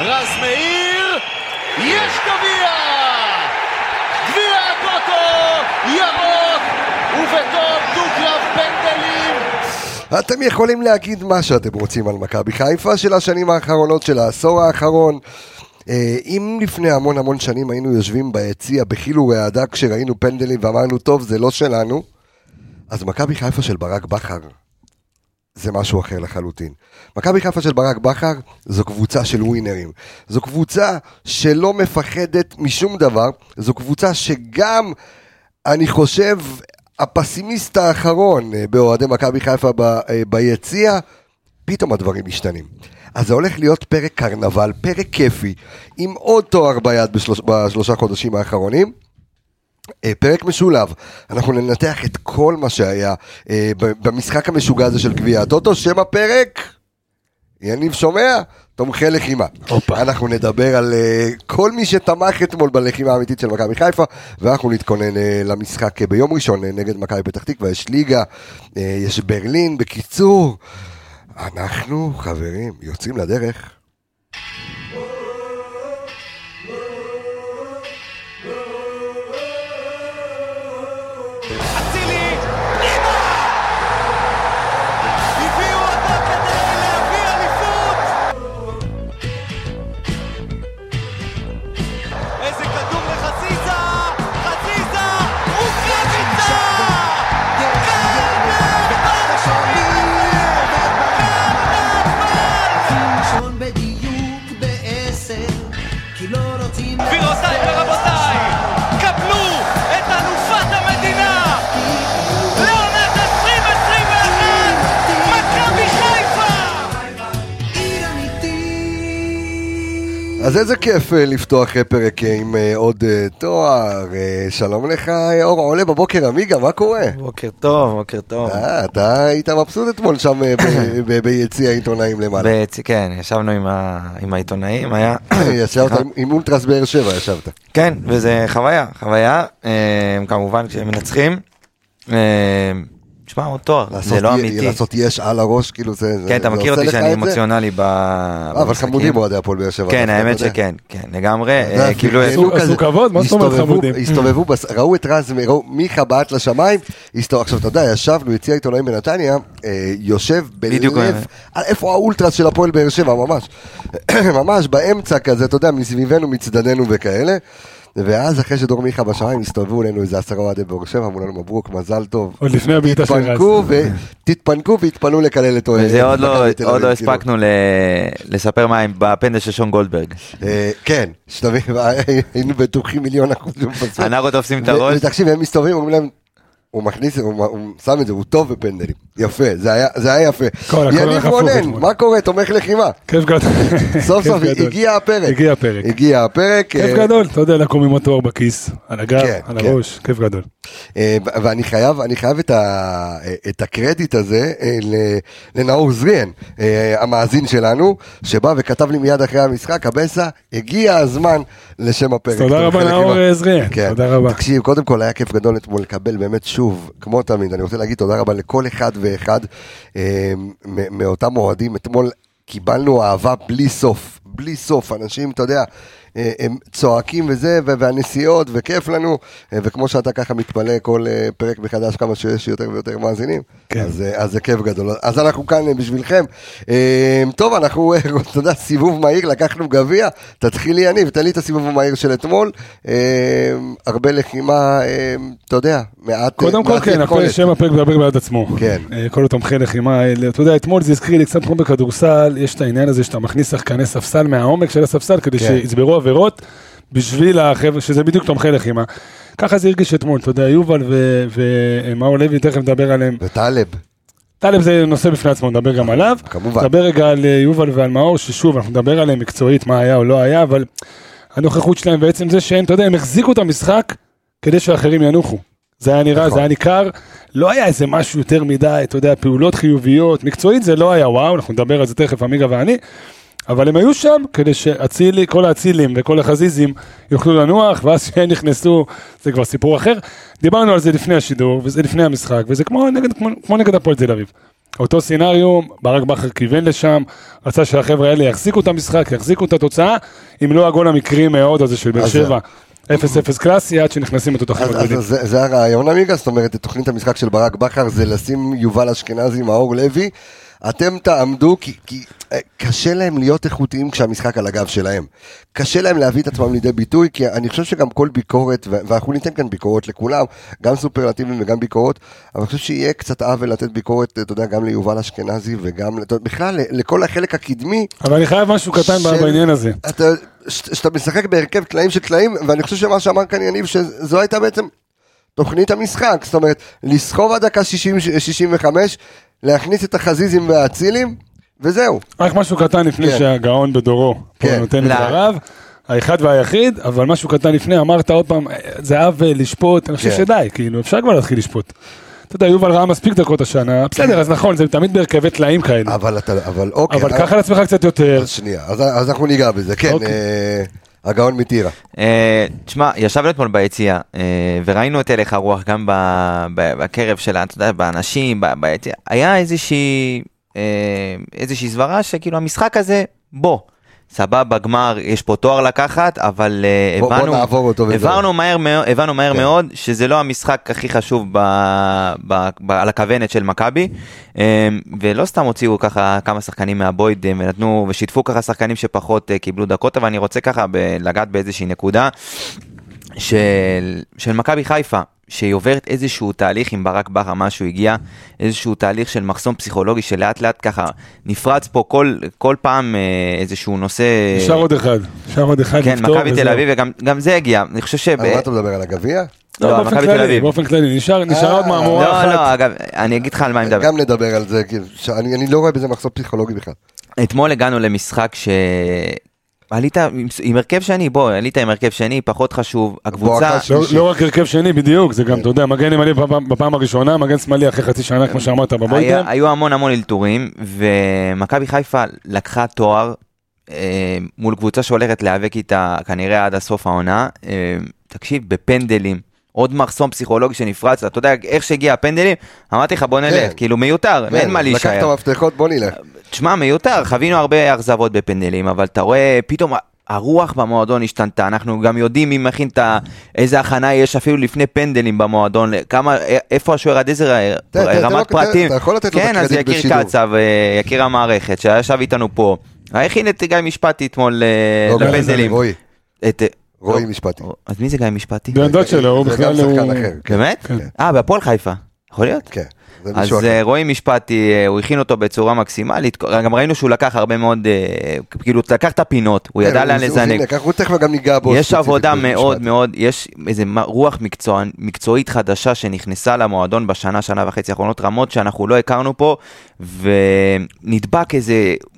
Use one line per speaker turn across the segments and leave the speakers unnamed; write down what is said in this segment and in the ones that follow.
רז מאיר, יש גביע! גביע הטוטו, ירוק, ובתום דו-קרב פנדלים.
אתם יכולים להגיד מה שאתם רוצים על מכבי חיפה של השנים האחרונות, של העשור האחרון. אה, אם לפני המון המון שנים היינו יושבים ביציע בחיל ורעדה כשראינו פנדלים ואמרנו, טוב, זה לא שלנו, אז מכבי חיפה של ברק בכר זה משהו אחר לחלוטין. מכבי חיפה של ברק בכר זו קבוצה של ווינרים. זו קבוצה שלא מפחדת משום דבר, זו קבוצה שגם, אני חושב, הפסימיסט האחרון אה, באוהדי מכבי חיפה ב, אה, ביציע, פתאום הדברים משתנים. אז זה הולך להיות פרק קרנבל, פרק כיפי, עם עוד תואר ביד בשלוש, בשלושה חודשים האחרונים. אה, פרק משולב, אנחנו ננתח את כל מה שהיה אה, ב- במשחק המשוגע הזה של גביע הטוטו, שם הפרק, יניב שומע? תומכי לחימה.
הופה.
אנחנו נדבר על אה, כל מי שתמך אתמול בלחימה האמיתית של מכבי חיפה, ואנחנו נתכונן אה, למשחק אה, ביום ראשון אה, נגד מכבי פתח תקווה, יש ליגה, אה, יש ברלין, בקיצור, אנחנו, חברים, יוצאים לדרך.
אצילי, פנימה! הביאו אותו כדי להביא אליפות! איזה כדור לחזיזה! חזיזה! רוקאביצה!
ראשון בדיוק בעשר, כי לא רוצים...
גבירותיי ורבותיי, קבלו את אלופת המדינה! לעונת 2021! מכבי חיפה!
עיר אמיתית!
אז איזה כיף אה, לפתוח אה, פרק אה, עם אה, עוד אה, תואר. אה, שלום לך, אה, אור עולה בבוקר, עמיגה, מה קורה?
בוקר טוב, בוקר טוב.
אה, אתה היית מבסוט אתמול שם אה, ב- ב- ביציע העיתונאים למעלה.
בעצ... כן, ישבנו עם, ה... עם העיתונאים, היה...
ישבת
סליחה.
עם- עם אולטרס באר שבע, ישבת.
כן, וזה חוויה, חוויה, אה, כמובן כשהם מנצחים. אה, תשמע, עוד תואר,
לעשות
זה לא
י-
אמיתי.
לעשות יש על הראש, כאילו זה... זה-
כן, אתה
זה
מכיר
עושה
אותי
לך
שאני
את זה?
אמוציונלי ב...
אה, אבל
במשחקים.
חמודים אוהדי הפועל באר שבע.
כן,
דווקא,
האמת
אתה יודע.
שכן, כן, לגמרי.
אתה יודע,
אה, כאילו,
אפילו
עשו- עשו
כזה-
כבוד? מה זאת אומרת
הסתובבו-
חמודים?
הסתובבו, בס- ראו את רז, ראו מיכה בעט לשמיים, הסתובב- עכשיו אתה יודע, ישבנו, יציע עיתונאים בנתניה, אה, יושב
בדיוק, אה.
בלב, על איפה האולטרס של הפועל באר שבע, ממש, ממש באמצע כזה, אתה יודע, מסביבנו, מצדדנו וכאלה. ואז אחרי שדור מיכה בשמיים הסתובבו אלינו איזה עשרה אוהדי באר שבע, אמרו לנו מברוק, מזל טוב.
עוד לפני הבעיטה של רז.
תתפנקו ו- תתפנקו והתפנו לקלל את אוהד.
וזה עוד לא-
מכבי תל
עוד לא
אביב, כאילו.
הספקנו ל- לספר מה עם- בפנדל של שון גולדברג.
אה, כן, שתבין, היינו בטוחים מיליון אחוז שהוא מפספס.
הנערות תופסים את הראש.
ותקשיב, הם מסתובבים, אומרים להם, הוא מכניס, הוא הוא שם את זה, הוא טוב בפנדלים. יפה, זה היה- זה היה יפה.
הכל
יניב
הולך הפוך
רונן,
אתמול.
מה קורה? תומך לחימה.
כיף גדול.
סוף
כיף
סוף
גדול.
הגיע הפרק.
הגיע הפרק.
הגיע הפרק.
כיף
אה,
גדול, אתה יודע לקום עם התואר בכיס, על הגב,
כן,
על
כן.
הראש, כיף גדול.
אה, ו- ואני חייב, אני חייב את, ה, אה, את הקרדיט הזה אה, ל- לנאור זריאן, אה, המאזין שלנו, שבא וכתב לי מיד אחרי המשחק, הבסה, הגיע הזמן לשם הפרק. כן.
תודה רבה,
חלק
נאור,
מה-
אה, זריאן. תודה רבה.
תקשיב, קודם כל היה כיף גדול אתמול לקבל באמת שוב, כמו תמיד, אני רוצה להגיד תודה רבה לכל אחד ואחד אה, מ- מאותם אוהדים. אתמול קיבלנו אהבה בלי סוף, בלי סוף. אנשים, אתה יודע, אה, הם צועקים וזה, ו- והנסיעות, וכיף לנו. אה, וכמו שאתה ככה מתפלא כל אה, פרק מחדש, כמה שיש יותר ויותר מאזינים,
כן.
אז, אה, אז זה כיף גדול. אז אנחנו כאן אה, בשבילכם. אה, טוב, אנחנו, אה, אתה יודע, סיבוב מהיר, לקחנו גביע. תתחילי, יניב, תן לי את הסיבוב המהיר של אתמול. אה, הרבה לחימה, אה, אתה יודע, מעט... אה,
קודם כל,
מעט
כן, הפרק,
יכולת.
שם הפרק מדבר בעד עצמו.
כן.
אה, כל התומכי לחימה האלה, אתה יודע, אתמול זה הזכיר לי קצת כמו בכדורסל, יש את העניין הזה שאתה מכניס שחקני ספסל מהעומק של הספסל כדי
כן.
שיצברו עבירות בשביל החבר'ה, שזה בדיוק תומכי לחימה. ככה זה הרגיש אתמול, אתה יודע, יובל ו- ומאור לוי, תכף נדבר עליהם.
וטלב,
טלב זה נושא בפני עצמו, נדבר גם עליו.
כמובן.
נדבר רגע על אה, יובל ועל מאור, ששוב, אנחנו נדבר עליהם מקצועית, מה היה או לא היה, אבל הנוכחות שלהם בעצם זה שהם, אתה יודע, הם החזיקו את המשחק כדי שאחרים ינוחו. זה היה נראה,
נכון.
זה היה ניכר, לא היה איזה משהו יותר מדי, אתה יודע, פעולות חיוביות, מקצועית זה לא היה וואו, אנחנו נדבר על זה תכף, עמיגה ואני, אבל הם היו שם כדי שאצילי, כל האצילים וכל החזיזים יוכלו לנוח, ואז כשהם נכנסו, זה כבר סיפור אחר. דיברנו על זה לפני השידור, וזה לפני המשחק, וזה כמו נגד, כמו, כמו נגד הפועל תל אביב. אותו סינאריו, ברק בכר כיוון לשם, רצה שהחבר'ה האלה יחזיקו את המשחק, יחזיקו את התוצאה, אם לא הגול המקרי מאוד הזה של באר
אז-
שבע. 0-0 קלאסי עד שנכנסים לתותחים
אז,
הגדולים.
אז זה, זה הרעיון עמיגה, זאת אומרת, תוכנית המשחק של ברק בכר זה לשים יובל אשכנזי, מאור לוי, אתם תעמדו, כי, כי אה, קשה להם להיות איכותיים כשהמשחק על הגב שלהם. קשה להם להביא את עצמם לידי ביטוי, כי אני חושב שגם כל ביקורת, ו- ואנחנו ניתן כאן ביקורות לכולם, גם סופרלטיבים וגם ביקורות, אבל אני חושב שיהיה קצת עוול לתת ביקורת, אה, אתה יודע, גם ליובל אשכנזי וגם, אתה יודע, בכלל, ל- לכל החלק הקדמי.
אבל אני חייב משהו קטן
של-
בעניין הזה.
אתה, ש- שאתה משחק בהרכב טלאים של טלאים, ואני חושב שמה שאמר כאן יניב, שזו הייתה בעצם תוכנית המשחק, זאת אומרת, לסחוב עד דקה 60, 65, להכניס את החזיזים והאצילים, וזהו.
רק משהו קטן לפני
כן.
שהגאון בדורו פה
כן.
נותן את
לא.
דבריו, האחד והיחיד, אבל משהו קטן לפני, אמרת עוד פעם, אה, זה עוול לשפוט, אני חושב
כן.
שדי, כאילו, אפשר כבר להתחיל לשפוט. אתה יודע, יובל ראה מספיק דקות השנה, בסדר, אז נכון, זה תמיד בהרכבי טלאים כאלה,
לא.
אבל אתה, אבל
כן,
אוקיי.
אבל
אה,
קח על עצמך קצת יותר,
אז שנייה, אז, אז אנחנו ניגע בזה, כן,
אוקיי.
אה, הגאון מטירה.
אה, תשמע, ישבנו אתמול ביציאה, אה, וראינו את הלך הרוח גם ב- ב- בקרב של, אתה יודע, באנשים, ב- ביציאה. היה איזושהי, אה, איזושהי סברה שכאילו המשחק הזה, בוא. סבבה, גמר, יש פה תואר לקחת, אבל אה,
בוא- בוא
הבנו,
נעבור אותו וזהו.
הבנו מהר, מאו- הבנו מהר
כן.
מאוד שזה לא המשחק הכי חשוב ב, ב, ב, על הכוונת של מכבי, אה, ולא סתם הוציאו ככה כמה שחקנים מהבויד אה, ונתנו ושיתפו ככה שחקנים שפחות אה, קיבלו דקות, אבל אני רוצה ככה ב- לגעת באיזושהי נקודה. של, של מכבי חיפה, שהיא עוברת איזשהו תהליך עם ברק בכר, מה שהוא הגיע, איזשהו תהליך של מחסום פסיכולוגי שלאט לאט ככה נפרץ פה כל, כל פעם אה, איזשהו נושא...
נשאר עוד אחד, נשאר עוד אחד
כן,
לפתור,
מכבי תל
וזהו.
אביב, וגם גם זה הגיע, אני חושב ש...
על מה אתה מדבר, על הגביע?
לא,
באופן
מכבי
כללי,
תל אביב.
באופן כללי, נשאר- נשארה
אה,
עוד מהמורה
לא,
אחת.
לא, אגב, אני אגיד לך על מה אני מדבר.
גם נדבר על זה, כי ש- אני, אני לא רואה בזה מחסום פסיכולוגי בכלל.
אתמול הגענו למשחק ש... עלית עם, עם הרכב שני, בוא, עלית עם הרכב שני, פחות חשוב, הקבוצה...
אחת ש-
לא-
שלישי.
לא רק הרכב שני, בדיוק, זה
כן.
גם, אתה יודע, מגן ימני בפעם- בפעם הראשונה, מגן שמאלי אחרי חצי שנה, כמו שאמרת, בבוידם.
כן. היה, היו המון המון אלתורים, ומכבי חיפה לקחה תואר אה, מול קבוצה שהולכת להיאבק איתה כנראה עד הסוף העונה. אה, תקשיב, בפנדלים, עוד מחסום פסיכולוגי שנפרץ, אתה יודע, איך שהגיע הפנדלים, אמרתי לך בוא נלך,
כן.
כאילו מיותר, אין מה
לקח את
להישאר.
המפתחות, בוא נלך.
תשמע, מיותר, חווינו הרבה אכזבות בפנדלים, אבל אתה רואה, פתאום הרוח במועדון השתנתה, אנחנו גם יודעים מי מכין את ה... איזה הכנה יש אפילו לפני פנדלים במועדון, כמה, איפה השוער עד איזה
אתה- אתה- אתה לא-
רמת פרטים.
אתה יכול לתת לו את
כן, אז
הקרדיט
יקיר
בשידור.
קצב, אה, יקיר המערכת, שישב איתנו פה, הכין את גיא משפטי אתמול אה,
לא,
לפנדלים.
רועי,
את- אה,
רועי
לא.
משפטי.
אז מי זה גיא משפטי?
בן דוד שלו, לא, הוא
זה גם
בכלל
שחקן
הוא...
אחר, כן,
באמת? אה, בהפועל חיפה. יכול להיות?
כן. זה
אז
מישהו אחר.
אה, רועי משפטי, אה, הוא הכין אותו בצורה מקסימלית, גם ראינו שהוא לקח הרבה מאוד, אה, כאילו, הוא לקח את הפינות, הוא ידע
כן,
לאן
הוא
לזנק.
זינק, אנחנו תכף גם ניגע בו.
יש
ספציפית
עבודה
במשפט.
מאוד מאוד, יש איזה מה- רוח מקצוע, מקצועית חדשה שנכנסה למועדון בשנה, שנה וחצי האחרונות, רמות שאנחנו לא הכרנו פה, ונדבק איזה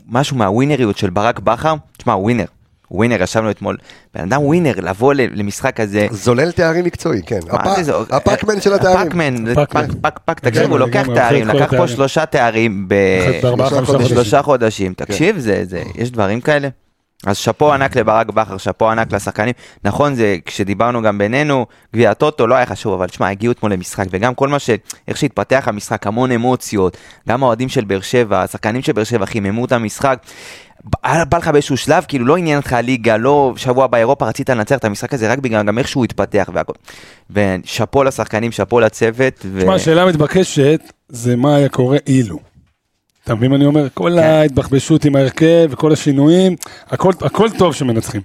משהו מהווינריות של ברק בכר, תשמע, הוא ווינר, הוא ווינר, ישבנו אתמול, בן אדם ווינר, לבוא ל- למשחק הזה,
זולל תארים מקצועי, כן.
מה
הפ-
זה זה?
הפאקמן של התארים.
הפאקמן,
הפאקמן.
פאק, פאק, פאק, תקשיב,
לגמרי,
הוא לוקח
לגמרי,
תארים,
אחרי כל
לקח פה
התארים.
שלושה תארים ב-
אחד בארבעה,
שלושה
חמישה
חודשים.
אה, חודשים.
בשלושה אה, חודשים. כן. תקשיב, זה, זה, יש דברים כאלה. אז שאפו ענק לברק בכר, שאפו ענק לשחקנים. נכון, זה כשדיברנו גם בינינו, גביע הטוטו לא היה חשוב, אבל שמע, הגיעו אתמול למשחק, וגם כל מה ש... איך שהתפתח המשחק, המון אמוציות, גם האוהדים של באר שבע, השחקנים של באר שבע חיממו את המשחק. בא בא לך באיזשהו שלב, כאילו לא עניין אותך הליגה, לא שבוע באירופה רצית לנצח את המשחק הזה רק בגלל גם איך שהוא התפתח והכל. ושאפו לשחקנים, שאפו לצוות. ו-
תשמע, השאלה המתבקשת זה מה היה קורה אילו. אתה מבין מה אני אומר? כל
כן.
ההתבחבשות עם ההרכב וכל השינויים, הכל הכל טוב שמנצחים.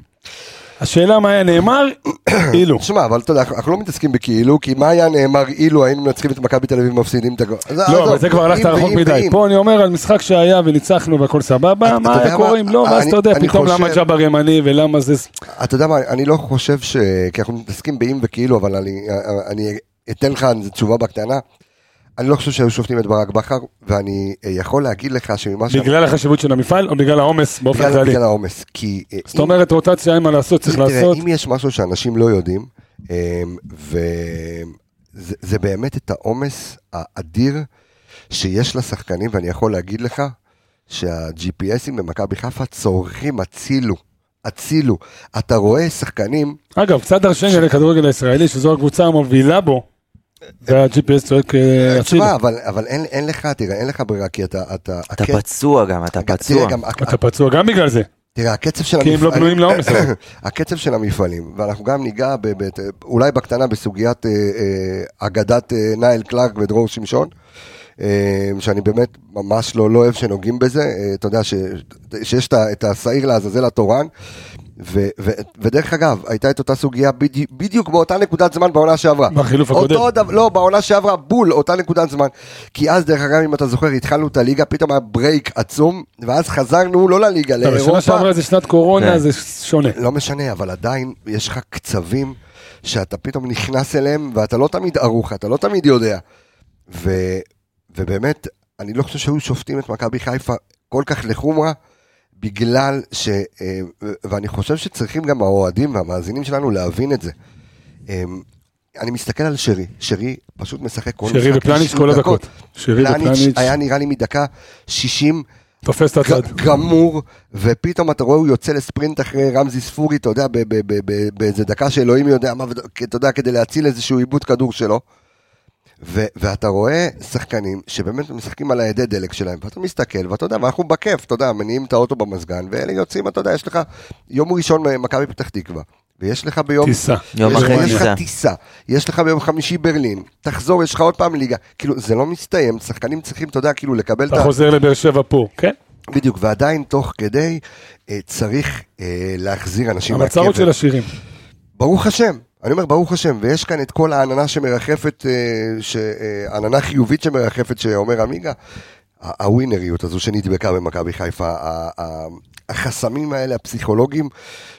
השאלה מה היה נאמר, לא, אילו.
תשמע, אבל אתה יודע, אנחנו לא מתעסקים בכאילו, כי מה היה נאמר אילו היינו מנצחים את מכבי תל אביב ומפסידים את הגול? אז
לא,
עזוב,
אבל זה כבר
אם
הלכת רחוק
ואם
מדי.
ואם.
פה אני אומר על משחק שהיה וניצחנו והכל סבבה,
אתה
מה
יודע
היה קורה
מה?
אם לא, ואז
אני-
אתה יודע,
אני
פתאום
חושב-
למה ג'אבר ימני ולמה זה...
אתה יודע מה, אני לא חושב ש... כי אנחנו מתעסקים באם וכאילו, אבל אני, אני אתן לך איזה תשובה בקטנה. אני לא חושב שהיו שופטים את ברק בכר, ואני אה, יכול להגיד לך שממה שאני...
בגלל החשיבות של המפעל או בגלל העומס באופן
בגלל,
כללי?
בגלל העומס. כי אה,
זאת אומרת, רוטציה אין מה לעשות, צריך
תראה,
לעשות.
אם יש משהו שאנשים לא יודעים, אמ, וזה זה באמת את העומס האדיר שיש לשחקנים, ואני יכול להגיד לך שה-GPSים במכבי חיפה צורכים הצילו, הצילו. אתה רואה שחקנים,
אגב, קצת דרשני לכדורגל הישראלי, שזו הקבוצה המובילה בו וה-GPS צועק אה, הצידה.
תשמע, אבל, אבל אין, אין לך, תראה, אין לך ברירה, כי אתה... אתה,
אתה
הקצ-
פצוע גם, כן. אתה
תראה,
פצוע.
גם הק-
אתה פצוע גם בגלל זה.
תראה, הקצב של
כי הם לא בנויים לעומס, אבל.
הקצב של המפעלים, ואנחנו גם ניגע ב, ב, אולי בקטנה בסוגיית אה, אה, אגדת אה, נייל קלארק ודרור שמשון, אה, שאני באמת ממש לא, לא אוהב שנוגעים בזה, אה, אתה יודע ש, שיש את ה- את השעיר לעזאזל התורן. ו- ו- ודרך אגב, הייתה את אותה סוגיה בדי- בדיוק באותה נקודת זמן בעונה שעברה.
בחילוף הקודם.
אותו דבר, לא, בעונה שעברה בול, אותה נקודת זמן. כי אז, דרך אגב, אם אתה זוכר, התחלנו את הליגה, פתאום היה ברייק עצום, ואז חזרנו לא לליגה,
טוב,
לאירופה.
בשנה שעברה זה שנת קורונה,
כן.
זה שונה.
לא משנה, אבל עדיין יש לך קצבים שאתה פתאום נכנס אליהם, ואתה לא תמיד ערוך, אתה לא תמיד יודע. ו, ובאמת, אני לא חושב שהיו שופטים את מכבי חיפה כל כך לחומרה, בגלל ש... אה, ו- ואני חושב שצריכים גם האוהדים והמאזינים שלנו להבין את זה. אה, אני מסתכל על שרי, שרי פשוט משחק כל
שרי ופלניץ'
90
כל הדקות. שרי
פלניץ'
ופלניץ'
היה נראה לי מדקה 60
תופס את הצד.
ג- גמור, ופתאום אתה רואה הוא יוצא לספרינט אחרי רמזי ספורי, אתה יודע, ב- ב- ב- ב- באיזה דקה שאלוהים יודע מה, וד- כי אתה יודע, כדי להציל איזשהו עיבוד כדור שלו. ו- ואתה רואה שחקנים שבאמת משחקים על הידי דלק שלהם, ואתה מסתכל, ואתה יודע, ואנחנו בכיף, אתה יודע, מניעים את האוטו במזגן, ואלה יוצאים, אתה יודע, יש לך יום ראשון מכבי פתח תקווה, ויש לך ביום...
טיסה.
יום
יש-
אחרי
יש לך
טיסה.
טיסה, יש לך ביום חמישי ברלין, תחזור, יש לך עוד פעם ליגה. כאילו, זה לא מסתיים, שחקנים צריכים, אתה יודע, כאילו, לקבל את
אתה
ה...
חוזר לבאר שבע פה. כן.
בדיוק, ועדיין תוך כדי אה, צריך אה, להחזיר אנשים
המצרות של השירים.
ברוך השם, אני אומר ברוך השם, ויש כאן את כל העננה שמרחפת, אה, ש- אה, עננה חיובית שמרחפת שאומר עמיגה, ה- הווינריות הזו שנדבקה במכבי חיפה, ה- ה- החסמים האלה הפסיכולוגיים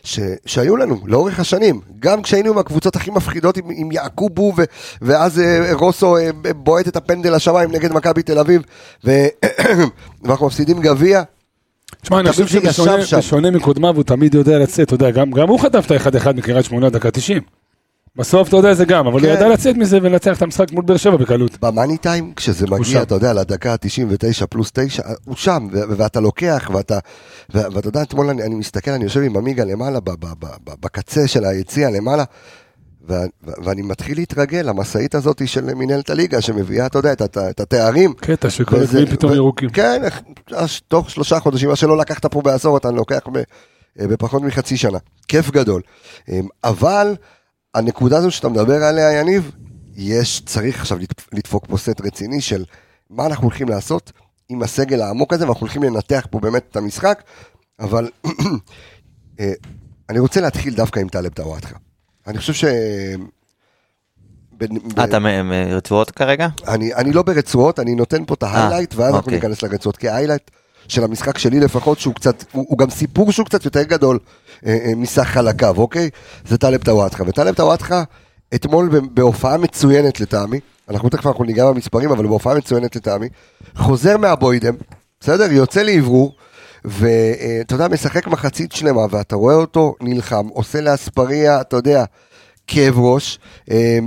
ש, שהיו לנו לאורך השנים, גם כשהיינו עם הקבוצות הכי מפחידות עם, עם יעקובו ו, ואז אה, רוסו אה, בועט את הפנדל לשמיים נגד מכבי תל אביב ו, ואנחנו מפסידים גביע,
תשמע, אני
תמיד
חושב
זה ישב שם.
שבשונה מקודמיו הוא תמיד יודע לצאת, אתה יודע, גם גם הוא חטף את האחד-אחד מקריית שמונה דקה 90. בסוף אתה יודע זה גם, אבל הוא
כן.
ידע לצאת מזה ולנצח את המשחק מול באר שבע בקלות.
במאני טיים, כשזה
שם.
מגיע, אתה יודע, לדקה ה-99 פלוס 9, הוא שם, ו- ו- ואתה לוקח, ואתה, ו- ואתה יודע, אתמול אני, אני מסתכל, אני יושב עם עמיגה למעלה, ב- ב- ב- ב- בקצה של היציע למעלה, ו- ו- ואני מתחיל להתרגל למשאית הזאת של מינהלת הליגה, שמביאה, אתה יודע, את, הת- את התארים.
קטע שכל
וזה-
הגביעים פתאום
ו-
ירוקים.
כן, אך- אז תוך שלושה חודשים, מה שלא לקחת פה בעשור, אתה לוקח ב- אה, בפחות מחצי שנה. כיף גדול. אמ, אבל הנקודה הזו שאתה מדבר עליה, יניב, יש, צריך עכשיו לדפ- לדפוק פה סט רציני של מה אנחנו הולכים לעשות עם הסגל העמוק הזה, ואנחנו הולכים לנתח פה באמת את המשחק, אבל אה, אני רוצה להתחיל דווקא עם טלב טוואטחה. אני חושב ש... אה, בנ-
אה, אתה מ- מ- רצועות כרגע?
אני, אני לא ברצועות, אני נותן פה את ההיילייט, ואז אנחנו
אוקיי.
ניכנס לרצועות, כי ההיילייט של המשחק שלי לפחות, שהוא קצת, הוא, הוא גם סיפור שהוא קצת יותר גדול אה, אה, מסך על הקו, אוקיי? זה טלב טוואטחה, וטלב טוואטחה אתמול ב- בהופעה מצוינת לטעמי, אנחנו תכף אנחנו ניגע במספרים, אבל בהופעה מצוינת לטעמי, חוזר מהבוידם, בסדר? יוצא לאוורור. ואתה יודע, משחק מחצית שלמה, ואתה רואה אותו נלחם, עושה לאספריה, אתה יודע, כאב ראש, אה,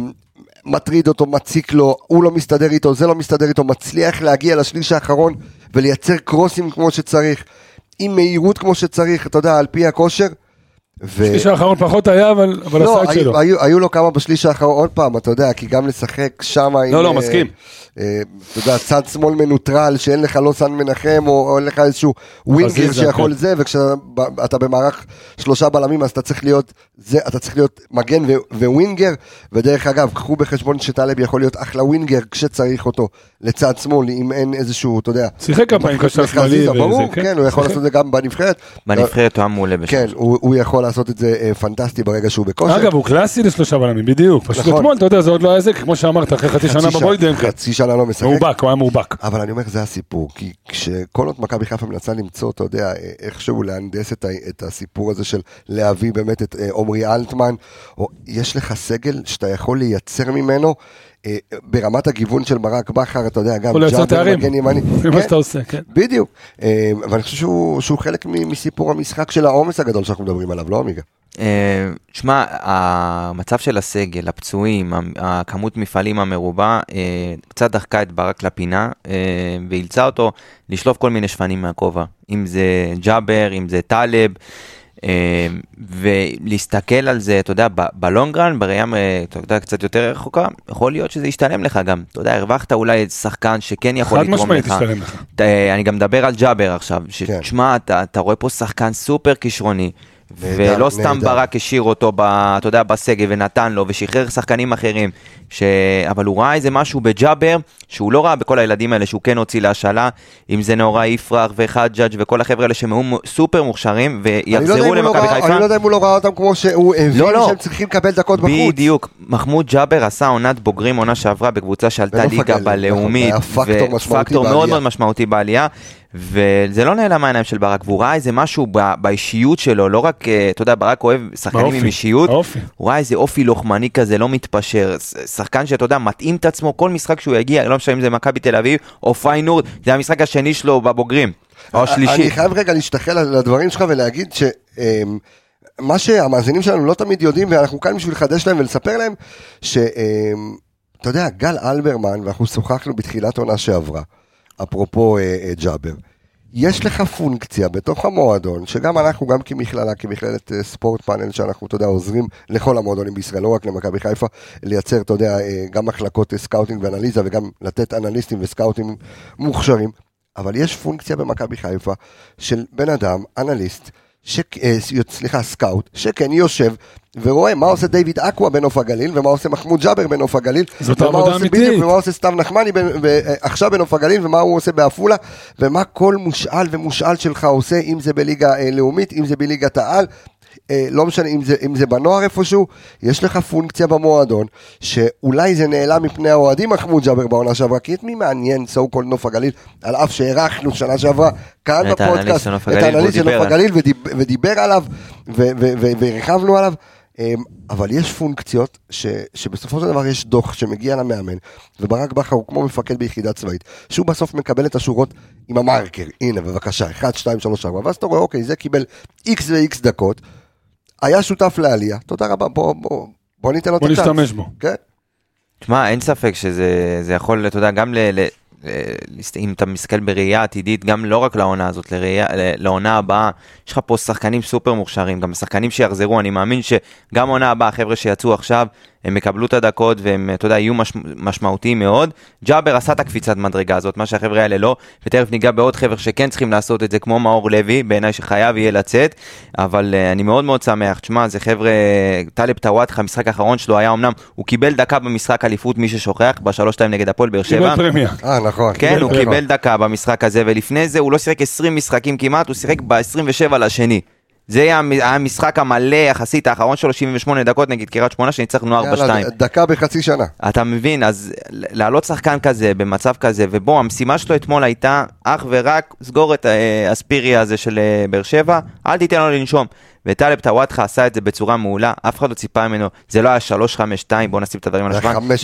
מטריד אותו, מציק לו, הוא לא מסתדר איתו, זה לא מסתדר איתו, מצליח להגיע לשליש האחרון ולייצר קרוסים כמו שצריך, עם מהירות כמו שצריך, אתה יודע, על פי הכושר. ו...
השליש האחרון פחות היה, אבל אבל
לא,
עשה את
היו-
שלו.
היו, היו לו כמה בשליש האחרון, עוד פעם, אתה יודע, כי גם לשחק שם עם...
לא, מסכים.
אה, אתה יודע, צד שמאל מנוטרל, שאין לך לא סן מנחם, או או אין לך איזשהו ווינגר
חזיזה,
שיכול
כן.
זה, וכשאתה במערך שלושה בלמים, אז אתה צריך להיות, זה, אתה צריך להיות מגן ו- וווינגר, ודרך אגב, קחו בחשבון שטלב יכול להיות אחלה ווינגר כשצריך אותו לצד שמאל, אם אין איזשהו, אתה יודע...
שיחק כמה פעמים קשר שמאלי
לחזיזה, ברור,
כן, וזה,
כן, הוא יכול
שיחק.
לעשות את זה גם בנבחרת.
בנבחרת הוא היה מעולה בשם.
כן, הוא, הוא יכול לעשות את זה אה, פנטסטי ברגע שהוא בכושר.
אגב, הוא קלאסי לשלושה בלמים, בדיוק. פשוט
נכון.
אתמול, אתה יודע, זה עוד לא היה זה, כי כמו שאמרת, אחרי חצי שנה
שנה-
בבוידן,
חצי שנה לא משחק.
מאובק, הוא היה מאובק.
אבל אני אומר, זה הסיפור, כי כשכל עוד מכבי חיפה מנסה למצוא, אתה יודע, אה, איכשהו להנדס את, ה- את הסיפור הזה של להביא באמת את אה, עומרי אלטמן, או יש לך סגל שאתה יכול לייצר ממנו אה, ברמת הגיוון של ברק בכר, אתה יודע,
יכול
גם
לייצר תארים.
מגן ימני.
זה מה
כן,
שאתה עושה, כן.
בדיוק, אה, ואני חושב שהוא, שהוא חלק מ- מסיפור המשחק של העומס הגדול שאנחנו מדברים עליו, לא עמיגה?
אה, שמע, המצב של הסגל, הפצועים, המ- הכמות מפעלים המרובה, אה, קצת דחקה את ברק לפינה אה, ואילצה אותו לשלוף כל מיני שפנים מהכובע. אם זה ג'אבר, אם זה טלב. אה, אה, ולהסתכל על זה, אתה יודע, ב- בלונגרן, בראייה, אה, אתה יודע, קצת יותר רחוקה, יכול להיות שזה ישתלם לך גם. אתה יודע, הרווחת אולי שחקן שכן יכול
חד
לתרום לך.
משמעית ישתלם לך.
ת- אה, אני גם מדבר על ג'אבר עכשיו,
כן.
שתשמע, אתה, אתה רואה פה שחקן סופר כישרוני.
נהדר,
ולא סתם
נהדר.
ברק השאיר אותו, ב, אתה יודע, בסגל ונתן לו, ושחרר שחקנים אחרים. ש... אבל הוא ראה איזה משהו בג'אבר, שהוא לא ראה בכל הילדים האלה, שהוא כן הוציא להשאלה, אם זה נאורה יפרח וחג'אג' וכל החבר'ה האלה שהם היו מ- סופר מוכשרים,
אני לא יודע
ויחזרו
אם הוא לא
למכבי
ראה-
חיפה.
אני לא יודע אם הוא לא ראה אותם כמו שהוא הבין
לא, לא.
שהם צריכים לקבל דקות בחוץ.
בדיוק, מחמוד ג'אבר עשה עונת בוגרים עונה שעברה בקבוצה שעלתה
ונוף
ליגה
הגליל,
בלאומית,
נכון, היה פקטור משמעותי
ופקטור מאוד
בעלייה.
מאוד משמעותי בעלייה, וזה לא נעלם מהעיניים של ברק, והוא ראה איזה משהו ב- באישיות שלו, לא רק, אה, אתה יודע, ברק אוהב שחקנים עם
באופי,
אישיות,
באופי.
הוא ראה איזה אופי לוחמני כזה, לא מתפשר, ש- שחקן שאתה יודע, מתאים את עצמו, כל משחק שהוא יגיע, לא משנה אם זה מכבי תל אביב או פיינורד, זה המשחק השני שלו בבוגרים, או השלישי.
אה, אני חייב רגע להשתחל על הדברים שלך ולהגיד ש... אמ, מה שהמאזינים שלנו לא תמיד יודעים, ואנחנו כאן בשביל לחדש להם ולספר להם, שאתה יודע, גל אלברמן, ואנחנו שוחחנו בתחילת עונה שעברה, אפרופו אה, אה, ג'אבר, יש לך פונקציה בתוך המועדון, שגם אנחנו, גם כמכללה, כמכללת אה, ספורט פאנל, שאנחנו, אתה יודע, עוזרים לכל המועדונים בישראל, לא רק למכבי חיפה, לייצר, אתה יודע, אה, גם מחלקות אה, סקאוטינג ואנליזה, וגם לתת אנליסטים וסקאוטים מוכשרים. אבל יש פונקציה במכבי חיפה של בן אדם, אנליסט, ש... אה, ס- סליחה, סקאוט, שכן יושב ורואה מה עושה דיוויד אקווה בנוף הגליל, ומה עושה מחמוד ג'אבר בנוף הגליל,
זאת
ומה
עבודה
עושה
אמיתית.
בדיוק, ומה עושה סתיו נחמני ב... ו... אה, עכשיו בנוף הגליל, ומה הוא עושה בעפולה, ומה כל מושאל ומושאל שלך עושה, אם זה בליגה אה, לאומית, אם זה בליגת העל. אה, לא משנה אם זה, אם זה בנוער איפשהו, יש לך פונקציה במועדון, שאולי זה נעלם מפני האוהדים מחמוד ג'אבר בעונה שעברה, כי את מי מעניין סו קול נוף הגליל, על אף שהארחנו שנה שעברה כאן
את האנליסט
בפודקאסט,
של נוף הגליל, והוא
של
דיבר
נוף
על-
הגליל ודיב- ודיבר עליו, ו- ו- ו- והרחבנו עליו. אמ, אבל יש פונקציות ש, שבסופו של דבר יש דוח שמגיע למאמן וברק בכר הוא כמו מפקד ביחידה צבאית שהוא בסוף מקבל את השורות עם המרקר הנה בבקשה 1, 2, 3, 4 ואז אתה רואה אוקיי זה קיבל x ו-x דקות היה שותף לעלייה תודה רבה בוא בוא בוא ניתן לו את
בוא
הצ'אנס
נשתמש בו.
כן?
תשמע, אין ספק שזה זה יכול, אתה יודע, גם ל... ל... ל- להסת- אם אתה מסתכל בראייה עתידית, גם לא רק לעונה הזאת, לראייה, ל- לעונה הבאה, יש לך פה שחקנים סופר מוכשרים, גם שחקנים שיחזרו, אני מאמין שגם העונה הבאה, החבר'ה שיצאו עכשיו, הם יקבלו את הדקות והם, אתה יודע, יהיו מש, משמעותיים מאוד. ג'אבר עשה את הקפיצת מדרגה הזאת, מה שהחבר'ה האלה לא, ותכף ניגע בעוד חבר'ה שכן צריכים לעשות את זה, כמו מאור לוי, בעיניי שחייב יהיה לצאת, אבל אה, אני מאוד מאוד שמח, תשמע, זה חבר'ה, טלב טוואטחה, המשחק האחרון שלו היה אמנם, הוא קיבל דקה במשחק אליפות, מי ששוכח, בשלוש שתיים נגד הפועל באר שבע.
קיבל פרמיה.
אה נכון
כן, הוא
קיבל
קיבל דקה במשחק הזה, ולפני זה הוא לא שיחק 20 משחקים כמעט, הוא שיחק ב-27 לשני. זה היה המ- היה המשחק המלא יחסית, האחרון שלו 78 דקות נגד קריית שמונה, שניצחנו 4-2.
יאללה, ד- דקה בחצי שנה
אתה מבין, אז להעלות שחקן כזה, במצב כזה, ובוא, המשימה שלו אתמול הייתה אך ורק, סגור את אה, אספיריה הזה של אה, באר שבע, אל תיתן לו לנשום. וטלב טוואטחה עשה את זה בצורה מעולה, אף אחד לא ציפה ממנו, זה לא היה 3-5-2, בוא נשים את הדברים על
זה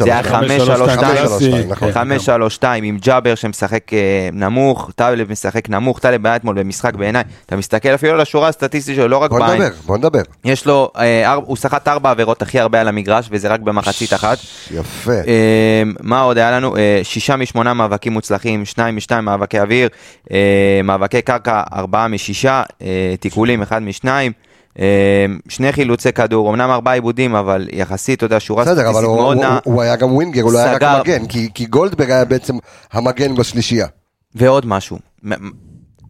היה
השולחן,
5-3-2.
זה היה
5-3-2,
5-3-2,
נכון.
5-3-2 עם ג'אבר שמשחק אה, נמוך, טלב משחק נמוך, טלב היה אתמול במשחק בעיניי, אתה מסתכל אפילו על השורה הסטטיסטית שלו, לא רק
בוא
בעין.
נדבר בוא נדבר
יש לו, אה, ארבע- הוא סחט ארבע עבירות הכי הרבה על המגרש, וזה רק במחצית אחת.
יפה
אה, מה עוד היה לנו? אה, שישה משמונה מאבקים מוצלחים, שניים משתיים מאבקי אוויר, אה, מאבקי קרקע, ארבעה משישה, אה, תיקולים, אחד משניים. אה, שני חילוצי כדור, אמנם ארבעה עיבודים, אבל יחסית, אתה יודע, שורה
בסדר, אבל הוא, הוא,
נעה.
הוא היה גם ווינגר, הוא לא היה רק
סגר.
מגן, כי, כי גולדברג היה בעצם המגן בשלישייה.
ועוד משהו, מ- מ-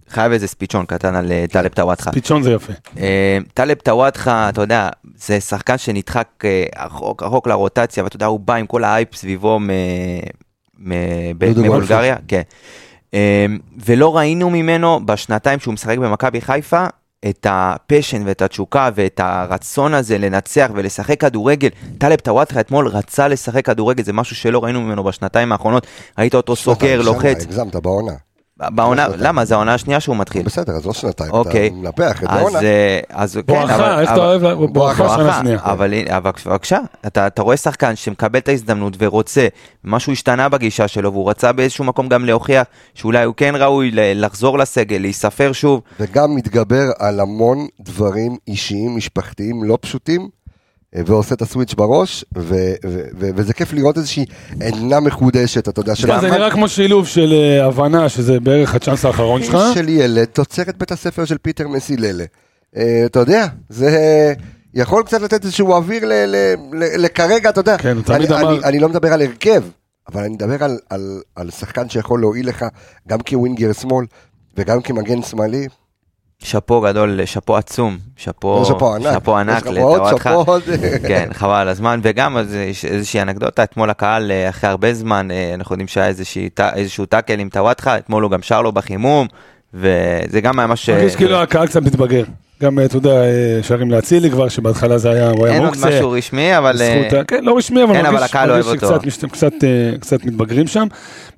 חייב איזה ספיצ'ון קטן על אה, טלב טוואטחה.
פיצ'ון זה יפה.
אה, טלב טוואטחה, אתה יודע, זה שחקן שנדחק אה, רחוק רחוק לרוטציה, ואתה יודע, הוא בא עם כל האייפ סביבו מ- מ- ב-
דודו
מבולגריה, כן. אה, ולא ראינו ממנו בשנתיים שהוא משחק במכבי חיפה. את הפשן ואת התשוקה ואת הרצון הזה לנצח ולשחק כדורגל. טלב טוואטחה אתמול רצה לשחק כדורגל, זה משהו שלא ראינו ממנו בשנתיים האחרונות. ראית אותו סוגר,
שנתיים, שנה,
לוחץ.
הגזמת בעונה.
בעונה, למה? זו העונה השנייה שהוא מתחיל.
בסדר, אז לא שנתיים,
כן. אוקיי.
אתה מנפח את
אז,
העונה.
אה, אז כן, אבל-
בואכה, איך אתה
אבל-
אוהב? לה- בואכה שנה
בואכה,
שנייה.
אבל הנה, אבל בבקשה, אתה אתה רואה שחקן שמקבל את ההזדמנות ורוצה, משהו השתנה בגישה שלו, והוא רצה באיזשהו מקום גם להוכיח שאולי הוא כן ראוי ל- לחזור לסגל, להיספר שוב.
וגם מתגבר על המון דברים אישיים, משפחתיים, לא פשוטים, אה, ועושה את הסוויץ' בראש, ו, ו, ו, וזה כיף לראות איזושהי עדנה מחודשת, אתה יודע, של
תשמע, כן, זה
המאמן.
נראה כמו שילוב של אה, הבנה שזה בערך הצ'אנס האחרון שלך.
של ילד, תוצרת בית הספר של פיטר מסיללה. אה, אתה יודע, זה יכול קצת לתת איזשהו אוויר ל- ל- ל- לכרגע, אתה יודע.
כן, הוא תמיד
אני-
אמר-
אני- אני לא מדבר על הרכב, אבל אני מדבר על- על- על שחקן שיכול להועיל לך גם כווינגר שמאל וגם כמגן שמאלי.
שאפו גדול, שאפו עצום, שאפו,
לא שאפו ענק.
שאפו
יש
ענק
לך פה עוד
לתנועתך.
שאפו עוד.
כן, חבל על הזמן, וגם אז יש איזושהי אנקדוטה, אתמול הקהל, אה, אחרי הרבה זמן, אה, אנחנו יודעים שהיה איזושהי טא- איזשהו טאקל עם טוואטחה, אתמול הוא גם שר לו בחימום, וזה גם היה אה, מה ש...
מרגיש כאילו הקהל קצת מתבגר. גם, אה, אתה יודע, אה, שרים לאצילי כבר, שבהתחלה זה היה, הוא היה
אין עוד
מוקצה.
משהו רשמי, אבל... אה,
זכות, ה- כן, לא רשמי, אבל
כן, אבל
מרגיש
הקהל
מרגיש
אוהב
שקצת
אותו.
מש- קצת, אה, קצת מתבגרים שם.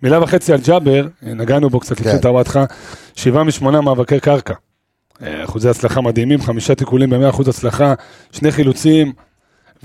מילה וחצי על ג'אבר, אה, נגענו בו קצת לפני
כן.
טוואטחה, שבעה משמונה מאבקי קרקע. אה, אחוזי הצלחה מדהימים, חמישה תיקולים במאה אחוז הצלחה, שני חילוצים,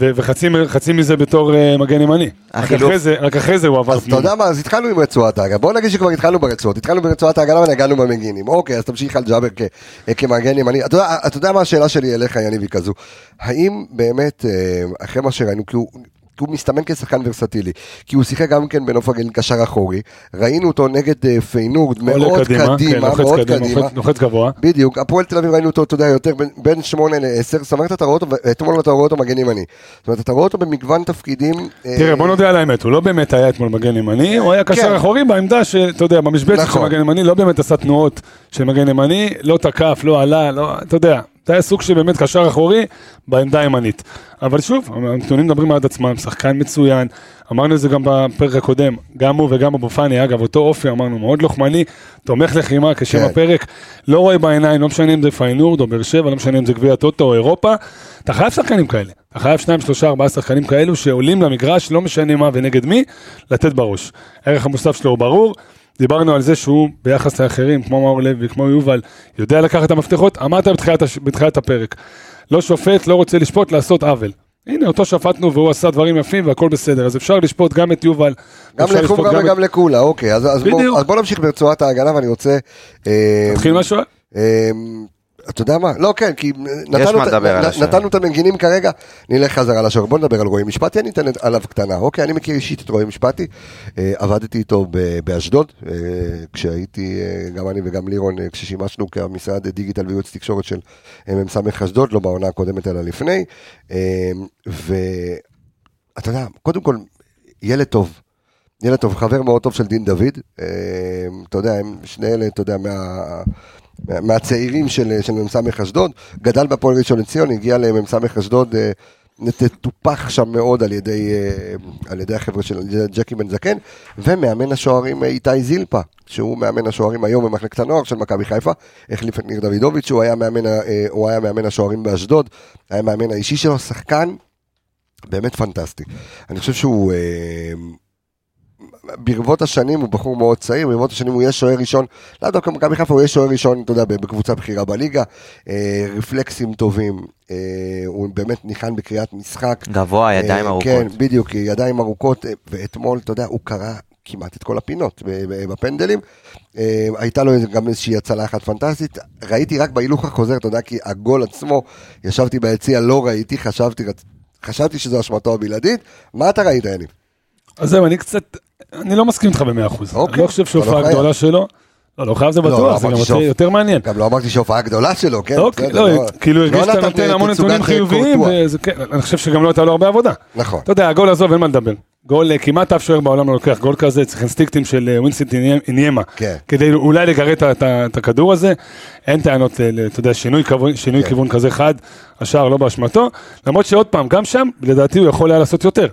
ו- וחצי מ- חצי מזה בתור אה, מגן ימני. רק
החילוף.
אחרי זה- רק אחרי זה הוא עבר
אז אתה יודע מה, אז התחלנו עם רצועת ההגנה. בוא נגיד שכבר התחלנו ברצועות. התחלנו ברצועת ההגנה ונגענו במגינים. אוקיי, אז תמשיך על ג'אבר כ- אה, כמגן ימני. אתה יודע- אה, אתה יודע מה השאלה שלי אליך, יניב, היא כזו. האם באמת, אה, אחרי מה שראינו, כי הוא... כי הוא מסתמן כשחקן ורסטילי, כי הוא שיחק גם כן בנוף הגליל קשר אחורי, ראינו אותו נגד אה, פיינורד מאוד
עולה
קדימה,
כן, לוחץ
מאוד
קדימה,
קדימה,
לוחץ- לוחץ גבוה.
בדיוק, הפועל תל אביב ראינו אותו, אתה יודע, יותר בין- בין 8 ל-10, זאת אומרת, אתה רואה אותו, ואתמול אתה רואה אותו מגן ימני. זאת אומרת, אתה רואה אותו במגוון תפקידים. אה,
תראה, בוא נודה על האמת, הוא לא באמת היה אתמול מגן ימני, הוא היה
כן.
קשר אחורי בעמדה שאתה יודע, במשבצת של
נכון.
מגן ימני, לא באמת עשה תנועות של מגן ימני, לא תקף, לא עלה, לא, אתה יודע, זה היה סוג שבאמת קשר אחורי בעמדה הימנית. אבל שוב, הנתונים מדברים עד עצמם, שחקן מצוין, אמרנו את זה גם בפרק הקודם, גם הוא וגם אבו פאני, אגב, אותו אופי אמרנו, מאוד לוחמני, תומך לחימה כשם
כן.
הפרק, לא רואה בעיניים, לא משנה אם זה פיינורד או באר שבע, לא משנה אם זה גביע טוטו או אירופה, אתה חייב שחקנים כאלה. אתה חייב שניים, שלושה, ארבעה שחקנים כאלו שעולים למגרש, לא משנה מה ונגד מי, לתת בראש. הערך המוסף שלו הוא ברור, דיברנו על זה שהוא ביחס לאחרים, כמו מאור לוי, כמו יובל, יודע לקחת את המפתחות, אמרת בתחילת, הש... בתחילת הפרק. לא שופט, לא רוצה לשפוט, לעשות עוול. הנה, אותו שפטנו והוא עשה דברים יפים והכל בסדר, אז אפשר לשפוט גם את יובל.
גם
אפשר לשפוט
לחומרה
את-
וגם לקולה, אוקיי, אז, אז,
בדיוק.
בוא, אז בוא נמשיך ברצועת ההגנה ואני רוצה... אה,
תתחיל משהו?
אה, אתה יודע מה? לא, כן, כי נתנו,
מה
את-
לדבר על
נ-
השוער.
נתנו את המנגינים כרגע, נלך חזרה לשוער. בוא נדבר על רועי משפטי, אני אתן את- עליו קטנה. אוקיי, אני מכיר אישית את רועי משפטי, אה, עבדתי איתו ב- באשדוד, אה, כשהייתי, אה, גם אני וגם לירון, אה, כששימשנו כמשרד דיגיטל וייעוץ תקשורת של אה, מ"ס אשדוד, לא בעונה הקודמת אלא לפני. אה, ואתה יודע, קודם כל, ילד טוב. ילד טוב, חבר מאוד טוב של דין דוד. אה, אתה יודע, הם שני אלה, אתה יודע, מה... מה- מהצעירים של, של מ"ס אשדוד, גדל בהפועל ראשון לציון, הגיע למ"ס אשדוד, אה, נת- טופח שם מאוד על ידי, אה, על ידי החבר'ה של ג'קי בן זקן, ומאמן השוערים אה, איתי זילפה, שהוא מאמן השוערים היום במחלקת הנוער של מכבי חיפה, החליף את ניר דוידוביץ', שהוא היה מאמן, ה- אה, הוא היה מאמן השוערים באשדוד, היה מאמן האישי שלו, שחקן באמת פנטסטי. אני חושב שהוא... אה, ברבות השנים הוא בחור מאוד צעיר, ברבות השנים הוא יהיה שוער ראשון, לאו דווקא מכבי חיפה, הוא יהיה שוער ראשון, אתה יודע, בקבוצה בכירה בליגה, אה, רפלקסים טובים, אה, הוא באמת ניחן בקריאת משחק.
גבוה, ידיים
אה,
ארוכות.
כן, בדיוק, ידיים ארוכות, אה, ואתמול, אתה יודע, הוא קרא כמעט את כל הפינות ב- ב- בפנדלים. אה, הייתה לו גם איזושהי הצלה אחת פנטסטית, ראיתי רק בהילוך החוזר, אתה יודע, כי הגול עצמו, ישבתי ביציע, לא ראיתי, חשבתי, חשבתי שזו אשמתו הבלעדית. מה אתה ראית, יניב?
אז זהו, אני קצת, אני לא מסכים איתך במאה אחוז.
אוקיי.
אני לא חושב
אתה לא
שהופעה
חייב.
הגדולה שלו, לא, לא חייב זה
לא,
בטוח, זה
אמרתי
גם יותר-
שאופ-
יותר מעניין.
גם לא אמרתי שהופעה גדולה שלו, כן?
אוקיי,
בסדר,
לא, כאילו הרגיש שאתה
נתן,
נותן
אה,
המון
תצוגת,
נתונים
אה,
חיוביים,
קורטואה.
וזה כן, אני חושב שגם לא הייתה לו הרבה עבודה.
נכון.
אתה יודע, הגול עזוב, אין מה לדבר. גול, אה, כמעט אף שוער בעולם לא לוקח גול כזה, צריך אינסטינקטים של אה, ווינסטינט איני- איניימה.
כן.
כדי אולי לגרד את ה- את ה- את הכדור הזה. אין טענות, ל- ל- אתה יודע, שינוי כיוון- שינוי
כן.
כיוון כזה חד, השער לא באשמתו. למרות שעוד פעם, גם שם, לדעתי הוא יכול היה לעשות יותר.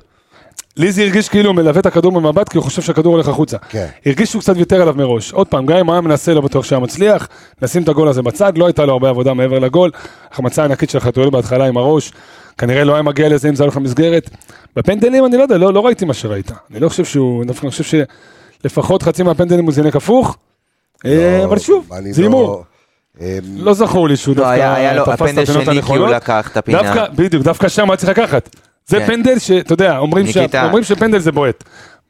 לי זה הרגיש כאילו הוא מלווה את הכדור במבט, כי הוא חושב שהכדור הולך החוצה.
כן.
הרגיש שהוא קצת ויתר עליו מראש. עוד פעם, גם אם היה מנסה, לא בטוח שהיה מצליח. נשים את הגול הזה בצד, לא הייתה לו הרבה עבודה מעבר לגול. החמצה ענקית של חתואל בהתחלה עם הראש. כנראה לא היה מגיע לזה אם זה היה הולך למסגרת. בפנדלים אני לא יודע, לא, לא ראיתי מה שראית. אני לא חושב שהוא, דווקא אני חושב שלפחות חצי מהפנדלים הוא זינק הפוך. אה, אבל שוב,
אני
זה
לא-
הימור.
אה,
לא זכור לי שהוא
לא, היה- היה
דווקא
לו-
תפס את
הפנדל
הפינות
של ניקי, הוא
הנכונות.
לקח את הפינה.
דווקא, בדיוק, דווקא שם היה צריך לקחת. זה
כן.
פנדל שאתה יודע, אומרים שה-
ניקיטה.
אומרים שפנדל זה בועט.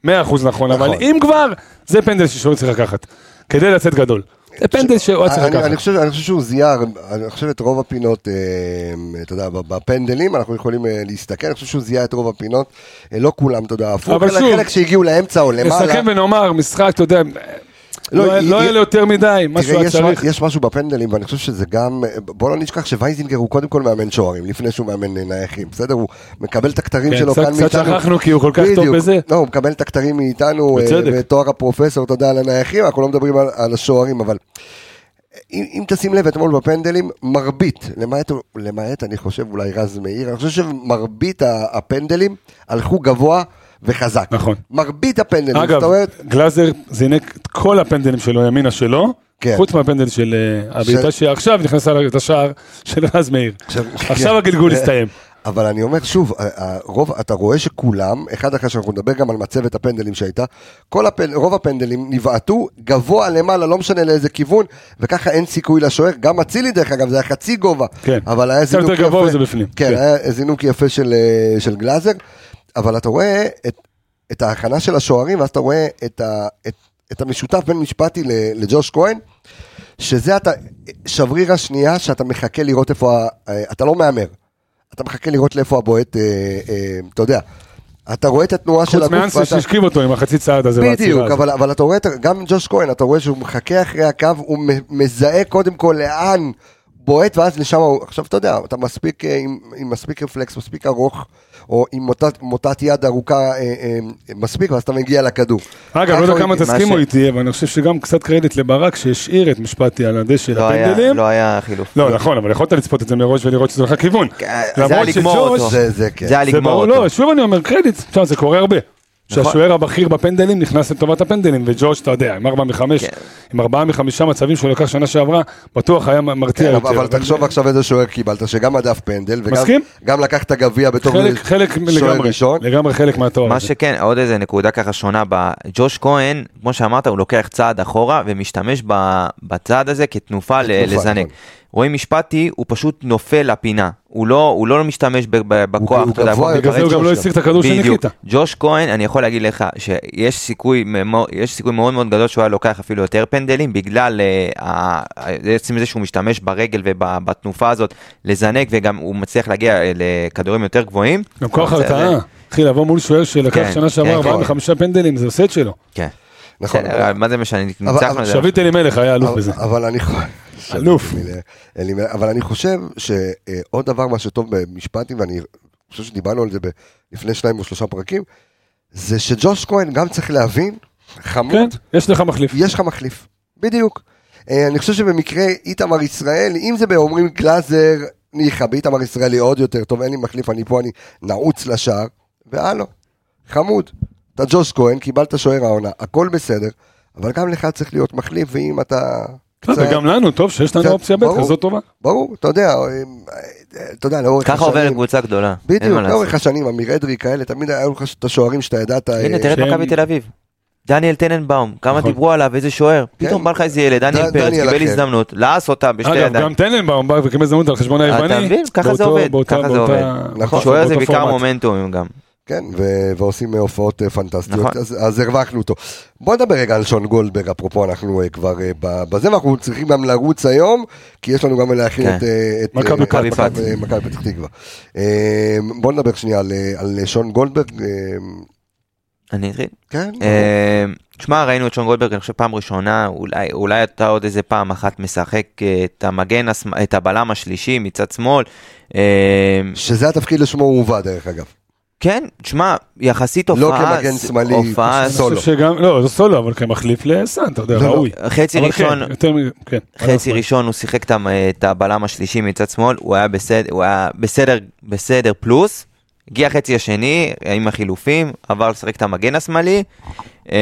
100% נכון, אבל
נכון.
אם כבר, זה פנדל ששוער צריך לקחת. כדי לצאת גדול. זה פנדל שהוא היה צריך
אני- אני
לקחת.
חושב אני חושב שהוא זיהה, אני חושב את רוב הפינות, אה, אתה יודע, בפנדלים אנחנו יכולים אה, להסתכל, אני חושב שהוא זיהה את רוב הפינות, אה, לא כולם, אתה יודע, הפוך,
אבל
אלא
שוב,
חלק שהגיעו לאמצע או למעלה,
נסכם ונאמר, משחק, אתה יודע, לא היה-
היא-
לא
היא-
היה לו יותר מדי, מה שהוא
תראה,
היה
יש,
צריך.
יש משהו בפנדלים, ואני חושב שזה גם, בוא לא נשכח שווייזינגר הוא קודם כל מאמן שוערים, לפני שהוא מאמן אה, נייחים, בסדר? הוא מקבל את הכתרים
כן,
שלו
קצת-
כאן
קצת שכחנו, כי הוא כל כך טוב
בדיוק.
בזה.
לא, הוא מקבל את הכתרים מאיתנו, אה,
בצדק.
ותואר הפרופסור, תודה על הנייחים, אנחנו לא מדברים על, על השוערים, אבל אם, אם תשים לב אתמול בפנדלים, מרבית, למעט, למעט אני חושב אולי רז מאיר, אני חושב שמרבית ה- הפנדלים הלכו גבוה וחזק.
נכון.
מרבית הפנדלים,
אגב,
זאת אומרת,
גלאזר זינק את כל הפנדלים שלו, ימינה שלו,
כן.
חוץ מהפנדל של אה, הבעיטה שעכשיו נכנסה לשער של רז מאיר.
כן.
עכשיו הגלגול הסתיים.
אבל אני אומר שוב, ה- ה- רוב, אתה רואה שכולם, אחד אחרי שאנחנו נדבר גם על מצבת הפנדלים שהייתה, כל הפנ, רוב הפנדלים נבעטו גבוה למעלה, לא משנה לאיזה כיוון, וככה אין סיכוי לשוער, גם אצילי דרך אגב, זה היה חצי גובה,
כן.
אבל היה
קצת
זינוק
יותר גבוה וזה בפנים.
כן,
כן.
היה זינוק יפה של, אה, של גלאזר, אבל אתה רואה את, את ההכנה של השוערים, ואז אתה רואה את, ה, את, את המשותף בין משפטי ל- לג'וש כהן, שזה אתה, שבריר השנייה שאתה מחכה לראות איפה, ה- אה, אתה לא מהמר, אתה מחכה לראות לאיפה הבועט, אה, אה, אתה יודע, אתה רואה את התנועה של
חוץ
הגוף,
מאנסה
ואתה-
שהשכיב אותו עם החצי צעד הזה. והעצירה
בדיוק,
הזאת.
אבל, אבל אתה רואה, את- גם ג'וש כהן, אתה רואה שהוא מחכה אחרי הקו, הוא מ- מזהה קודם כל לאן בועט, ואז לשם הוא, עכשיו אתה יודע, אתה מספיק אה, עם, עם מספיק רפלקס, מספיק ארוך, או עם מוטת, מוטת יד ארוכה אה, אה, מספיק, ואז אתה מגיע לכדור.
אגב,
ככה
לא
הוא-
יודע כמה תסכימו
ש-
איתי, אבל אני חושב שגם קצת קרדיט לברק שהשאיר את משפטי על הדשא
לא היה-
לפנדלים.
לא היה חילוף.
לא, נכון, אבל יכולת לצפות את זה מראש ולראות שזה הולך לכיוון.
כן, זה היה לגמור אותו.
זה- זה כן.
זה היה
זה
לגמור
ברור,
אותו. נכון.
לא, שוב אני אומר קרדיט, תשמע, זה קורה הרבה. שהשוער הבכיר בפנדלים נכנס לטובת הפנדלים, וג'וש, אתה יודע, עם ארבע מחמש,
כן.
עם ארבעה מחמישה מצבים שהוא לקח שנה שעברה, בטוח היה מרתיע
כן,
יותר.
אבל, אבל תחשוב עכשיו איזה שוער קיבלת, שגם הדף פנדל, וגם
מסכים?
גם לקח את הגביע בתור
חלק, חלק
שוער
לגמרי,
ראשון.
לגמרי חלק מהתואר
מה
הזה.
שכן, עוד איזה נקודה ככה שונה, ב- ג'וש כהן, כמו שאמרת, הוא לוקח צעד אחורה ומשתמש ב- בצעד הזה כתנופה ל-
כתנופה,
לזנק.
נכון.
רועי משפטי, הוא פשוט נופל לפינה. הוא לא הוא לא משתמש ב- ב- בכוח,
הוא
אתה יודע,
גבוה
כמו
יותר.
בגלל זה הוא גם לא
ג'וש
הסיר את הכדור של
בדיוק.
ניקיטה.
ג'וש כהן, אני יכול להגיד לך שיש סיכוי, ממו- יש סיכוי מאוד מאוד גדול שהוא היה לוקח אפילו יותר פנדלים, בגלל אה, ה- ה- עצם זה שהוא משתמש ברגל ובתנופה הזאת לזנק, וגם הוא מצליח להגיע אה, לכדורים יותר גבוהים.
גם כוח
אבל זה-
הרתעה. אחי, לבוא מול שוער שלקח
כן,
שנה שעברה
כן,
ארבעה
כן.
וחמישה פנדלים, זה עושה את שלו.
כן.
נכון.
בסדר, אבל מה זה משנה,
אבל-
ניצחנו את זה.
שביט אלימלך היה אלוף
אבל-
בזה.
אבל אני חו-
אלוף.
אלימלך, אבל אני חושב שעוד דבר מה שטוב במשפטים, ואני חושב שדיברנו על זה ב- לפני שניים או שלושה פרקים, זה שג'וש כהן גם צריך להבין,
כן,
חמוד,
יש לך מחליף.
יש לך מחליף, בדיוק. אה, אני חושב שבמקרה איתמר ישראל, אם זה באומרים גלאזר, ניחא, באיתמר ישראלי עוד יותר, טוב, אין לי מחליף, אני פה, אני נעוץ לשער, והלו, חמוד. אתה ג'וש כהן, קיבלת שוער העונה, הכל בסדר, אבל גם לך צריך להיות מחליף, ואם אתה...
לא, וגם לנו, טוב שיש לנו
קצת-
אופציה ב'
ברור.
כזאת טובה.
ברור, אתה יודע, אה, אה, אתה יודע, לאורך
ככה עוברת קבוצה גדולה. אין
בדיוק,
מה לעשות.
לאורך השנים, אמיר אדרי כאלה, תמיד היו לך את השוערים שאתה ידעת...
הנה,
אה,
תראה את
שהם-
מכבי תל אביב. דניאל טננבאום, כמה
נכון.
דיברו עליו, איזה שוער. פתאום בא לך איזה ילד, דניאל
כן. ד-
פרץ,
דניאל
קיבל
אחר.
הזדמנות, לעס אותה בשתי
אגב, גם
ידיים.
טננבאום בא וקיבל הזדמנות על חשבון היווני.
אתה מבין? ככה זה
באותו-
עובד,
באותה-
ככה זה
באותה-
עובד.
נכון,
שוער זה
באותו
בעיקר
פורמט.
מומנטומים גם.
כן, ו- ועושים אה, הופעות אה, פנטסטיות,
נכון.
אז, אז הרווחנו אותו. בוא נדבר רגע על שון גולדברג, אפרופו אנחנו אה, כבר אה, ב- בזה, ואנחנו צריכים גם לרוץ היום, כי יש לנו גם להכין
כן.
את, אה, את
מכבי
אה, את
פת.
מכבי- אה, מכבי פתח תקווה. אה, בוא נדבר שנייה על, אה, על שון גולדברג, אה,
אני אתחיל.
כן?
אה, שמע, ראינו את שון גולדברג, אני חושב פעם ראשונה, אולי- אולי אתה עוד איזה פעם אחת משחק אה, את המגן, השמ- את הבלם השלישי מצד שמאל. אה,
שזה התפקיד לשמו הוא הובא דרך אגב.
כן, שמע, יחסית
לא
הופעה...
כמגן שמאלי,
הופעה...
אני חושב
סולו.
שגם, לא, זה סולו, אבל כמחליף לסאן, אתה יודע,
לא, לא.
ראוי.
חצי
אבל
ראשון,
כן, יותר מ- כן.
חצי ראשון הוא שיחק את המ- את הבלם השלישי מצד שמאל, הוא היה בסדר, הוא היה בסדר, בסדר פלוס, הגיע החצי השני עם החילופים, עבר לשחק את המגן השמאלי. אה,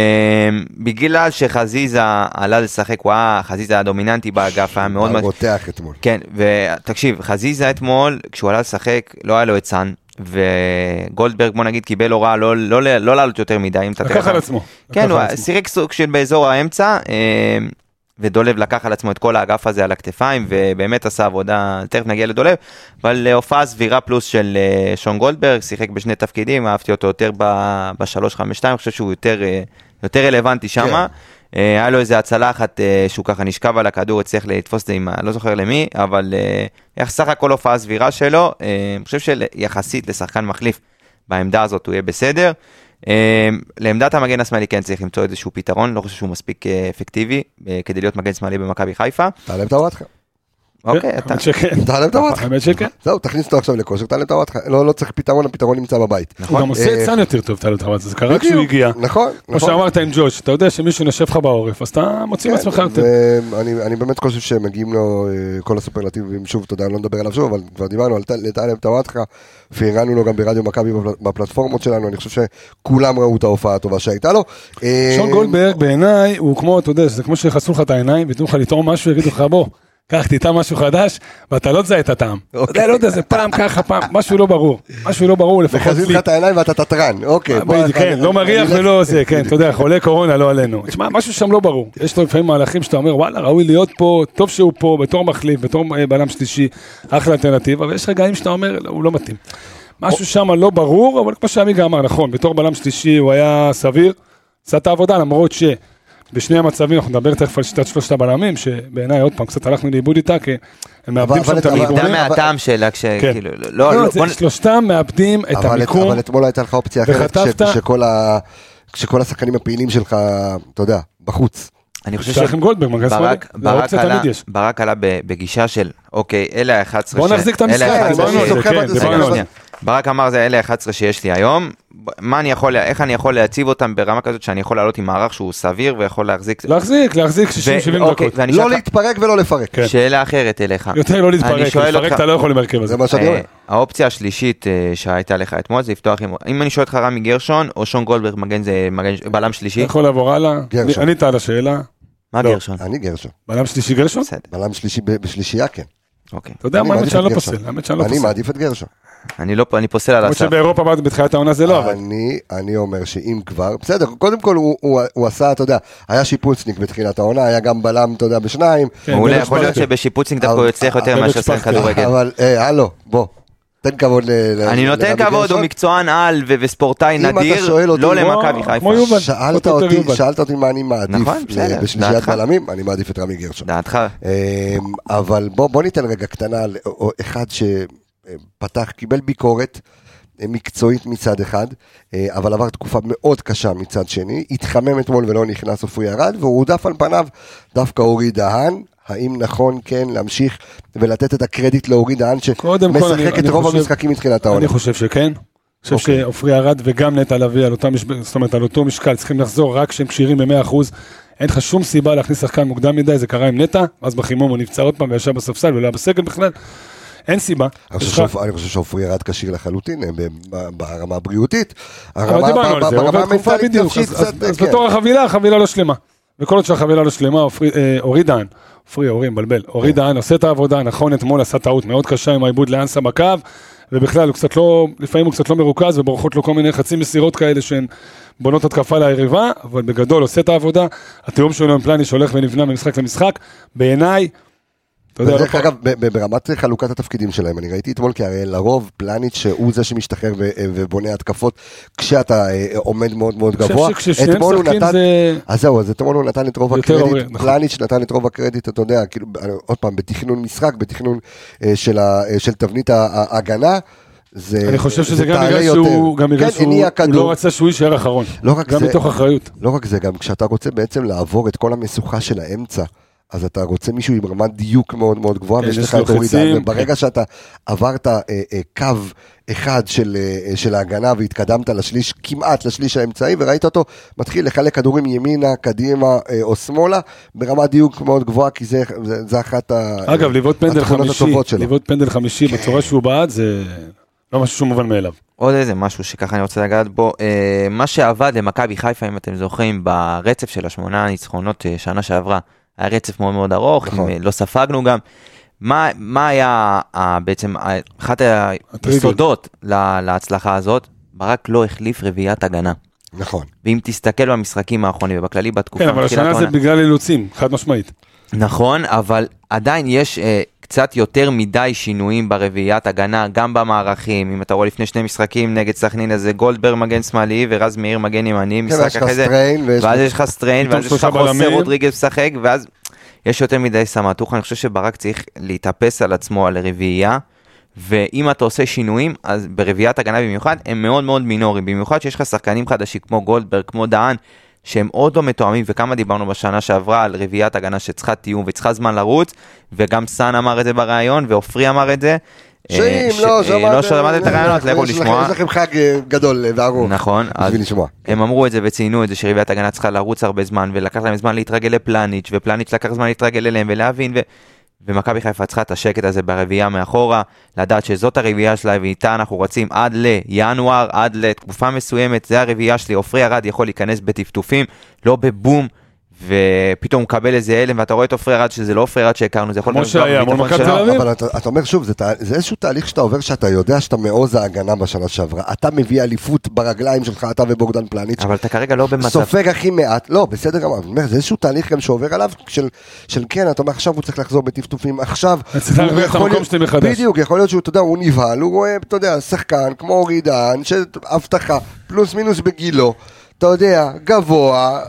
בגלל שחזיזה עלה לשחק, הוא היה, חזיזה היה דומיננטי באגף, היה מאוד...
הוא
מש-
רותח אתמול.
כן, ותקשיב, חזיזה אתמול, כשהוא עלה לשחק, לא היה לו את סאן, וגולדברג, בוא נגיד, קיבל הוראה לא, לא, לא, לא לעלות יותר מדי, אם אתה
לקח על עצמו.
כן,
לקח
הוא
על עצמו.
שיחק סוג של באזור האמצע, אה, ודולב לקח על עצמו את כל האגף הזה על הכתפיים, ובאמת עשה עבודה, תכף נגיע לדולב, אבל אה, הופעה סבירה פלוס של אה, שון גולדברג, שיחק בשני תפקידים, אהבתי אותו יותר ב-352, אני חושב שהוא יותר, אה, יותר רלוונטי
כן.
שמה. אה, היה לו איזה הצלה אחת אה, שהוא ככה נשכב על הכדור, הצליח לתפוס את זה עם, ה- לא זוכר למי, אבל אה, יח- סך הכל הופעה סבירה שלו, אה, אני חושב שיחסית לשחקן מחליף בעמדה הזאת הוא יהיה בסדר. אה, לעמדת המגן השמאלי כן צריך למצוא איזשהו פתרון, לא חושב שהוא מספיק אה, אפקטיבי אה, כדי להיות מגן שמאלי במכבי חיפה.
תעלם את הוואטחה.
כן,
אוקיי, אתה...
האמת שכן.
תעלם את הוואטחה.
האמת שכן.
זהו, תכניס אותו עכשיו לכושר, תעלם את הוואטחה. לא, לא צריך פתרון, הפתרון נמצא בבית.
הוא גם עושה
אה,
את סאן יותר טוב, טל טרוואט, זה קרה כשהוא
בדיוק,
הגיע.
נכון,
כמו
נכון.
שאמרת עם ג'וש, אתה יודע שמישהו נושב לך בעורף, אז אתה מוציא
כן,
מעצמך יותר.
ואני- אני באמת חושב שמגיעים לו אה, כל הסופרלטיבים, שוב, תודה, לא נדבר עליו שוב, אבל כבר דיברנו על טל- טלב טוואטחה, פרגנו לו גם ברדיו מכבי בפל- בפלטפורמות שלנו, אני חושב שכולם ראו את ההופעה הטובה שהייתה לו. אה,
שון גולדברג בעיניי הוא כמו, אתה יודע, זה כמו שיחסו לך את העיניים וייתנו לך לטעום משהו, יגידו לך בוא, קח תטעם משהו חדש, ואתה לא תזהה את הטעם. אתה יודע, לא יודע, זה פעם ככה, פעם, משהו לא ברור, משהו לא ברור לפחות
מחזים
לי.
לך את העיניים ואתה תתרן, אוקיי. בוא,
בדיוק, כן,
אני-
לא
אני-
מריח
אני-
ולא זה, כן, אתה יודע, חולה קורונה, לא עלינו. תשמע, משהו שם לא ברור. יש לו לפעמים מהלכים שאתה אומר, וואלה, ראוי להיות פה, טוב שהוא פה, בתור מחליף, בתור אה, בלם שלישי, אחלה אלטרנטיבה, ויש רגעים שאתה אומר, "לא, הוא לא מתאים. משהו שם לא ברור, אבל כמו שעמיגה אמר, נכון, בתור בלם שלישי הוא היה סביר, עשה את העבודה, למרות ש... בשני המצבים, אנחנו נדבר תכף על שיטת שלושת הבלמים, שבעיניי, עוד פעם, קצת הלכנו לאיבוד איתה, כי הם מאבדים
אבל
שם את
אתה- כאילו, אבל-
איבדה
אבל-
המיקומים.
מהטעם שלה,
כן.
כשכאילו, לא- לא,
לא,
לא,
זה-
בוא נ-
שלושתם מאבדים את
אבל-
המיקום.
אבל אתמול הייתה לך אופציה אחרת,
וחטפת.
כש- כשכל ה- כשכל השחקנים הפעילים שלך, אתה יודע, בחוץ.
אני חושב
שלח עם גולדברג, מגן שמאלי.
ברק-
זה
ברק
אופציה
עלה-
תמיד יש.
ברק עלה ב- בגישה של, אוקיי, אלה ה-11
בוא נחזיק את המשחק,
דיברנו על זה, כן,
אוקיי,
דיברנו על זה.
ברק אמר זה אלה ה-11 שיש לי היום, ב- מה אני יכול, איך אני יכול להציב אותם ברמה כזאת שאני יכול לעלות עם מערך שהוא סביר ויכול להחזיק,
לא להחזיק, להחזיק 60-70
ו-
דקות.
אוקיי, ואני
לא
אשאל
להתפרק ולא לפרק.
כן.
אותך שאלה אחרת אליך,
יותר לא
אני
להתפרק,
שואל
להתפרק
אותך-
אתה לא יכול עם ההרכב הזה.
זה מה שאני
אה,
אומר.
האופציה השלישית אה, שהייתה לך אתמול זה לפתוח עם, אם אני שואל אותך רמי גרשון או שון גולדברג מגן זה מגן בלם
אתה
שלישי,
יכול לעבור הלאה.
גרשון.
ענית על השאלה.
מה
לא.
גרשון?
אני גרשון,
בלם שלישי גרשון?
בסדר,
בלם שלישי ב- בשלישייה כן.
אוקיי,
אתה יודע
אני
מה, האמת
מעדיף
שאני
את
לא
גרשון.
פוסל. האמת שאני לא
אני
פוסל.
מעדיף את גרשון.
אני לא, אני פוסל על
למרות
הסף,
שבאירופה אמרת בתחילת העונה זה לא,
אה,
אבל
אני, אני אומר שאם כבר, בסדר, קודם כל הוא, הוא, הוא עשה, אתה יודע, היה שיפוצניק בתחילת העונה, היה גם בלם, אתה יודע, בשניים,
כן,
מעולה,
דרך
יכול להיות
שפכטר.
שבשיפוצניק דווקא
אבל-
הוא יצליח יותר
אבל
מאשר שחקן
שפכטר.
כדורגל.
אבל אה, הלו, בוא, תן כבוד ל... ל-
אני נותן
לגבי
כבוד,
אה, גרשון.
הוא מקצוען על ו- וספורטאי
אם אתה
נדיר,
שואל אותי,
לא
כמו-
למכבי חיפה.
כמו יובל.
שאלת
אותו יותר
אותי,
יובל.
שאלת אותי מה אני מעדיף
נכון,
ל-
בסדר,
בשלישיית
דעתך.
בלמים, אני מעדיף את רמי גרשון.
דעתך,
אמ, אבל בוא, בוא ניתן רגע קטנה על או- או אחד שפתח, קיבל ביקורת אה, מקצועית מצד אחד, אה, אבל עבר תקופה מאוד קשה מצד שני, התחמם אתמול ולא נכנס אופי ירד, והוא הודף על פניו דווקא אורי דהן. האם נכון כן להמשיך ולתת את הקרדיט לאורי דהן
קודם כל, אני-
שמשחק את
אני
רוב
חושב-
המשחקים מתחילת העונה?
אני חושב שכן. אני חושב
אוקיי.
שעופרי ארד וגם נטע לביא על, אותה משב- זאת אומרת, על אותו משקל צריכים לחזור רק כשהם כשירים ב-100%. אין לך שום סיבה להכניס שחקן מוקדם מדי, זה קרה עם נטע, אז בחימום הוא נפצע עוד פעם וישב בספסל ולא היה בסגל בכלל. אין סיבה.
אני
יש
חושב
לך-
שאופ- אני חושב שעופרי ירד כשיר לחלוטין אה, ב- ב- ברמה הבריאותית.
אבל
הרמה-
דיברנו על
ב-
זה,
ברמה
עובר תקופה
המנטלית
בדיוק,
נפשית
אז- אז
קצת,
אז
כן.
בתור החבילה, החבילה לא שלמה. וכל עוד שהחבילה לא שלמה, אופרי- אה, אורי דהן, אופרי, אורי, מבלבל, אורי דהן עושה את העבודה, נכון, אתמול עשה טעות מאוד קשה עם העיבוד לאנסה בקו, ובכלל הוא קצת לא, לפעמים הוא קצת לא מרוכז ובורחות לו כל מיני חצי מסירות כאלה שהן בונות התקפה ליריבה, אבל בגדול עושה את העבודה, התיאום שלו עם פלניש הולך ונבנה ממשחק למשחק, בעיניי, אתה יודע, לא
ודרך
פה-
אגב, ב- ב- ברמת חלוקת התפקידים שלהם, אני ראיתי אתמול, כי הרי לרוב פלניץ' שהוא זה שמשתחרר ו- אה, ובונה התקפות כשאתה אה, עומד מאוד מאוד
אני חושב
גבוה.
שכששניהם
אתמול הוא
משחקים
נתן-
זה-
אז זהו, אז אתמול הוא נתן את רוב
יותר
הקרדיט,
אורי, נכון.
פלניץ' נתן את רוב הקרדיט, אתה יודע, כאילו, ב- עוד פעם, בתכנון משחק, בתכנון אה, של ה- אה, של תבנית ה- ההגנה. זה,
אני חושב
זה
שזה גם
תעלה
בגלל
יותר.
שהוא, גם בגלל
כן,
שהוא
הניע
הוא
כדור.
לא רצה שהוא יישאר אחרון,
לא רק
גם
זה-
מתוך אחריות.
לא רק זה, גם כשאתה רוצה בעצם לעבור את כל המשוכה של האמצע, אז אתה רוצה מישהו עם רמת דיוק מאוד מאוד גבוהה,
כן,
ויש
יש
לך
לו
את אורי
חיצים,
דהן, וברגע שאתה עברת אה, אה, קו אחד של, אה, אה, של ההגנה והתקדמת לשליש, כמעט לשליש האמצעי, וראית אותו מתחיל לחלק כדורים ימינה, קדימה אה, או שמאלה, ברמת דיוק מאוד גבוהה, כי זה, זה, זה אחת ה-
אגב, לבעוט פנדל
אה, התכונות
חמישי,
הטובות שלו. כן.
לבעוט פנדל חמישי בצורה שהוא בעט זה לא משהו שהוא מובן מאליו.
עוד איזה משהו שככה אני רוצה לגעת בו, אה, מה שעבד למכבי חיפה, אם אתם זוכרים, ברצף של השמונה ניצחונות אה, שנה שעברה, היה רצף מאוד מאוד ארוך,
נכון.
עם, אה, לא ספגנו גם. מה, מה היה אה, בעצם, אה, אחת היסודות ל- להצלחה הזאת, ברק לא החליף רביעיית הגנה.
נכון.
ואם תסתכל במשחקים האחרונים ובכללי בתקופה,
כן, אבל
מתחילת
השנה זה
העונה-
בגלל אילוצים, חד משמעית.
נכון, אבל עדיין יש אה, קצת יותר מדי שינויים ברביעיית הגנה, גם במערכים. אם אתה רואה לפני שני משחקים נגד סכנין, אז זה גולדברג מגן שמאלי ורז מאיר מגן ימני,
כן, יש
משחק
לך
אחרי זה,
סטריין, ויש
ואז יש לך סטריין,
פתאום
ואז יש לך
שלושה
חוסר
בלמים.
רודריגל משחק, ואז יש יותר מדי סמטוחה. אני חושב שברק צריך להתאפס על עצמו, על רביעייה, ואם אתה עושה שינויים, אז ברביעיית הגנה במיוחד, הם מאוד מאוד מינוריים. במיוחד שיש לך שחקנים חדשים כמו גולדברג, כמו דהן, שהם עוד לא מתואמים, וכמה דיברנו בשנה שעברה על רביעיית הגנה שצריכה תיאום וצריכה זמן לרוץ, וגם סאן אמר את זה בריאיון, ועופרי אמר את זה. אה,
שאם
ש-
לא
אה,
שמעתם...
לא שמעת את הרעיונות, לכו
יש לכם-
לשמוע.
יש לכם חג אה, גדול אה, וארוך.
נכון, אז
בשביל לשמוע. כן.
הם אמרו את זה וציינו את זה שרביעיית הגנה צריכה לרוץ הרבה זמן ולקח להם זמן להתרגל לפלניץ' ופלניץ' לקח זמן להתרגל אליהם ולהבין ו... ומכבי חיפה צריכה את השקט הזה ברביעייה מאחורה, לדעת שזאת הרביעייה שלה ואיתה אנחנו רצים עד לינואר, עד לתקופה מסוימת, זה הרביעייה שלי, עופרי ארד יכול להיכנס בטפטופים, לא בבום, ופתאום הוא מקבל איזה הלם ואתה רואה את עופרי ארד שזה לא עופרי ארד שהכרנו, זה יכול
כמו
להיות גם
שהיה, מול
הביטחון
מכבי
שלו.
תל אביב.
אבל אתה, אתה אומר שוב, זה, תה- זה איזשהו תהליך שאתה עובר, שאתה יודע שאתה מעוז ההגנה בשנה שעברה. אתה מביא אליפות ברגליים שלך, אתה ובוגדן פלניץ'.
אבל אתה כרגע לא במצב
סופג הכי מעט, לא, בסדר גמור, אני אומר, זה איזשהו תהליך גם שעובר עליו, של, של כן, אתה אומר, עכשיו הוא צריך לחזור בטפטופים, עכשיו...
צריך
הוא
להרוויח את
יכול
המקום
להיות-
שלי מחדש.
בדיוק, יכול להיות שהוא, אתה יודע, הוא נבהל, הוא רואה, אתה יודע, שחקן כמו אורי דהן, של אבטחה, פלוס מינוס בגילו, אתה יודע, גבוה,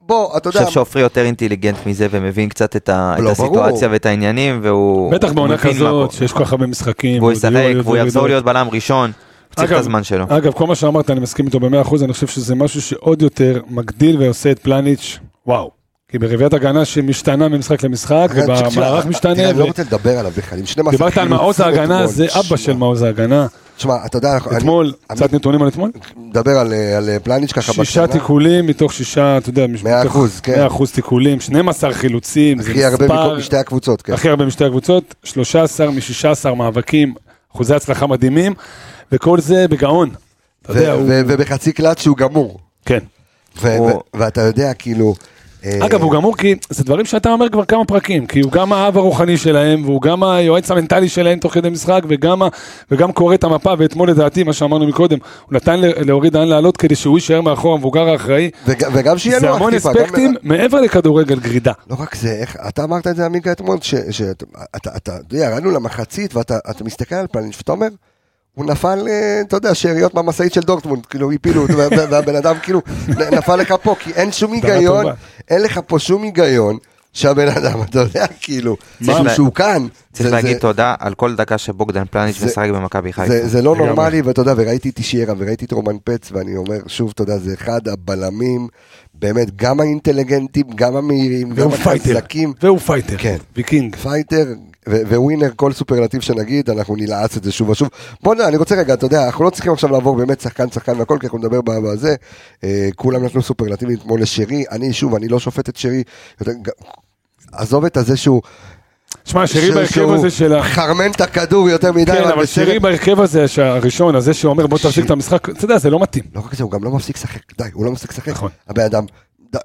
בוא, אתה
אני
יודע,
חושב שעופרי יותר אינטליגנט מזה ומבין קצת את, ה...
לא,
את הסיטואציה
ברור.
ואת העניינים והוא...
בטח
הוא
בעונה
מבין מה
כזאת,
קורה.
שיש כל כך הרבה משחקים.
והוא
עוד יהיו,
ישחק
עוד
והוא
יהיו,
יחזור
עוד יהיו.
להיות בלם ראשון, הוא צריך את
אגב-
הזמן שלו.
אגב, כל מה שאמרת, אני מסכים איתו במאה אחוז, אני חושב שזה משהו שעוד יותר מגדיל ועושה את פלניץ', וואו. כי ברביעיית הגנה שמשתנה ממשחק למשחק,
תראה, תשמע,
ובמערך
כן, תראה,
משתנה,
אני
ו-
לא רוצה לדבר עליו בכלל, עם 12
דיברת על
חילוצים
מעוז ההגנה,
אתמול.
זה אבא של מעוז ההגנה.
תשמע, אתה יודע, אנחנו- אני-
אתמול,
אני
קצת נתונים על אתמול?
מדבר על, אה, על אה, פלניץ' ככה
שישה תיקולים מתוך שישה, אתה יודע, מש-
מאה
מתוך
אחוז, כן.
מאה אחוז תיקולים, 12 חילוצים, זה
הכי הרבה
מספר,
מכל- משתי הקבוצות, כן.
הכי הרבה משתי הקבוצות, 13 מ-16 מאבקים, אחוזי הצלחה מדהימים, וכל זה בגאון. אתה
ו-
יודע, הוא...
ו- ובחצי קלט שהוא גמור.
כן.
ו-
הוא-
ו- ואתה יודע, כאילו... אה,
אגב, הוא גמור כי זה דברים שאתה אומר כבר כמה פרקים, כי הוא גם האב הרוחני שלהם, והוא גם היועץ המנטלי שלהם תוך כדי משחק, וגם, ה- וגם קורא את המפה, ואתמול לדעתי, מה שאמרנו מקודם, הוא נתן ל- לאורי דהן לעלות כדי שהוא יישאר מאחור המבוגר האחראי.
וג- וגם שיהיה
זה
נוח
המון
טיפה, גם-
אספקטים מעבר לכדורגל גרידה.
לא רק זה, איך, אתה אמרת את זה עמיקה אתמול, שאתה, אתה יודע, ירדנו למחצית ואתה אתה מסתכל על פלניץ' ואתה אומר, הוא נפל, אה, אתה יודע, שאריות מהמשאית של דורטמונד, כאילו הפילו, אותו, וה- וה- והבן אדם כאילו נ- נפל לך פה, כי אין שום
הגדרה
היגיון,
טובה.
אין לך פה שום היגיון שהבן אדם, אתה יודע, כאילו,
צריך
שהוא-
לה-
שהוא כאן.
צריך
זה-
להגיד
זה-
תודה על כל דקה שבוגדן פלניץ'
זה-
משחק במכבי חיפה.
זה, זה לא נורמלי, ואתה יודע, וראיתי את אישיירה וראיתי את רומן פץ, ואני אומר שוב, אתה יודע, זה אחד הבלמים, באמת, גם האינטליגנטים, גם המהירים, גם
והוא פייטר.
החזקים.
והוא פייטר.
כן.
ויקינג.
פייטר ו- וווינר, כל סופרלטיב שנגיד, אנחנו נלעץ את זה שוב ושוב. בוא נראה, אני רוצה רגע, אתה יודע, אנחנו לא צריכים עכשיו לעבור באמת שחקן שחקן והכל, כי אנחנו נדבר ב- בזה. אה, כולם נתנו סופרלטיבים אתמול לשרי, אני שוב, אני לא שופט את שרי. יותר- ג- עזוב את הזה שהוא,
שמע, שרי
שהוא-
בהרכב
שהוא
הזה של ה...
חרמן את הכדור יותר מדי.
כן, אבל
בסדר.
שרי בהרכב הזה ש- הראשון, הזה שאומר בוא
שרי-
תפסיק את המשחק, אתה יודע, זה לא מתאים.
לא רק זה, הוא גם לא מפסיק לשחק, די, הוא לא מפסיק לשחק.
נכון.
הבן אדם, ד-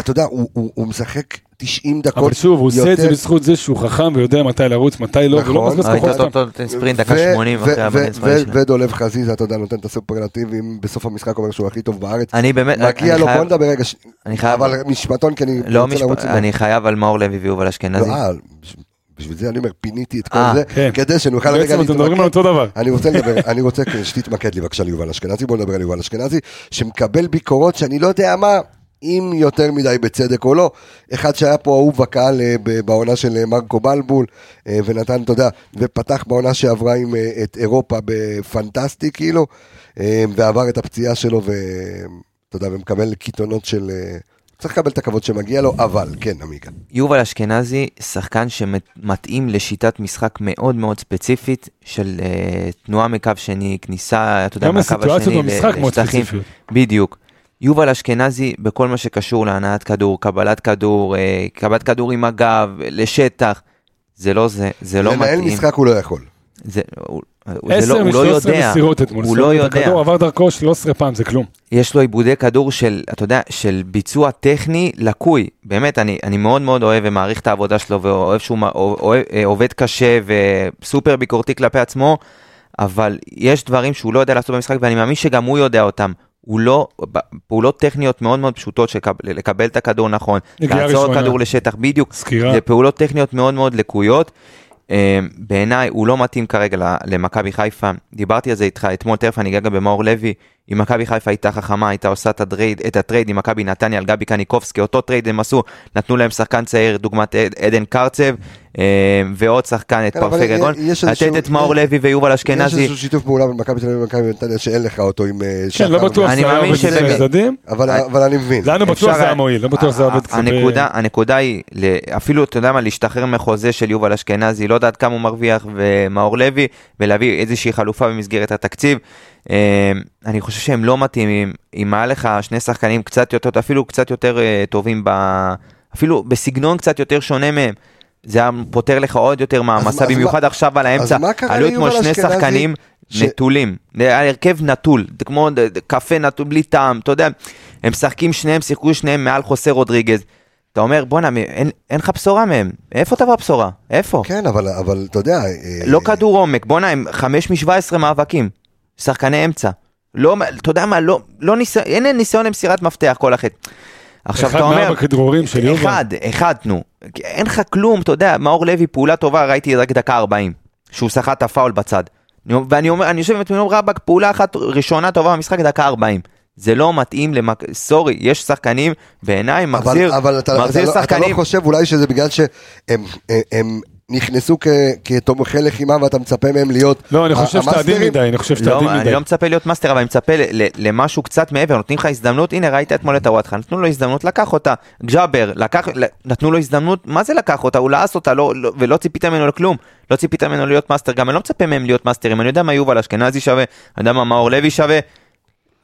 אתה יודע, הוא- הוא הוא משחק 90 דקות.
אבל שוב, הוא עושה את זה
יותר.
בזכות זה שהוא חכם ויודע מתי לרוץ, מתי לא,
נכון.
ולא מבזבז
ראית
כוחות
אותו
סתם.
אותו ספרינט דקה
ו-
80
ו-
אחרי
ו-
הבן
ו-
זמני
ו-
שלהם.
ודולב חזיזה, אתה יודע, נותן את הסופרלטיבים, בסוף המשחק אומר שהוא הכי טוב בארץ.
אני באמת,
מגיע
אני
לו,
חייב-
בוא נדבר רגע, ש-
אני חייב,
אבל משפטון, כי אני
לא
רוצה
משפ-
לרוץ עם
אני חייב על מאור לוי ויובל
לא,
אשכנזי.
אה, בש- בשביל זה אני אומר, פיניתי את כל
אה,
זה,
כן.
כדי שנוכל רגע
בעצם אתם מדברים על
להתמקד.
אותו דבר.
אני רוצה לדבר, אני רוצה שתתמקד לי בבקשה על יובל אשכנזי, בוא נדבר על יובל אשכנזי, שמקבל ביקורות שאני לא יודע מה, אם יותר מדי בצדק או לא. אחד שהיה פה אהוב בקהל אה, ב- בעונה של אה, מרקו בלבול, אה, ונתן, אתה יודע, ופתח בעונה שעברה עם אה, את אירופה בפנטסטי כאילו, אה, ועבר את הפציעה שלו, ואתה יודע, ומקבל קיתונות של... אה, צריך לקבל את הכבוד שמגיע לו, אבל, כן, עמיגה.
יובל אשכנזי, שחקן שמתאים לשיטת משחק מאוד מאוד ספציפית של אה, תנועה מקו שני, כניסה, אתה יודע,
גם
מהקו השני
הסיטואציות
ל-
במשחק מאוד
לשטחים.
ספציפיות.
בדיוק. יובל אשכנזי, בכל מה שקשור להנעת כדור, קבלת כדור, אה, קבלת כדור עם הגב, לשטח, זה לא זה, זה לא
לנהל
מתאים.
משחק הוא לא יכול.
זה, הוא, הוא- זה לא,
עשר
הוא לא
מ-13
יודע,
מסירות אתמול.
הוא
זאת
לא
אומרת,
יודע.
הכדור עבר דרכו 13 פעם, זה כלום. כן,
יש לו עיבודי כדור של, אתה יודע, של ביצוע טכני לקוי. באמת, אני, אני מאוד מאוד אוהב ומעריך את העבודה שלו, ואוהב שהוא מע- אוה- אוהב, אה, עובד קשה וסופר ביקורתי כלפי עצמו, אבל יש דברים שהוא לא יודע לעשות במשחק, ואני מאמין שגם הוא יודע אותם. הוא לא, ב- פעולות טכניות מאוד מאוד פשוטות של קב- לקבל את הכדור נכון,
נגיעה
לעצור
ראשונה.
כדור לשטח, בדיוק,
סקירה.
זה פעולות טכניות מאוד מאוד לקויות. אה, בעיניי הוא לא מתאים כרגע ל- למכבי חיפה. דיברתי על זה איתך אתמול, תכף אני אגע גם במאור לוי. אם מכבי חיפה הייתה חכמה, הייתה עושה את הטרייד, את הטרייד עם מכבי נתניה על גבי קניקובסקי, אותו טרייד הם עשו, נתנו להם שחקן צעיר דוגמת עד- עדן קרצב, אה, ועוד שחקן, את
כן, אבל
פרפה גגון,
יש
לתת
איזשהו-
את מאור לוי ויובל
יש
אשכנזי,
איזשהו שיתוף פעולה בין מכבי תל אביב ומכבי נתניה שאין לך אותו עם אה, שחר.
כן, לא בטוח
אני
שזה היה
מאמין
עובד
שזה-
בשני הצדדים.
אבל-
אה,
אבל אני מבין.
לנו בטוח
אפשר
זה היה
היה-
מועיל, לא בטוח זה עובד כזה. ב-
הנקודה, הנקודה היא, ל- אפילו, אתה יודע מה, להשתחרר מחוזה של יובל אשכנזי, לא יודעת כמה הוא מרוויח, ומאור לוי, ולהביא איזושהי חלופה במסגרת התקציב. אה, אני חושב שהם לא מתאימים, אם היה לך שני שחקנים קצת יותר, אפילו קצת יותר אה, טובים, ב... אפילו בסגנון קצת יותר שונה מהם. זה היה פותר לך עוד יותר
אז מה-
מעמסה,
אז
במיוחד
מה-
עכשיו על האמצע.
מה קרה
עלו
ליובל
אתמול שני
אשכנזי
שחקנים
ש-
נטולים. זה היה הרכב נטול, זה כמו ד- ד- קפה נטול, בלי טעם, אתה יודע. הם משחקים שניהם, שיחקו שניהם מעל חוסה רודריגז. אתה אומר, בואנה, מ- אין אין לך בשורה מהם. איפה תבוא הבשורה? איפה?
כן, אבל- אבל אתה יודע... אה,
לא כדור עומק, בואנה, הם 5 מ-17 מאבקים. שחקני אמצע. לא, אתה יודע מה, לא, לא ניסיון, אין להם ניסיון למסירת מפתח כל החטא. עכשיו
אחד
אתה אומר,
מארבע כדרורים של יובל.
אחד, אחד, נו. אין לך כלום, אתה יודע, מאור לוי, פעולה טובה, ראיתי רק דקה 40, שהוא סחט את הפאול בצד. אני- ואני אומר, אני יושב עם עצמי, רבאק, פעולה אחת ראשונה טובה במשחק, דקה 40. זה לא מתאים למק... סורי, יש שחקנים, בעיניי,
אבל-
מחזיר,
אבל אתה-
מחזיר
אתה לא- אתה לא
שחקנים.
חושב אולי שזה בגלל שהם הם- הם נכנסו כ- כתומכי לחימה ואתה מצפה מהם להיות...
לא, אני חושב שאתה עדין
המאסטרים?
מדי, אני חושב שאתה
לא,
עדין
אני
מדי.
לא מצפה להיות מאסטר, אבל אני מצפה ל- ל- למשהו קצת מעבר, נותנים לך הזדמנות, הנה ראית אתמול את הוואטחה, נתנו לו הזדמנות, לקח אותה, ג'אבר, לקח, ל- נתנו לו הזדמנות, מה זה לקח אותה, הוא לעס אותה, לא, לא, ולא ציפית ממנו לכלום, לא ציפית ממנו להיות מאסטר, גם אני לא מצפה מהם להיות מאסטרים, אני יודע מה יובל אשכנזי שווה, אני יודע מה מאור לוי שווה,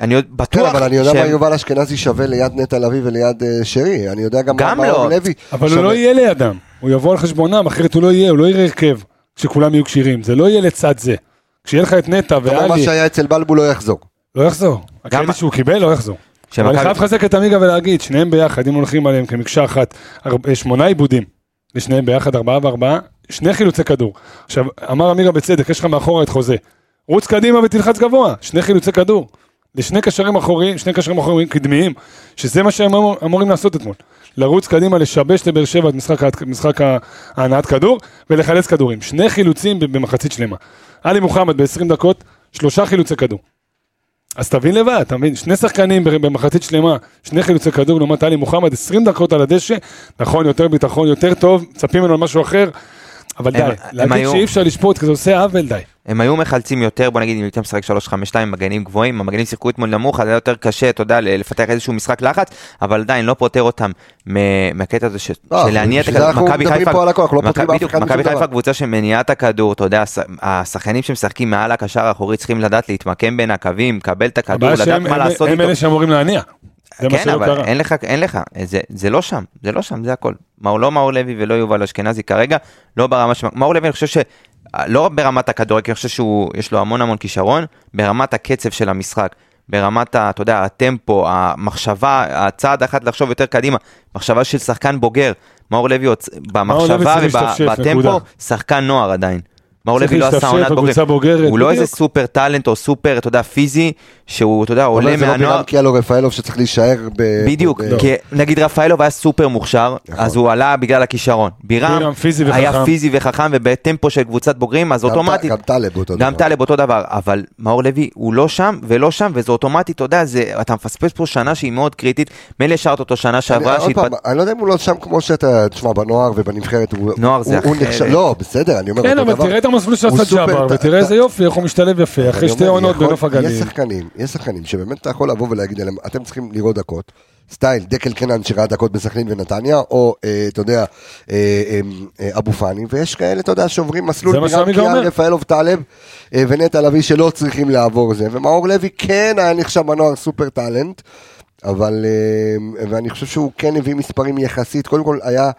אני עוד
כן,
בטוח
אבל אני יודע מה
שהם-
יובל אשכנזי שווה ליד נטע לביא וליד אה, שרי, אני יודע גם מה
גם
מאור
לא.
לוי.
אבל הוא
שווה.
לא יהיה לידם, הוא יבוא על חשבונם, אחרת הוא לא יהיה, הוא לא יראה הרכב, כשכולם יהיו כשירים, זה לא יהיה לצד זה. כשיהיה לך את נטע
אתה אומר, מה
ואלי,
שהיה אצל בלבול לא יחזור.
לא יחזור. הקרדיט שהוא קיבל לא יחזור. אבל אני
שמכבי-
חייב לחזק את עמיגה ולהגיד, שניהם ביחד, אם הולכים עליהם כמקשה אחת, ארבע- שמונה עיבודים, לשניהם ביחד, ארבעה וארבעה, שני חילוצי כדור. עכשיו, אמר עמיגה בצדק, יש לך מאחורה את חוזה. רוץ קדימה ותלחץ גבוה, שני חילוצי כדור. לשני קשרים אחוריים, שני קשרים אחוריים קדמיים, שזה מה שהם אמור- אמורים לעשות אתמול. לרוץ קדימה, לשבש לבאר שבע את משחק ההת- משחק ה- ההנעת כדור, ולחלץ כדורים. שני חילוצים ב- במחצית שלמה. עלי מוחמד ב-20 דקות, שלושה חילוצי כדור. אז תבין לבד, אתה מבין? שני שחקנים בר- במחצית שלמה, שני חילוצי כדור לעומת עלי מוחמד, 20 דקות על הדשא, נכון, יותר ביטחון, יותר טוב, מצפים ממנו למשהו אחר, אבל די,
הם- הם
להגיד
היו-
שאי אפשר לשפוט, כי זה עושה עוול, די.
הם היו מחלצים יותר, בוא נגיד אם היית משחק 3-5-2 עם מגנים גבוהים, המגנים שיחקו אתמול נמוך, אז היה יותר קשה, אתה יודע, ל- לפתח איזשהו משחק לחץ, אבל עדיין לא פותר אותם מ- מהקטע הזה ש-
לא,
של להניע את
בשביל זה
הכדור.
אנחנו מדברים פה על הכל, אנחנו לא
מכבי-
פותרים אף
בדיוק,
אחד משום
מכבי
דבר.
חיפה קבוצה שמניעה את הכדור, אתה יודע, הש- השחקנים שמשחקים מעל הקשר האחורי צריכים לדעת להתמקם בין הקווים, לקבל את הכדור,
הבעיה
לדעת
שהם
מה
הם-
לעשות
הם
איתו.
אלה שאמורים להניע. זה מה
כן,
שלא
אבל
קרה.
אין לך, אין לך, זה- זה לא שם, זה לא שם, זה הכל. מאור לא מאור לוי ולא יובל אשכנזי כרגע, לא ברמה ש... מאור לוי, אני חושב ש... לא ברמת הכדורגל, כי אני חושב שהוא, יש לו המון המון כישרון, ברמת הקצב של המשחק, ברמת, ה, אתה יודע, הטמפו, המחשבה, הצעד אחת לחשוב יותר קדימה, מחשבה של שחקן בוגר. מאור לוי, הוצ-
לוי
במחשבה
צריך להשתפשף, נקודה.
ובטמפו, שחקן נוער עדיין. מאור
צריך
לוי לא עשה
להשתפשף
עונת
בקבוצה
בוגרים.
בוגרת,
הוא לא איזה
בדיוק.
סופר טאלנט או סופר, אתה יודע, פיזי, שהוא, אתה יודע, עולה
אבל זה לא
מהנוער.
בירם קיאלו רפאלוב שצריך להישאר ב...
בדיוק,
ב-
כי נגיד רפאלוב היה סופר מוכשר,
נכון.
אז הוא עלה בגלל הכישרון. בירם
בירם פיזי וחכם.
היה פיזי וחכם ובטמפו של קבוצת בוגרים, אז
גם ט-
אוטומטית,
גם לא. טלב אותו
גם
דבר.
טלב אותו דבר, אבל מאור לוי הוא לא שם ולא שם, וזה אוטומטית, אתה יודע, זה- אתה מפספס פה שנה שהיא מאוד קריטית, מילא השארת אותו שנה
אני-
שעברה,
עוד
שהתפת-
פעם, אני לא יודע אם הוא לא שם כמו שאתה, תשמע, בנוער ובנבחרת הוא...
נוער זה
הוא- הוא
אחרת.
נחשב- לא, בסדר, אני אומר
כן,
אותו
אבל
דבר.
תראה את המסלול
הוא
שעשה
סופר-
ג'אבר,
אתה-
ותראה איזה
אתה-
יופי, איך הוא משתלב יפה, אחרי
אני
שתי
אומר,
עונות
יכול-
בנוף
יש
הגליל.
שחקנים, יש שחקנים שבאמת אתה יכול לבוא ולהגיד עליהם, אתם צריכים לראות דקות. סטייל, דקל קנן שראה דקות בסכנין ונתניה, או אה, אתה יודע, אה, אה, אה, אבו פאני, ויש כאלה, אתה יודע, שעוברים מסלול,
זה מה
בירם
שעמיגה
קיאל,
אומר.
רפאלוב טלב אה, ונטע לביא שלא צריכים לעבור זה, ומאור לוי כן היה נחשב בנוער סופר טאלנט, אבל, אה, ואני חושב שהוא כן הביא מספרים יחסית, קודם כל היה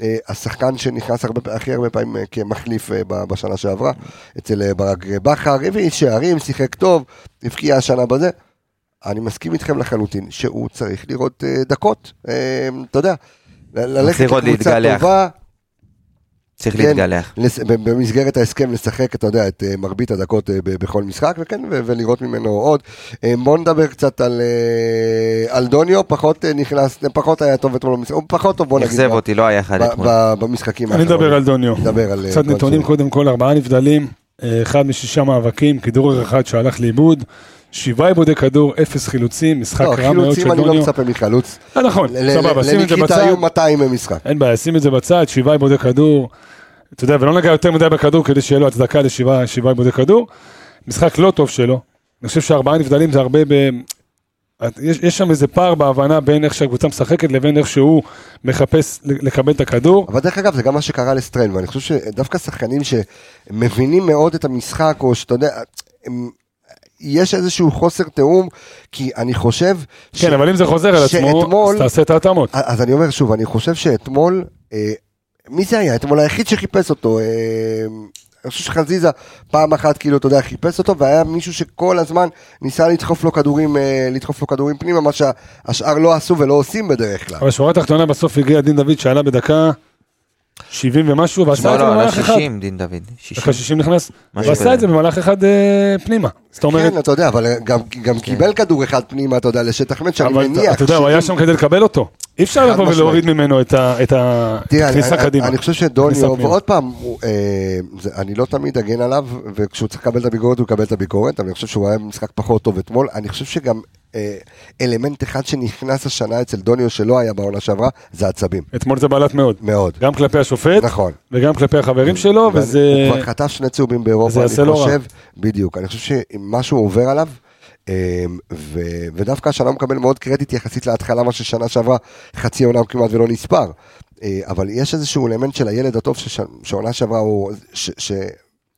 אה, השחקן שנכנס הרבה, פע- הכי הרבה פעמים אה, כמחליף אה, ב- בשנה שעברה, אצל אה, ברק אה, בכר, הביא שערים, שיחק טוב, הבקיע השנה בזה. אני מסכים איתכם לחלוטין שהוא צריך לראות אה, דקות, אה, אתה יודע, ל- ללכת
צריך עוד
לקבוצה
להתגלח.
טובה,
צריך
כן.
להתגלח.
לס- ב- במסגרת ההסכם לשחק, אתה יודע, את אה, מרבית הדקות אה, ב- בכל משחק, וכן, ו- ולראות ממנו עוד. אה, בוא נדבר קצת על אה, על דוניו, פחות אה, נכנס, פחות היה טוב אתמול במשחק, הוא פחות טוב, בוא נגיד,
אכזב
ב-
אותי, לא היה אחד
ב-
אתמול.
ב- במשחקים
אני
האחרונים.
אדבר על דוניו.
נדבר על... אה,
קצת
דוניו.
נתונים קודם כל, ארבעה נבדלים, אה, אחד משישה מאבקים, כדור אחד שהלך לאיבוד, שבעה עיבודי כדור, אפס חילוצים, משחק
לא,
רע מאוד של
חילוצים אני לא
דוניו.
מצפה מחלוץ.
אה, נכון,
ל- ל-
סבבה, שים את זה
לניקיטה
בצד.
היו 200 במשחק.
אין בעיה, שים את זה בצד, שבעה עיבודי כדור. אתה יודע, ולא נגע יותר מדי בכדור כדי שיהיה לו הצדקה לשבעה שבעה עיבודי כדור. משחק לא טוב שלו. אני חושב שארבעה נבדלים זה הרבה ב... יש, יש שם איזה פער בהבנה בין איך שהקבוצה משחקת לבין איך שהוא מחפש ל- לקבל את הכדור.
אבל דרך אגב, זה גם מה שקרה לסטרן, ואני חושב שדווקא שחקנים שמבינים מאוד את המשחק, או שאתה יודע, הם, יש איזשהו חוסר תיאום, כי אני חושב... ש-
כן, אבל אם זה חוזר על עצמו,
שאתמול-
אז תעשה את ההתאמות.
אז אני אומר שוב, אני חושב שאתמול, אה, מי זה היה? אתמול היחיד שחיפש אותו. אה, אני חושב שחזיזה פעם אחת כאילו אתה יודע חיפש אותו והיה מישהו שכל הזמן ניסה לדחוף לו כדורים אה, לדחוף לו כדורים פנימה מה שהשאר לא עשו ולא עושים בדרך כלל.
אבל שורה התחתונה בסוף הגיע דין דוד שעלה בדקה 70 ומשהו, ועשה
שמע,
את זה
לא, על
במהלך אחד.
ה-60, דין דוד. 60.
אחרי 60 נכנס,
משהו
ועשה
כזה.
את זה במהלך אחד אה, פנימה. זאת אומרת, כן.
כן אתה יודע אבל גם, גם קיבל כדור אחד פנימה אתה יודע לשטח מת שאני
אבל אתה-
מניח.
אתה יודע, הוא היה שם כדי לקבל אותו. אי אפשר לבוא
משמעית.
ולהוריד ממנו את ה- את ה- את
תראה,
הכניסה
אני-
קדימה.
אני חושב
הכניסה
שדוניו,
פנימה.
ועוד פעם, הוא, אה, זה- אני לא תמיד אגן עליו, וכשהוא צריך לקבל את הביקורת הוא מקבל את הביקורת, אבל אני חושב שהוא היה במשחק פחות טוב אתמול. אני חושב שגם אה, אלמנט אחד שנכנס השנה אצל דוניו שלא היה בעונה שעברה, זה עצבים.
אתמול זה בלט מאוד.
מאוד.
גם כלפי השופט,
נכון.
וגם כלפי החברים שלו,
ואני-
וזה...
הוא כבר חטף שני צהובים באירופה,
וזה
אני
יעשה
חושב,
לא רע.
בדיוק, אני חושב שמשהו עובר עליו, אה, ו, ודווקא השנה הוא מקבל מאוד קרדיט יחסית להתחלה, מה ששנה שעברה חצי עונה הוא כמעט ולא נספר. אה, אבל יש איזשהו אלמנט של הילד הטוב שש- שעונה שעברה הוא... ש, ש,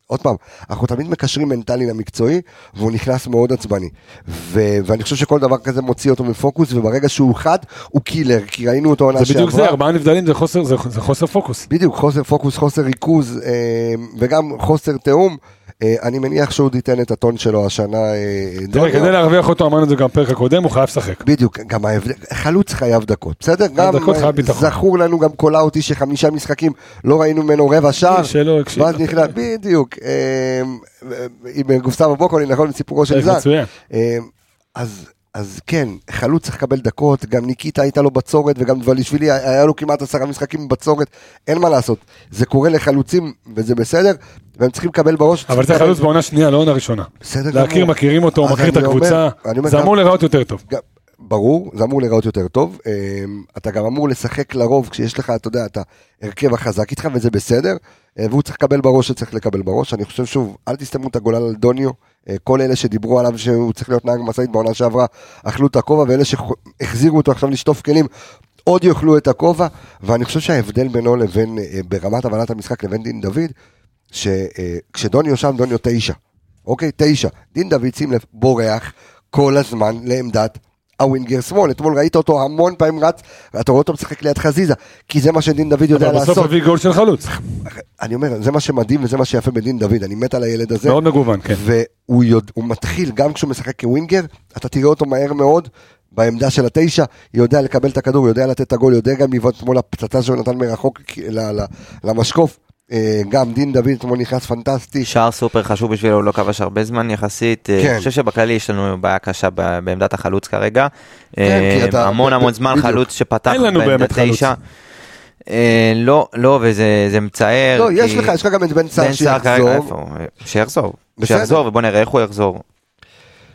עוד פעם, אנחנו תמיד מקשרים מנטלי למקצועי, והוא נכנס מאוד עצבני. ו- ואני חושב שכל דבר כזה מוציא אותו מפוקוס, וברגע שהוא חד, הוא קילר, כי ראינו אותו עונה
זה
שעברה.
בדיוק זה, ארבעה נבדלים זה חוסר- זה- זה חוסר פוקוס.
בדיוק, חוסר פוקוס, חוסר ריכוז אה, וגם חוסר תיאום. אה, אני מניח שהוא עוד ייתן את הטון שלו השנה. אה,
תראה,
דוניו.
כדי להרוויח אותו, אמרנו את זה גם בפרק הקודם, הוא חייב לשחק.
בדיוק, גם ההבדל, חלוץ חייב דקות, בסדר? גם
דקות חייב
אה,
ביטחון.
זכור לנו גם קולאוטי שחמישה משחקים לא ראינו ממנו רבע שער,
שלא הקשיב.
ואז נכנס, בדיוק, אה, עם גופסם אבוקולי, נכון, סיפורו של
פרק
זק.
מצוין.
אה, אז, אז כן, חלוץ צריך לקבל דקות, גם ניקיטה הייתה לו בצורת, וגם דבלישווילי היה לו כמעט עשרה משחקים בצורת, אין מה לעשות, זה קורה לחלוצים וזה בסדר, והם צריכים לקבל בראש.
אבל זה
צריכים
חלוץ
לקבל-
בעונה שנייה, לא עונה ראשונה.
בסדר גמור.
להכיר, מכירים אותו, הוא
אז
מכיר את
אני אומר-
הקבוצה,
אני אומר
זה
גם-
אמור להיראות יותר טוב.
גם- ברור, זה אמור להיראות יותר טוב, אמ, אתה גם אמור לשחק לרוב כשיש לך, אתה יודע, את ההרכב החזק איתך וזה בסדר, אה, והוא צריך לקבל בראש שצריך לקבל בראש, אני חושב שוב, אל תסתמו את הגולל על דוניו, אה, כל אלה שדיברו עליו שהוא צריך להיות נהג משאית בעונה שעברה, אכלו את הכובע, ואלה שהחזירו אותו עכשיו לשטוף כלים, עוד יאכלו את הכובע, ואני חושב שההבדל בינו לבין, אה, ברמת הבנת המשחק לבין דין דוד, שכשדוניו שם, דוניו תשע. אוקיי, תשע. דין דוד, שים לב, בורח כל הזמן לעמדת הווינגר שמאל. אתמול ראית אותו המון פעמים רץ, אתה רואה אותו משחק ליד חזיזה, כי זה מה שדין דוד יודע
אבל בסוף
לעשות.
הביא גול של חלוץ.
אני אומר, זה מה שמדהים וזה מה שיפה בדין דוד, אני מת על הילד הזה.
מאוד מגוון, כן.
והוא יודע, הוא מתחיל, גם כשהוא משחק כווינגר, אתה תראה אותו מהר מאוד, בעמדה של התשע, יודע לקבל את הכדור, יודע לתת את הגול, יודע גם לבעוט אתמול הפצצה שהוא נתן מרחוק כ- ל- ל- למשקוף. אה, גם דין דוד אתמול נכנס פנטסטי.
שער סופר חשוב בשבילו, הוא לא כבש הרבה זמן יחסית. אה,
כן.
אני חושב שבכללי יש לנו בעיה קשה ב- בעמדת החלוץ כרגע.
כן, כי
אה,
אתה-
המון
ב-
המון
ב-
זמן
בדיוק.
חלוץ שפתח
אין לנו
בעמדת
באמת חלוץ.
תשע. אה, לא, לא, וזה זה מצער.
לא, יש
כי
לך, יש לך גם את בן סער
בן סער כרגע, איפה
שיחזור.
הוא? אה, שיחזור.
בסדר.
שיחזור, ובוא נראה איך הוא יחזור.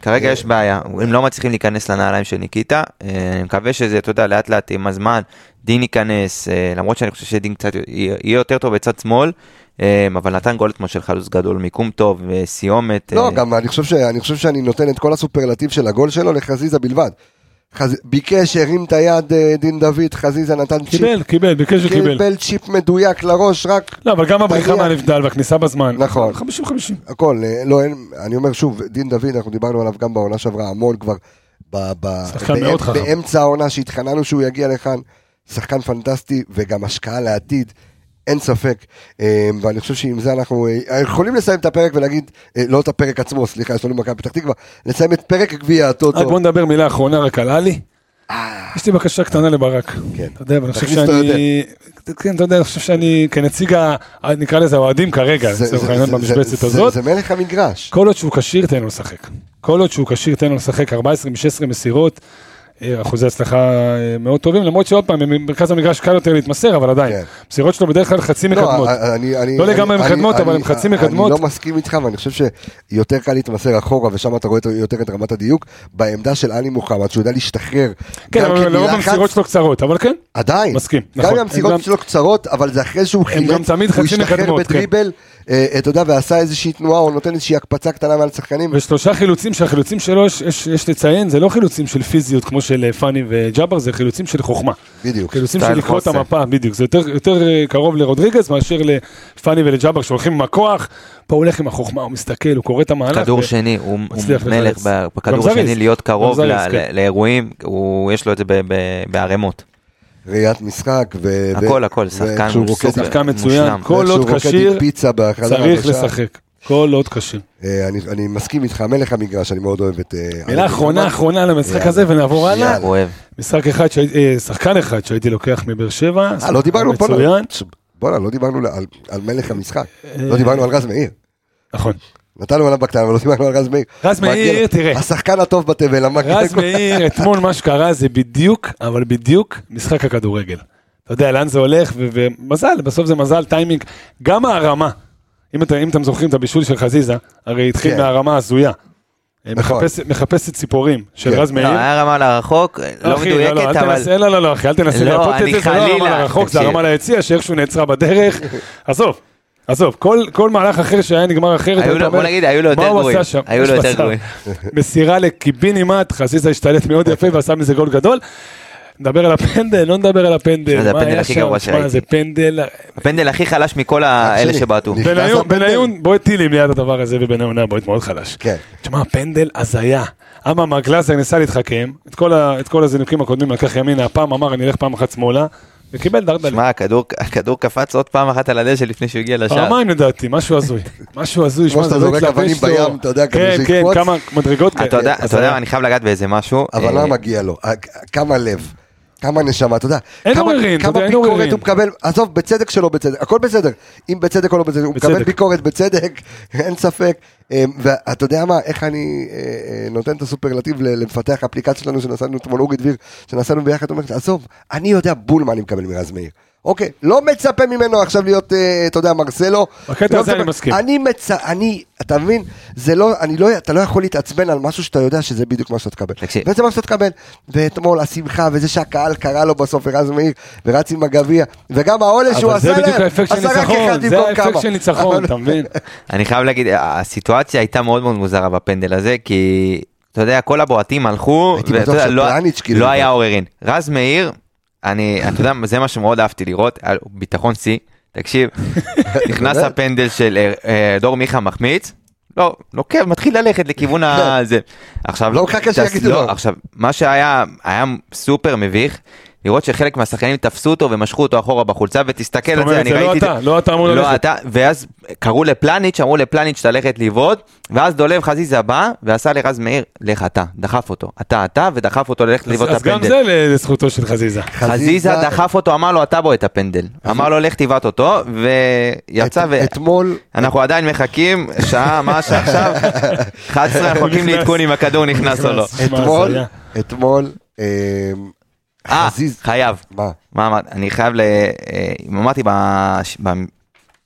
כרגע יש בעיה, הם לא מצליחים להיכנס לנעליים של ניקיטה, אה, אני מקווה שזה, אתה יודע, לאט לאט עם הזמן, דין ייכנס, אה, למרות שאני חושב שדין קצת יהיה יהיה יותר טוב בצד שמאל, אה, אבל נתן גול אתמול של חלוץ גדול, מיקום טוב, אה, סיומת.
לא,
אה,
גם אני חושב, ש, אני חושב שאני נותן את כל הסופרלטיב של הגול שלו לחזיזה בלבד. חז... ביקש, הרים את היד אה, דין דוד, חזיזה נתן צ'יפ.
קיבל, קיבל, ביקש וקיבל.
קיבל צ'יפ מדויק לראש, רק
לא, אבל גם הבריחה
תגיע.
מהנבדל והכניסה בזמן.
נכון.
50-50.
הכל, אה, לא, אין, אני אומר שוב, דין דוד, אנחנו דיברנו עליו גם בעונה שעברה המון כבר, ב, ב,
שחקן מאוד חכם.
באמצע העונה שהתחננו שהוא יגיע לכאן, שחקן פנטסטי וגם השקעה לעתיד, אין ספק, אה, ואני חושב שעם זה אנחנו אה, יכולים לסיים את הפרק ולהגיד, אה, לא את הפרק עצמו, סליחה, יש לנו מכבי פתח תקווה, לסיים את פרק גביע
רק
הטוטו.
אה, בוא נדבר מילה אחרונה רק על עלי. יש לי בקשה קטנה לברק.
אה. כן.
אתה יודע, אבל אני חושב
תכניס אותו
שאני... כן, אתה יודע, אני חושב שאני כנציג ה... נקרא לזה האוהדים כרגע,
זה-
לצורך
זה-
העניין
זה-
במשבצת
זה-
הזאת.
זה מלך המגרש.
כל עוד שהוא כשיר, תן לו לשחק. כל עוד שהוא כשיר, תן לו לשחק 14 מ-16 מסירות. אה, אחוזי הצלחה אה, מאוד טובים, למרות שעוד פעם, במרכז המגרש קל יותר להתמסר, אבל עדיין.
כן.
מסירות שלו בדרך כלל חצי מקדמות.
לא, אני, אני,
לא
אני-
לגמרי
אני-
מקדמות,
אני-
אבל הם חצי
אני-
מקדמות.
אני לא מסכים איתך, ואני חושב שיותר קל להתמסר אחורה, ושם אתה רואה יותר את רמת הדיוק, בעמדה של עלי מוחמד, שהוא יודע להשתחרר.
כן,
גם
אבל
כן
לרוב
מלחץ,
המסירות שלו קצרות, אבל כן.
עדיין.
מסכים,
גם
נכון.
אם
הם גם-
המסירות שלו קצרות, אבל זה אחרי שהוא
הם גם תמיד
הוא
חצי
השתחרר
מקדמות, כן.
בדריבל, אה, אתה יודע, ועשה איזושהי תנועה, או נותן איזושהי הקפצה קטנה מעל שחקנים.
ושלושה חילוצים, שהחילוצים שלו, יש, יש, יש לציין, זה לא חילוצים של פיזיות כמו של אה, פאני וג'אבר, זה חילוצים של חוכמה.
בדיוק.
חילוצים של
סטייל
לקרוא את
חוסן.
כאילו, המפה, בדיוק. זה יותר, יותר אה, קרוב לרודריגז מאשר לפאני ולג'אבר שהולכים עם הכוח, פה הוא הולך עם החוכמה, הוא מסתכל, הוא קורא את המהלך.
כדור
ו-
שני, הוא הוא
מצליח
מלך
לזרז.
ב-
גם
בכדור
זריז.
שני להיות קרוב
גם
ל-
זריז, כן.
ל- לאירועים, הוא- יש לו את זה ב- ב- בערימות.
ראיית משחק, ו...
הכל,
ו-
הכל, שחקן
ואיכשהו
סופר.
רוקד-
שחקן
מושלם.
מצוין, כל
ואיכשהו
עוד
רוקד עם
כשיר,
פיצה בהכרזה
צריך
החדשה.
לשחק. כל עוד כשיר.
אה, אני- אני מסכים איתך, מלך המגרש, אני מאוד אוהב את... אה, עלי
מילה אחרונה,
מוחמד.
אחרונה על המשחק הזה, ונעבור הלאה.
הוא אוהב.
משחק אחד, שהי- אה, שחקן אחד שהייתי לוקח מבאר שבע.
אה, לא דיברנו פה,
מצוין. אה.
בואנה, לא דיברנו על- על מלך המשחק, לא דיברנו על רז מאיר.
נכון.
נתנו עליו בקטן, אבל לא דיברנו על רז מאיר.
רז מאיר,
מגיע לו.
תראה.
השחקן הטוב בתבל, המגן.
רז מאיר, אתמול מה שקרה זה בדיוק, אבל בדיוק, משחק הכדורגל. אתה יודע לאן זה הולך, ו- ומזל, בסוף זה מזל, טיימינג, גם ההרמה. אם, אתה, אם אתם זוכרים את הבישול של חזיזה, הרי התחיל
כן.
מהרמה הזויה.
נכון.
מחפש- מחפשת ציפורים של
כן.
רז מאיר.
לא, היה רמה לרחוק, לא
אחי, לא,
מדויקת,
אל
אבל...
תנסה- לא, לא, לא, אחי, אל תנסה
לא,
לייפות את
אני
זה, זה לא הרמה
חלילה,
לרחוק, זה
תקשיב.
הרמה ליציע, שאיכשהו נעצרה בדרך. עזוב, עזוב, כל- כל מהלך אחר שהיה נגמר אחרת,
היו
היית
לו-
אומר,
בוא נגיד, היו לו
מה
יותר
הוא
גרועים.
עשה שם?
היו לו
יש
יותר
מצב.
גרועים.
מסירה לקיבינימט, חזיזה השתלט מאוד יפה ועשה מזה גול גדול. נדבר על הפנדל, לא נדבר על הפנדל.
זה
מה
הפנדל
היה
הכי
שם?
גרוע
שמע,
שראיתי.
זה פנדל...
הפנדל הכי חלש מכל האלה
אה, שלי.
שבעטו.
נכנס
בניון,
לפנדל.
בניון, בועט טילים ליד הדבר הזה, ובניון היה בועט מאוד חלש.
כן.
תשמע, פנדל הזיה. אממה, גלאזר ניסה להתחכם, את כל, ה, את כל הזינוקים הקודמים לקח ימינה, הפעם אמר אני אלך פעם אחת שמאלה, וקיבל דרדל.
שמע, הכדור- הכדור קפץ עוד פעם אחת על הדשא לפני שהוא הגיע לשער.
פעמיים לדעתי, משהו הזוי. משהו הזוי,
כמו
שמע,
שאתה
זה לא
זורק
התלבש
אבנים
לו.
בים, אתה יודע, כדי
כן,
שזה
כן,
יקפוץ.
כמה מדרגות כאלה.
אתה יודע, אתה
הזיה.
יודע, אני חייב לגעת באיזה משהו.
אבל
אה,
מה מגיע לו? אה, כמה לב, כמה נשמה, אתה יודע.
אין
כמה-
עוררין, אתה
כמה
יודע, אין
ביקורת
עוררין.
הוא מקבל, עזוב, בצדק שלו בצדק, הכל בסדר. אם בצדק או לא בצדק, הוא מקבל
בצדק.
ביקורת בצדק, אין ספק. אה, ואתה יודע מה, איך אני אה, אה, נותן את הסופרלטיב ל- למפתח האפליקציה שלנו שנסענו אתמול, אורי דביר, שנסענו ביחד, אומר, עזוב, אני יודע בול מה אני מקבל מרז מאיר. אוקיי, לא מצפה ממנו עכשיו להיות, אה, אתה יודע, מרסלו.
בקטע
לא
הזה אני
מצפה-
מסכים.
אני מצ... אני, אתה מבין? זה לא, אני לא, אתה לא יכול להתעצבן על משהו שאתה יודע שזה בדיוק מה שאתה תקבל.
תקשיב.
וזה מה שאתה תקבל. ואתמול השמחה, וזה שהקהל קרא לו בסוף, ורז מאיר, ורץ עם הגביע, וגם העונש שהוא
אבל זה
עשה להם,
בדיוק האפקט של
עשה רק אחד
ניצחון, זה
במקום
האפקט
כמה.
של ניצחון,
אבל-
אתה מבין?
כן, אני חייב להגיד, הסיטואציה הייתה מאוד מאוד מוזרה בפנדל הזה, כי אתה יודע, כל הבועטים הלכו,
הייתי
ואתה
בטוח
יודע, לא-
שפלניץ' כאילו-
לא היה עוררין. רז מאיר, אני, אתה יודע, זה מה שמאוד אהבתי לראות, על- ביטחון שיא, תקשיב, נכנס
באמת?
הפנדל של אה, אה, דור מיכה מחמיץ. לא, לוקח, מתחיל ללכת לכיוון ה... זה. עכשיו...
כן. לא מחכה
תס-
שיגידו
לא,
לו.
עכשיו, מה שהיה, היה סופר מביך, לראות שחלק מהשחקנים תפסו אותו ומשכו אותו אחורה בחולצה, ותסתכל על
זאת
זה,
אומרת,
אני
זה לא
ראיתי את זה.
אתה, לא אתה אמור
לא
ללכת.
אתה, ואז קראו לפלניץ', אמרו לפלניץ' ללכת לבעוט, ואז דולב חזיזה בא, ועשה לרז מאיר, לך אתה, דחף אותו, אתה אתה, ודחף אותו ללכת לבעוט את
אז גם
הפנדל.
זה לזכותו של חזיזה.
חזיזה דחף אותו, אמר לו אתה בועט את הפנדל. אמר לו לך תבעט אותו, ויצא
את-
ו...
אתמול,
אנחנו עדיין מחכים, שעה, מה השעה עכשיו? 11, אנחנו מחכים
נכנס.
לעדכון אם הכדור נכנס או לא.
נכנס. שמע,
אתמול,
הזיה.
אתמול, אמ,
אה,
חזיז,
חייב.
מה?
מה אמרת? אני חייב ל... אה, אמרתי בש- ב-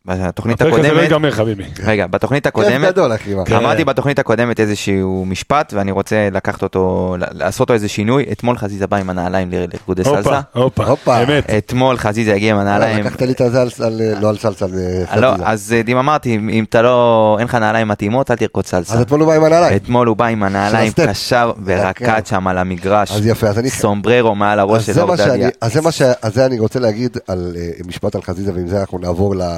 בתוכנית
הפרק הזה לא
הקודמת,
ייגמר חביבי.
רגע, בתוכנית
כיף
הקודמת,
גדול אחי, מה?
כן.
אמרתי בתוכנית הקודמת איזשהו משפט, ואני רוצה לקחת אותו, לעשות אותו איזה שינוי. אתמול חזיזה בא עם הנעליים ל- לריקודי
הופה,
סלסה.
הופה,
הופה.
אמת.
אתמול חזיזה הגיע עם הנעליים.
לקחת לי את הזה על סל, לא על סלסל,
אה, לא, אז אה, דים אמרתי, אם אם אתה לא, אין לך נעליים מתאימות, אל תרקוד
אז
סלסה.
אתמול הוא בא עם הנעליים.
אתמול הוא בא עם הנעליים,
של הסטפ.
קשר ורקד
כן.
שם על המגרש.
אז יפה, אז אני-
סומבררו מעל
אז
הראש של
זה מה שאני,
אורדדיה.
אז זה מה ש... אז זה אני רוצה להגיד על אה, משפט על חזיזה, ועם זה אנחנו נעבור ל, אה,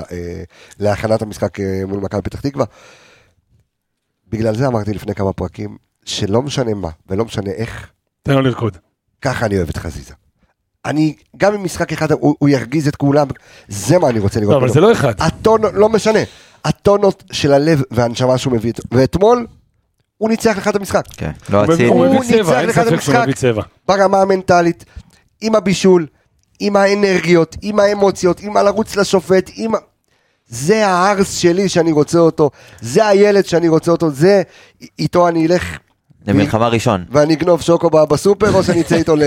להכנת המשחק אה, מול מכבי פתח תקווה. בגלל זה אמרתי לפני כמה פרקים, שלא משנה מה, ולא משנה איך,
תן לו לרקוד.
ככה אני אוהב את חזיזה. אני, גם אם משחק אחד הוא, הוא ירגיז את כולם, זה מה אני רוצה לראות.
לא, אבל
ממנו.
זה לא אחד.
אה,
הטונות, לא משנה, הטונות של הלב והנשמה שהוא מביא, איתו. ואתמול, הוא ניצח לך את המשחק.
כן, לא
הוא מביא-
אצילי.
הוא מביא
הוא ניצח
צבע, אין
לך את
ספק שהוא
המשחק.
מביא צבע.
אה,
ברמה המנטלית, עם הבישול, עם האנרגיות, עם האמוציות, עם הלרוץ לשופט, עם... ה- זה הערס שלי שאני רוצה אותו, זה הילד שאני רוצה אותו, זה איתו אני אלך
למלחמה ראשון.
ואני אגנוב שוקו בסופר, או שאני אצא איתו ל...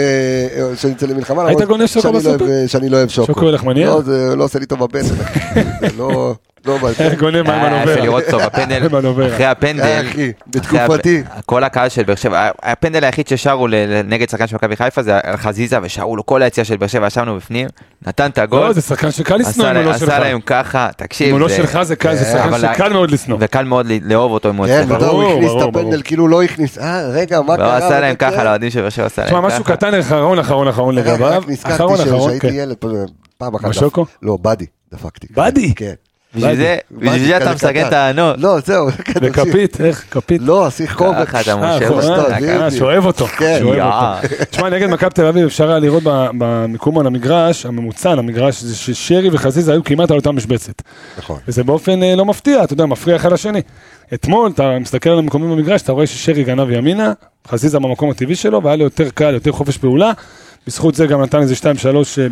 או שאני אצא למלחמה,
היית
למרות
גונב שוקו
שאני לא
בסופר?
אוהב- שאני לא אוהב שוקו.
שוקו הולך מניע?
לא, זה לא עושה לי טוב בבטן. זה לא... לא בא לי.
אה, גונב מה עם
היה יפה
הנובר.
אה, לראות טוב, הפנדל,
עם הנובר.
אחרי הפנדל,
אה, אחי,
אחרי הפ-
בתקופתי.
כל הקהל של באר שבע, הפנדל היחיד ששרו ל- ל- נגד שחקן של מכבי חיפה זה על חזיזה ושרו לו כל היציאה של באר שבע, ישבנו בפנים, נתן את הגול,
לא, זה שחקן שקל לשנוא
עשה
אם הוא
להם-
לא שלך.
עשה להם ככה, תקשיב,
אם הוא לא
זה-
שלך זה קל, זה
אה,
שחקן
אבל ה-
שקל מאוד לשנוא.
וקל מאוד ל- לאהוב אותו אם הוא
כן,
אצלך,
אתה יודע, הוא
ברור,
הכניס את
ברור,
הפנדל,
ברור.
כאילו לא הכניס, אה, רגע, מה
והוא
קרה?
עשה להם
וזה,
ככה, לא,
כן.
לאוהדים של באר שבע עשה
תשמע,
להם
משהו
ככה,
קטן, אחרון, אחרון, אחרון
אה,
רגע,
לגביו.
רק נזכרתי
אחרון,
ש-
אחרון,
שהייתי
כן.
ילד, פעם אחת.
בשוקו?
לא, באדי, דפקתי.
באדי?
כן.
בשביל זה- בשביל
באדי
זה
כזה
אתה מסגן
קטן.
את הענות,
לא, זהו. כן, תמשיך.
וכפית, איך? כפית.
לא, שיח קובץ.
ככה אתה
אה,
מושב
אחרון,
אותו,
אה,
דקה.
אה,
אה, שאוהב אותו.
כן.
שאוהב אותו.
יאה.
תשמע, נגד מכבי תל אביב אפשר היה לראות ב- במיקום על המגרש, הממוצע על המגרש, זה ששרי וחזיזה היו כמעט על אותה משבצת.
נכון.
וזה באופן אה, לא מפתיע, אתה יודע, מפריע אחד לשני. אתמול, אתה מסתכל על המקומים במגרש, אתה רואה ששרי גנב ימינה, חזיזה במקום הטבעי שלו, והיה לו יותר קל, יותר חופש פעולה. בזכות זה גם נתן איזה 2-3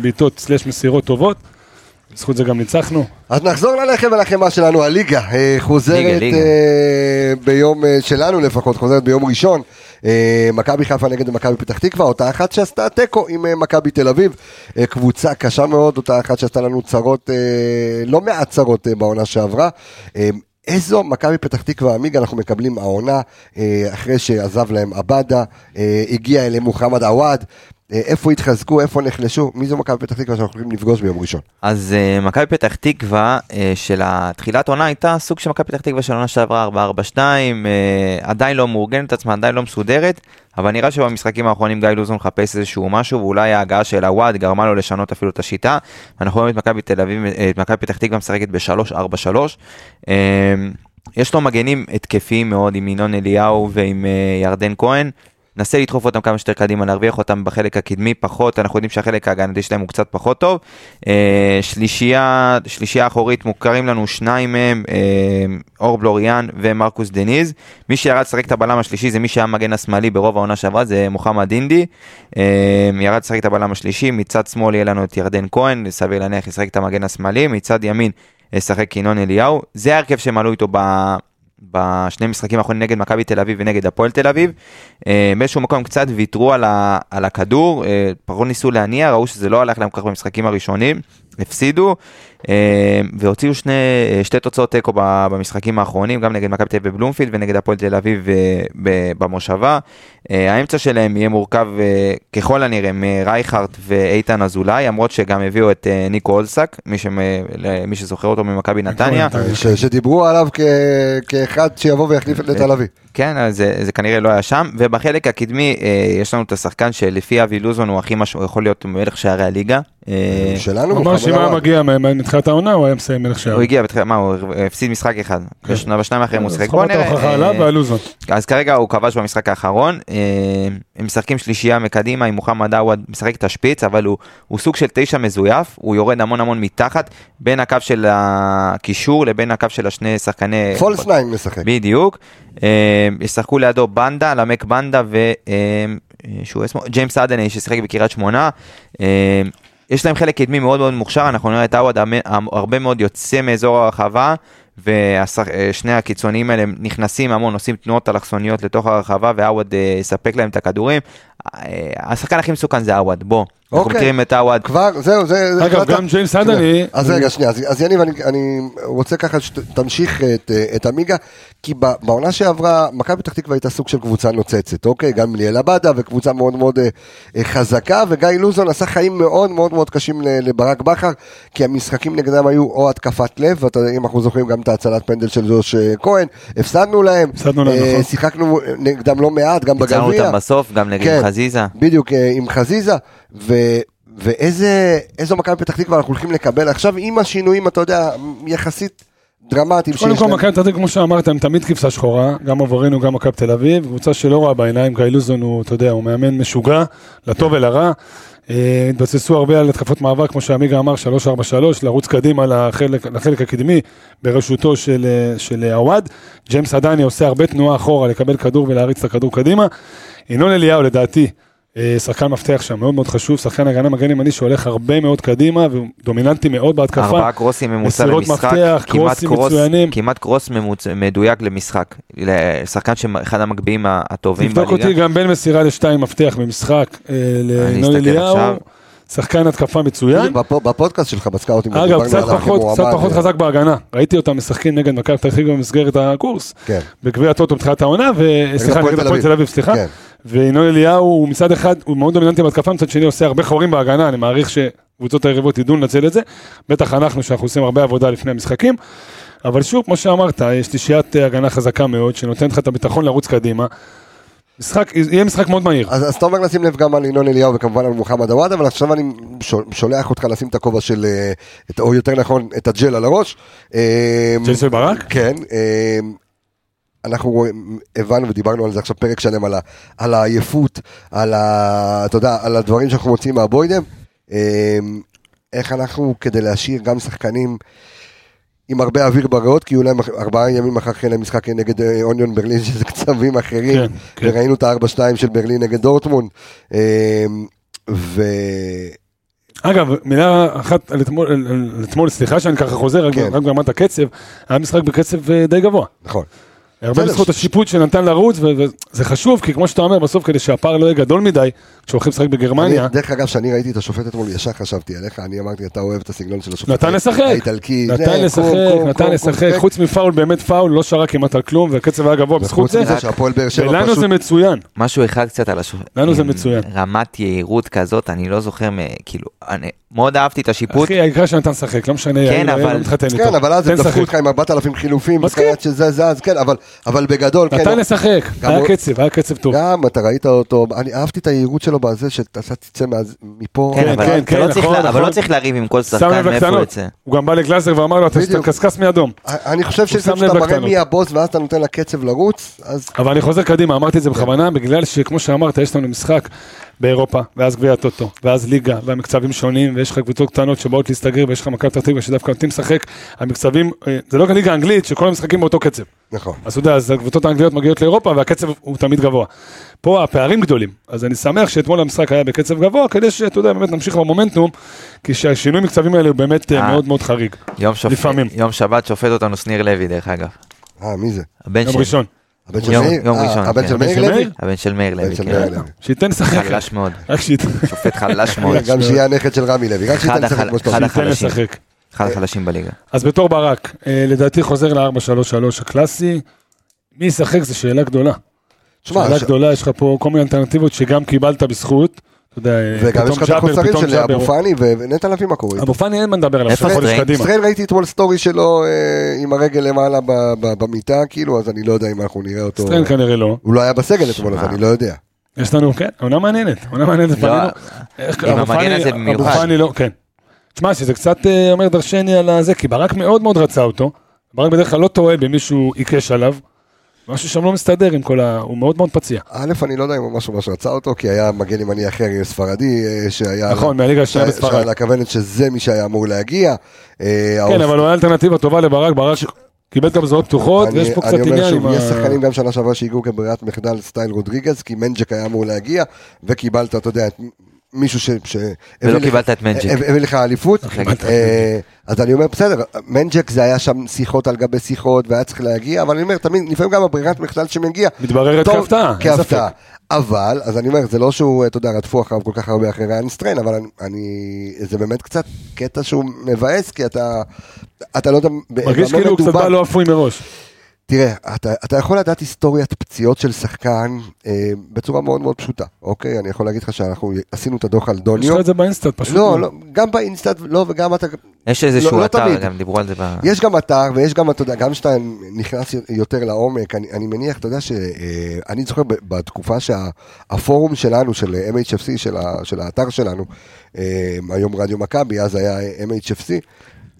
בעיטות סלש מסירות טובות. בזכות זה גם ניצחנו.
אז נחזור ללחם ולחמאה שלנו, הליגה אה, חוזרת
ליגה, ליגה.
אה, ביום אה, שלנו לפחות, חוזרת ביום ראשון. אה, מכבי חיפה נגד מכבי פתח תקווה, אותה אחת שעשתה תיקו עם אה, מכבי תל אביב. אה, קבוצה קשה מאוד, אותה אחת שעשתה לנו צרות, אה, לא מעט צרות אה, בעונה שעברה. אה, איזו מכבי פתח תקווה עמיגה אנחנו מקבלים העונה אה, אחרי שעזב להם עבדה, אה, הגיע אליהם מוחמד עוואד, אה, איפה התחזקו, איפה נחלשו, מי זו מכבי פתח תקווה שאנחנו הולכים לפגוש ביום ראשון?
אז אה, מכבי פתח תקווה אה, של התחילת עונה הייתה סוג של מכבי פתח תקווה של עונה שעברה 4-4-2, אה, עדיין לא מאורגנת עצמה, עדיין לא מסודרת, אבל נראה שבמשחקים האחרונים גיא לוזון מחפש איזשהו משהו, ואולי ההגעה של הוואד גרמה לו לשנות אפילו את השיטה. אנחנו רואים את מכבי תל אביב, אה, את מכבי פתח תקווה משחקת ב-3-4-3. אה, יש לו מגנים התקפיים מאוד עם ינון אליהו ועם אה, ירדן כהן. נסה לדחוף אותם כמה שיותר קדימה, להרוויח אותם בחלק הקדמי פחות, אנחנו יודעים שהחלק ההגנתי שלהם הוא קצת פחות טוב. אה, שלישייה, שלישייה אחורית מוכרים לנו שניים מהם, אה, אור בלוריאן ומרקוס דניז. מי שירד לשחק את הבלם השלישי זה מי שהיה מגן השמאלי ברוב העונה שעברה, זה מוחמד אינדי. אה, ירד לשחק את הבלם השלישי, מצד שמאל יהיה לנו את ירדן כהן, סביר להניח ישחק את המגן השמאלי, מצד ימין אה, ישחק ינון אליהו. זה ההרכב שהם עלו איתו ב... בשני משחקים האחרונים נגד מכבי תל אביב ונגד הפועל תל אביב. אה, באיזשהו מקום קצת ויתרו על, ה, על הכדור, אה, פחות ניסו להניע, ראו שזה לא הלך להם כל כך במשחקים הראשונים, הפסידו, אה, והוציאו שני, אה, שתי תוצאות תיקו ב- במשחקים האחרונים, גם נגד מכבי תל אביב בבלומפילד ונגד הפועל תל אביב אה, ב- במושבה. אה, האמצע שלהם יהיה מורכב אה, ככל הנראה מרייכרט ואיתן אזולאי, למרות שגם הביאו את אה, ניקו אולסק, מי, שמ, אה, ל- מי שזוכר אותו ממכבי נתניה.
ש- שדיברו עליו כ- כאחד שיבוא ויחליף את נטע לביא.
כן, אז זה, זה כנראה לא היה שם, ובחלק הקדמי אה, יש לנו את השחקן שלפי אבי לוזון הוא הכי משהו, יכול להיות מלך שערי הליגה. אה,
שלנו,
הוא אמר
מוחמד
שאם היה
עוואד.
מגיע מה- מתחילת העונה, הוא היה מסיים מלך שער.
הוא הגיע בתחילה, מה, הוא הפסיד משחק אחד, בשנה ושניים האחרים הוא
כן. אז
שיחק.
חובת
בוא נראה.
ההוכחה
אה,
עליו והלוזון.
אז כרגע הוא כבש במשחק האחרון, אה, הם משחקים שלישייה מקדימה עם מוחמד עווד, משחק את השפיץ, אבל הוא, הוא סוג של תשע מזויף, הוא יורד המון המון מתחת, בין הקו של הקישור לבין הקו של השני שחקני...
פולס ניין משחק.
בדיוק. אה, ישחקו לידו בנדה, למק בנדה ושהוא עצמו, ג'יימס אדני ששיחק בקריית שמונה. אה, יש להם חלק קדמי מאוד מאוד מוכשר, אנחנו נראה את עווד המ- הרבה מאוד יוצא מאזור הרחבה. ושני הקיצוניים האלה נכנסים המון, עושים תנועות אלכסוניות לתוך הרחבה, ועווד אה, יספק להם את הכדורים. אה, השחקן הכי מסוכן זה עווד, בוא. אנחנו
אוקיי.
מכירים את עווד.
כבר, זהו, זה... זה
אגב,
החלטה.
גם ג'יימס אדני...
אז רגע, שנייה, אז אז יניב, אני- אני רוצה ככה שתמשיך את עמיגה, כי ב- בעונה שעברה, מכבי פתח תקווה הייתה סוג של קבוצה נוצצת, אוקיי? גם ליאל עבדה, וקבוצה מאוד מאוד אה, אה, חזקה, וגיא לוזון עשה חיים מאוד מאוד מאוד קשים ל- לברק בכר, כי המשחקים נגדם היו או התקפת לב, ואתה- אם אנחנו זוכרים גם את ההצלת פנדל של ג'וש אה, כהן, הפסדנו להם,
הפסדנו להם,
אה,
נכון.
שיחקנו נגדם לא מעט, גם בגביע.
יצאנו אותם בסוף, גם נגד
כן.
חזיזה.
בדיוק, אה, עם חזיזה, ו... ואיזה איזו מכבי פתח תקווה אנחנו הולכים לקבל עכשיו עם השינויים, אתה יודע, יחסית דרמטיים
קודם כל, מכבי תל אביב, כמו שאמרת, הם תמיד כבשה שחורה, גם עבורנו, גם מכבי תל אביב, קבוצה שלא רואה בעיניים, גיא לוזון הוא, אתה יודע, הוא מאמן משוגע, לטוב ולרע. אה, התבססו הרבה על התקפות מעבר, כמו שעמיגה אמר, 343, לרוץ קדימה לחלק, לחלק הקדמי בראשותו של, אה, של עווד. ג'יימס עדני עושה הרבה תנועה אחורה, לקבל כדור ולהריץ את הכדור קדימה. ינון אליהו, לדעתי, אה, שחקן מפתח שם, מאוד מאוד חשוב, שחקן הגנה מגן ימני שהולך הרבה מאוד קדימה, והוא דומיננטי מאוד בהתקפה.
ארבעה קרוסים ממוצע
מסירות
למשחק,
מפתח,
כמעט
קרוסים
קרוס-
מצוינים.
כמעט קרוס ממוצ- מדויק למשחק, לשחקן שאחד המגביהים ה- הטובים
תבדוק
בליגה.
אותי גם בין מסירה לשתיים מפתח במשחק אה, לינון
אסתכל
אליהו,
עכשיו.
סקן התקפה מצוין.
בפו- בפודקאסט שלך בסקאוטים,
אגב,
דיברנו
קצת
עליו
פחות,
כמועמד,
קצת פחות
אה,
חזק בהגנה. ראיתי אותם משחקים נגד מכבי פתח תקווה במסגרת הקורס.
כן.
בגביע הטוטו בתחילת העונה, ו- סליחה,
הפועל
נגד
תל
הפועל
אביב.
תל אביב, סליחה.
כן.
וינון אליהו הוא מצד אחד, הוא מאוד דומיננטי בהתקפה, מצד שני עושה הרבה חורים בהגנה, אני מעריך שקבוצות היריבות ידעו לנצל את זה. בטח אנחנו, שאנחנו עושים הרבה עבודה לפני המשחקים. אבל שוב, כמו שאמרת, יש תשיית אה, הגנה חזקה מאוד, שנותנת לך את הביטחון לרוץ קדימה. משחק, יהיה משחק מאוד מהיר.
אז, אז אתה אומר לשים לב גם על ינון אליהו וכמובן על מוחמד עוואד, אבל עכשיו אני שול- שולח אותך לשים את הכובע של, אה, את, או יותר נכון, את הג'ל על הראש. אה,
ג'ל של ברק?
כן. אה, אנחנו רואים- הבנו ודיברנו על זה עכשיו פרק שלם, על, ה, על העייפות, על, ה, אתה יודע, על הדברים שאנחנו מוצאים מהבוידם. אה, איך אנחנו, כדי להשאיר גם שחקנים עם הרבה אוויר בריאות, כי אולי אח- ארבעה ימים אחר כך להם משחק נגד אה, אוניון ברלין, שזה קצבים אחרים,
כן, כן.
וראינו את הארבע שתיים של ברלין נגד דורטמונד. אה, ו...
אגב, מילה אחת על אתמול, על- על- על אתמול סליחה שאני ככה חוזר, רק-
כן.
רק ברמת הקצב, היה משחק בקצב אה, די גבוה.
נכון.
הרבה
בסדר.
בזכות השיפוט שנתן לרוץ, וזה חשוב, כי כמו שאתה אומר, בסוף כדי שהפער לא יהיה גדול מדי, כשהולכים לשחק
אני,
בגרמניה,
דרך אגב, כשאני ראיתי את השופט אתמול, ישר חשבתי עליך, אני אמרתי, אתה אוהב את הסגנון של השופט.
נתן לשחק,
אה, האיטלקי, זה,
נתן
קום,
לשחק,
קום,
נתן
קום,
לשחק,
קום,
חוץ מפאול, באמת פאול, לא שרק כמעט על כלום, והקצב היה גבוה בזכות
וחוץ
זה,
מזה שהפועל באר שבע
ולנו
פשוט...
זה מצוין.
משהו אחד קצת על השופט.
לנו זה מצוין.
רמת יהירות כזאת, אני לא זוכר, מ- כאילו, אני מאוד אהבתי את השיפוט.
אחי, העיקר שנתן לשחק, לא משנה,
כן,
יאיר,
אבל-
לא מתחתן איתו.
כן, אבל אז
תן
הם דפקו
לשחק.
אותך עם 4,000 חילופים,
מסכים.
בחייאת שזה זז, כן, אבל- אבל בגדול, כן,
נתן לשחק,
גם
היה
הוא-
קצב, היה קצב טוב.
גם אתה ראית אותו, אני אהבתי את היהירות שלו בזה שאתה תצא מה- מפה.
כן, אבל-
כן,
אתה לא
כן,
צריך
נכון,
לה- אבל
נכון.
לא צריך לריב עם כל
שם
שחקן
לב
מאיפה הוא
לקטנות,
יוצא.
הוא גם בא לגלאזר ואמר לו, אתה
בדיוק.
קשקש מאדום.
אני חושב
שם
שזה
לב
שאתה מראה
לקטנות.
מי הבוס ואז אתה נותן לקצב לרוץ, אז
אבל אני חוזר קדימה, אמרתי את זה בכוונה, בגלל שכמו שאמרת, יש לנו משחק באירופה, ואז גביע הטוטו, ואז ליגה, והמקצבים שונים, ויש לך קבוצות קטנות שבאות להסתגר, ויש לך מכבי פתח תקווה שדווקא נותנים לשחק, המקצבים, אה, זה לא כליגה האנגלית, שכל המשחקים באותו קצב.
נכון.
אז אתה יודע, אז הקבוצות האנגליות מגיעות לאירופה, והקצב הוא תמיד גבוה. פה הפערים גדולים, אז אני שמח שאתמול המשחק היה בקצב גבוה, כדי שאתה יודע, באמת נמשיך במומנטום, כי שהשינוי מקצבים האלה הוא באמת אה,
אה.
מאוד מאוד חריג.
יום שופט-
לפעמים.
יום שבת שופט אותנו שניר לוי, דרך אגב.
אה, מי זה?
הבן
יום
שלי.
ראשון.
הבן של
יום-
מאיר?
יום
אה,
ראשון,
הבן
כן.
של
הבן
מאיר
של
לוי?
מאיר?
הבן של מאיר
הבן
לוי,
של
כן.
מאיר לוי.
שייתן לשחק.
חלש מאוד.
רק שייתן
שופט חלש מאוד.
גם שיהיה הנכד של רמי לוי, רק
אחד
שייתן לשחק
החל-
כמו שאתה
אחד
אומר.
שייתן
החלשים.
לשחק.
אחד החלשים בליגה.
אז בתור ברק, אה, לדעתי חוזר ל-4-3-3 הקלאסי. מי ישחק זו שאלה גדולה.
תשמע,
שאלה
ש-
גדולה, יש לך פה כל מיני אלטרנטיבות שגם קיבלת בזכות. אתה יודע, אה,
וגם
פתאום
יש לך את
ג'אבר,
החוסרים
פתאום
של
ג'אבר.
אבו פאני ו- ונטע לביא, מה קורה?
אבו פאני אין מה לדבר עליו,
איפה
שלך חודש
סטריין?
קדימה.
ישראל ראיתי אתמול סטורי שלו אה, עם הרגל למעלה ב- ב- במיטה, כאילו, אז אני לא יודע אם אנחנו נראה אותו.
סטריין כנראה לא.
הוא לא היה בסגל אתמול, אז
שמע.
אני לא יודע.
יש לנו, כן, עונה מעניינת. עונה מעניינת.
לא,
פנינו. איך-
עם
אבו
המגן
פאני-
הזה במיוחד.
אבו פאני לא, כן. תשמע, שזה קצת אה, אומר דרשני על הזה, כי ברק מאוד מאוד רצה אותו. ברק בדרך כלל לא טועה במישהו עיקש עליו. משהו שם לא מסתדר עם כל ה... הוא מאוד מאוד פציע.
א', אני לא יודע אם הוא ממש ממש רצה אותו, כי היה מגן ימני אחר ספרדי, אה, שהיה...
נכון, מהליגה השנייה
שהיה-
בספרד.
שהיה על הכוונת שזה מי שהיה אמור להגיע. אה,
כן,
האופ-
אבל הוא היה אלטרנטיבה טובה לברק, ברק קיבל גם זרועות פתוחות,
אני-
ויש פה קצת
אני אומר
עניין עם
שוב, יש שחקנים
ה...
גם שנה שעברה שהגיעו כברירת מחדל סטייל רודריגז, כי מנג'ק היה אמור להגיע, וקיבלת, אתה יודע, את מישהו ש... ש- הביא לך-
קיבלת את מנג'ק.
הביא הביא לך אליפות.
צריך להגיד.
אה, אז אני אומר, בסדר, מנג'ק זה היה שם שיחות על גבי שיחות, והיה צריך להגיע, אבל אני אומר, תמיד, לפעמים גם הברירת מחדל שמגיע,
מתבררת
טוב,
כהפתעה, אין
כהפתעה.
ספק.
אבל, אז אני אומר, זה לא שהוא, אתה יודע, רדפו אחריו כל כך הרבה אחרי ריין סטריין, אבל אני, אני, זה באמת קצת קטע שהוא מבאס, כי אתה, אתה לא יודע,
מרגיש
במה
כאילו הוא קצת
מדובר.
בא לא אפוי מראש.
תראה, אתה, אתה יכול לדעת היסטוריית פציעות של שחקן אה, בצורה מאוד מאוד פשוטה, אוקיי? אני יכול להגיד לך שאנחנו עשינו את הדוח על
יש לך
דוניו.
את זה באינסטנט פשוט.
לא, לא, גם באינסטאט, לא, וגם אתה,
יש
לא-
איזשהו
לא
אתר,
תמיד.
גם דיברו על זה ב...
יש גם אתר ויש גם, אתה יודע, גם כשאתה נכנס יותר לעומק, אני, אני מניח, אתה יודע ש... אה, אני זוכר ב- בתקופה שהפורום שלנו, של אה, MHFC, של, ה, של האתר שלנו, אה, היום רדיו מכבי, אז היה אה, MHFC,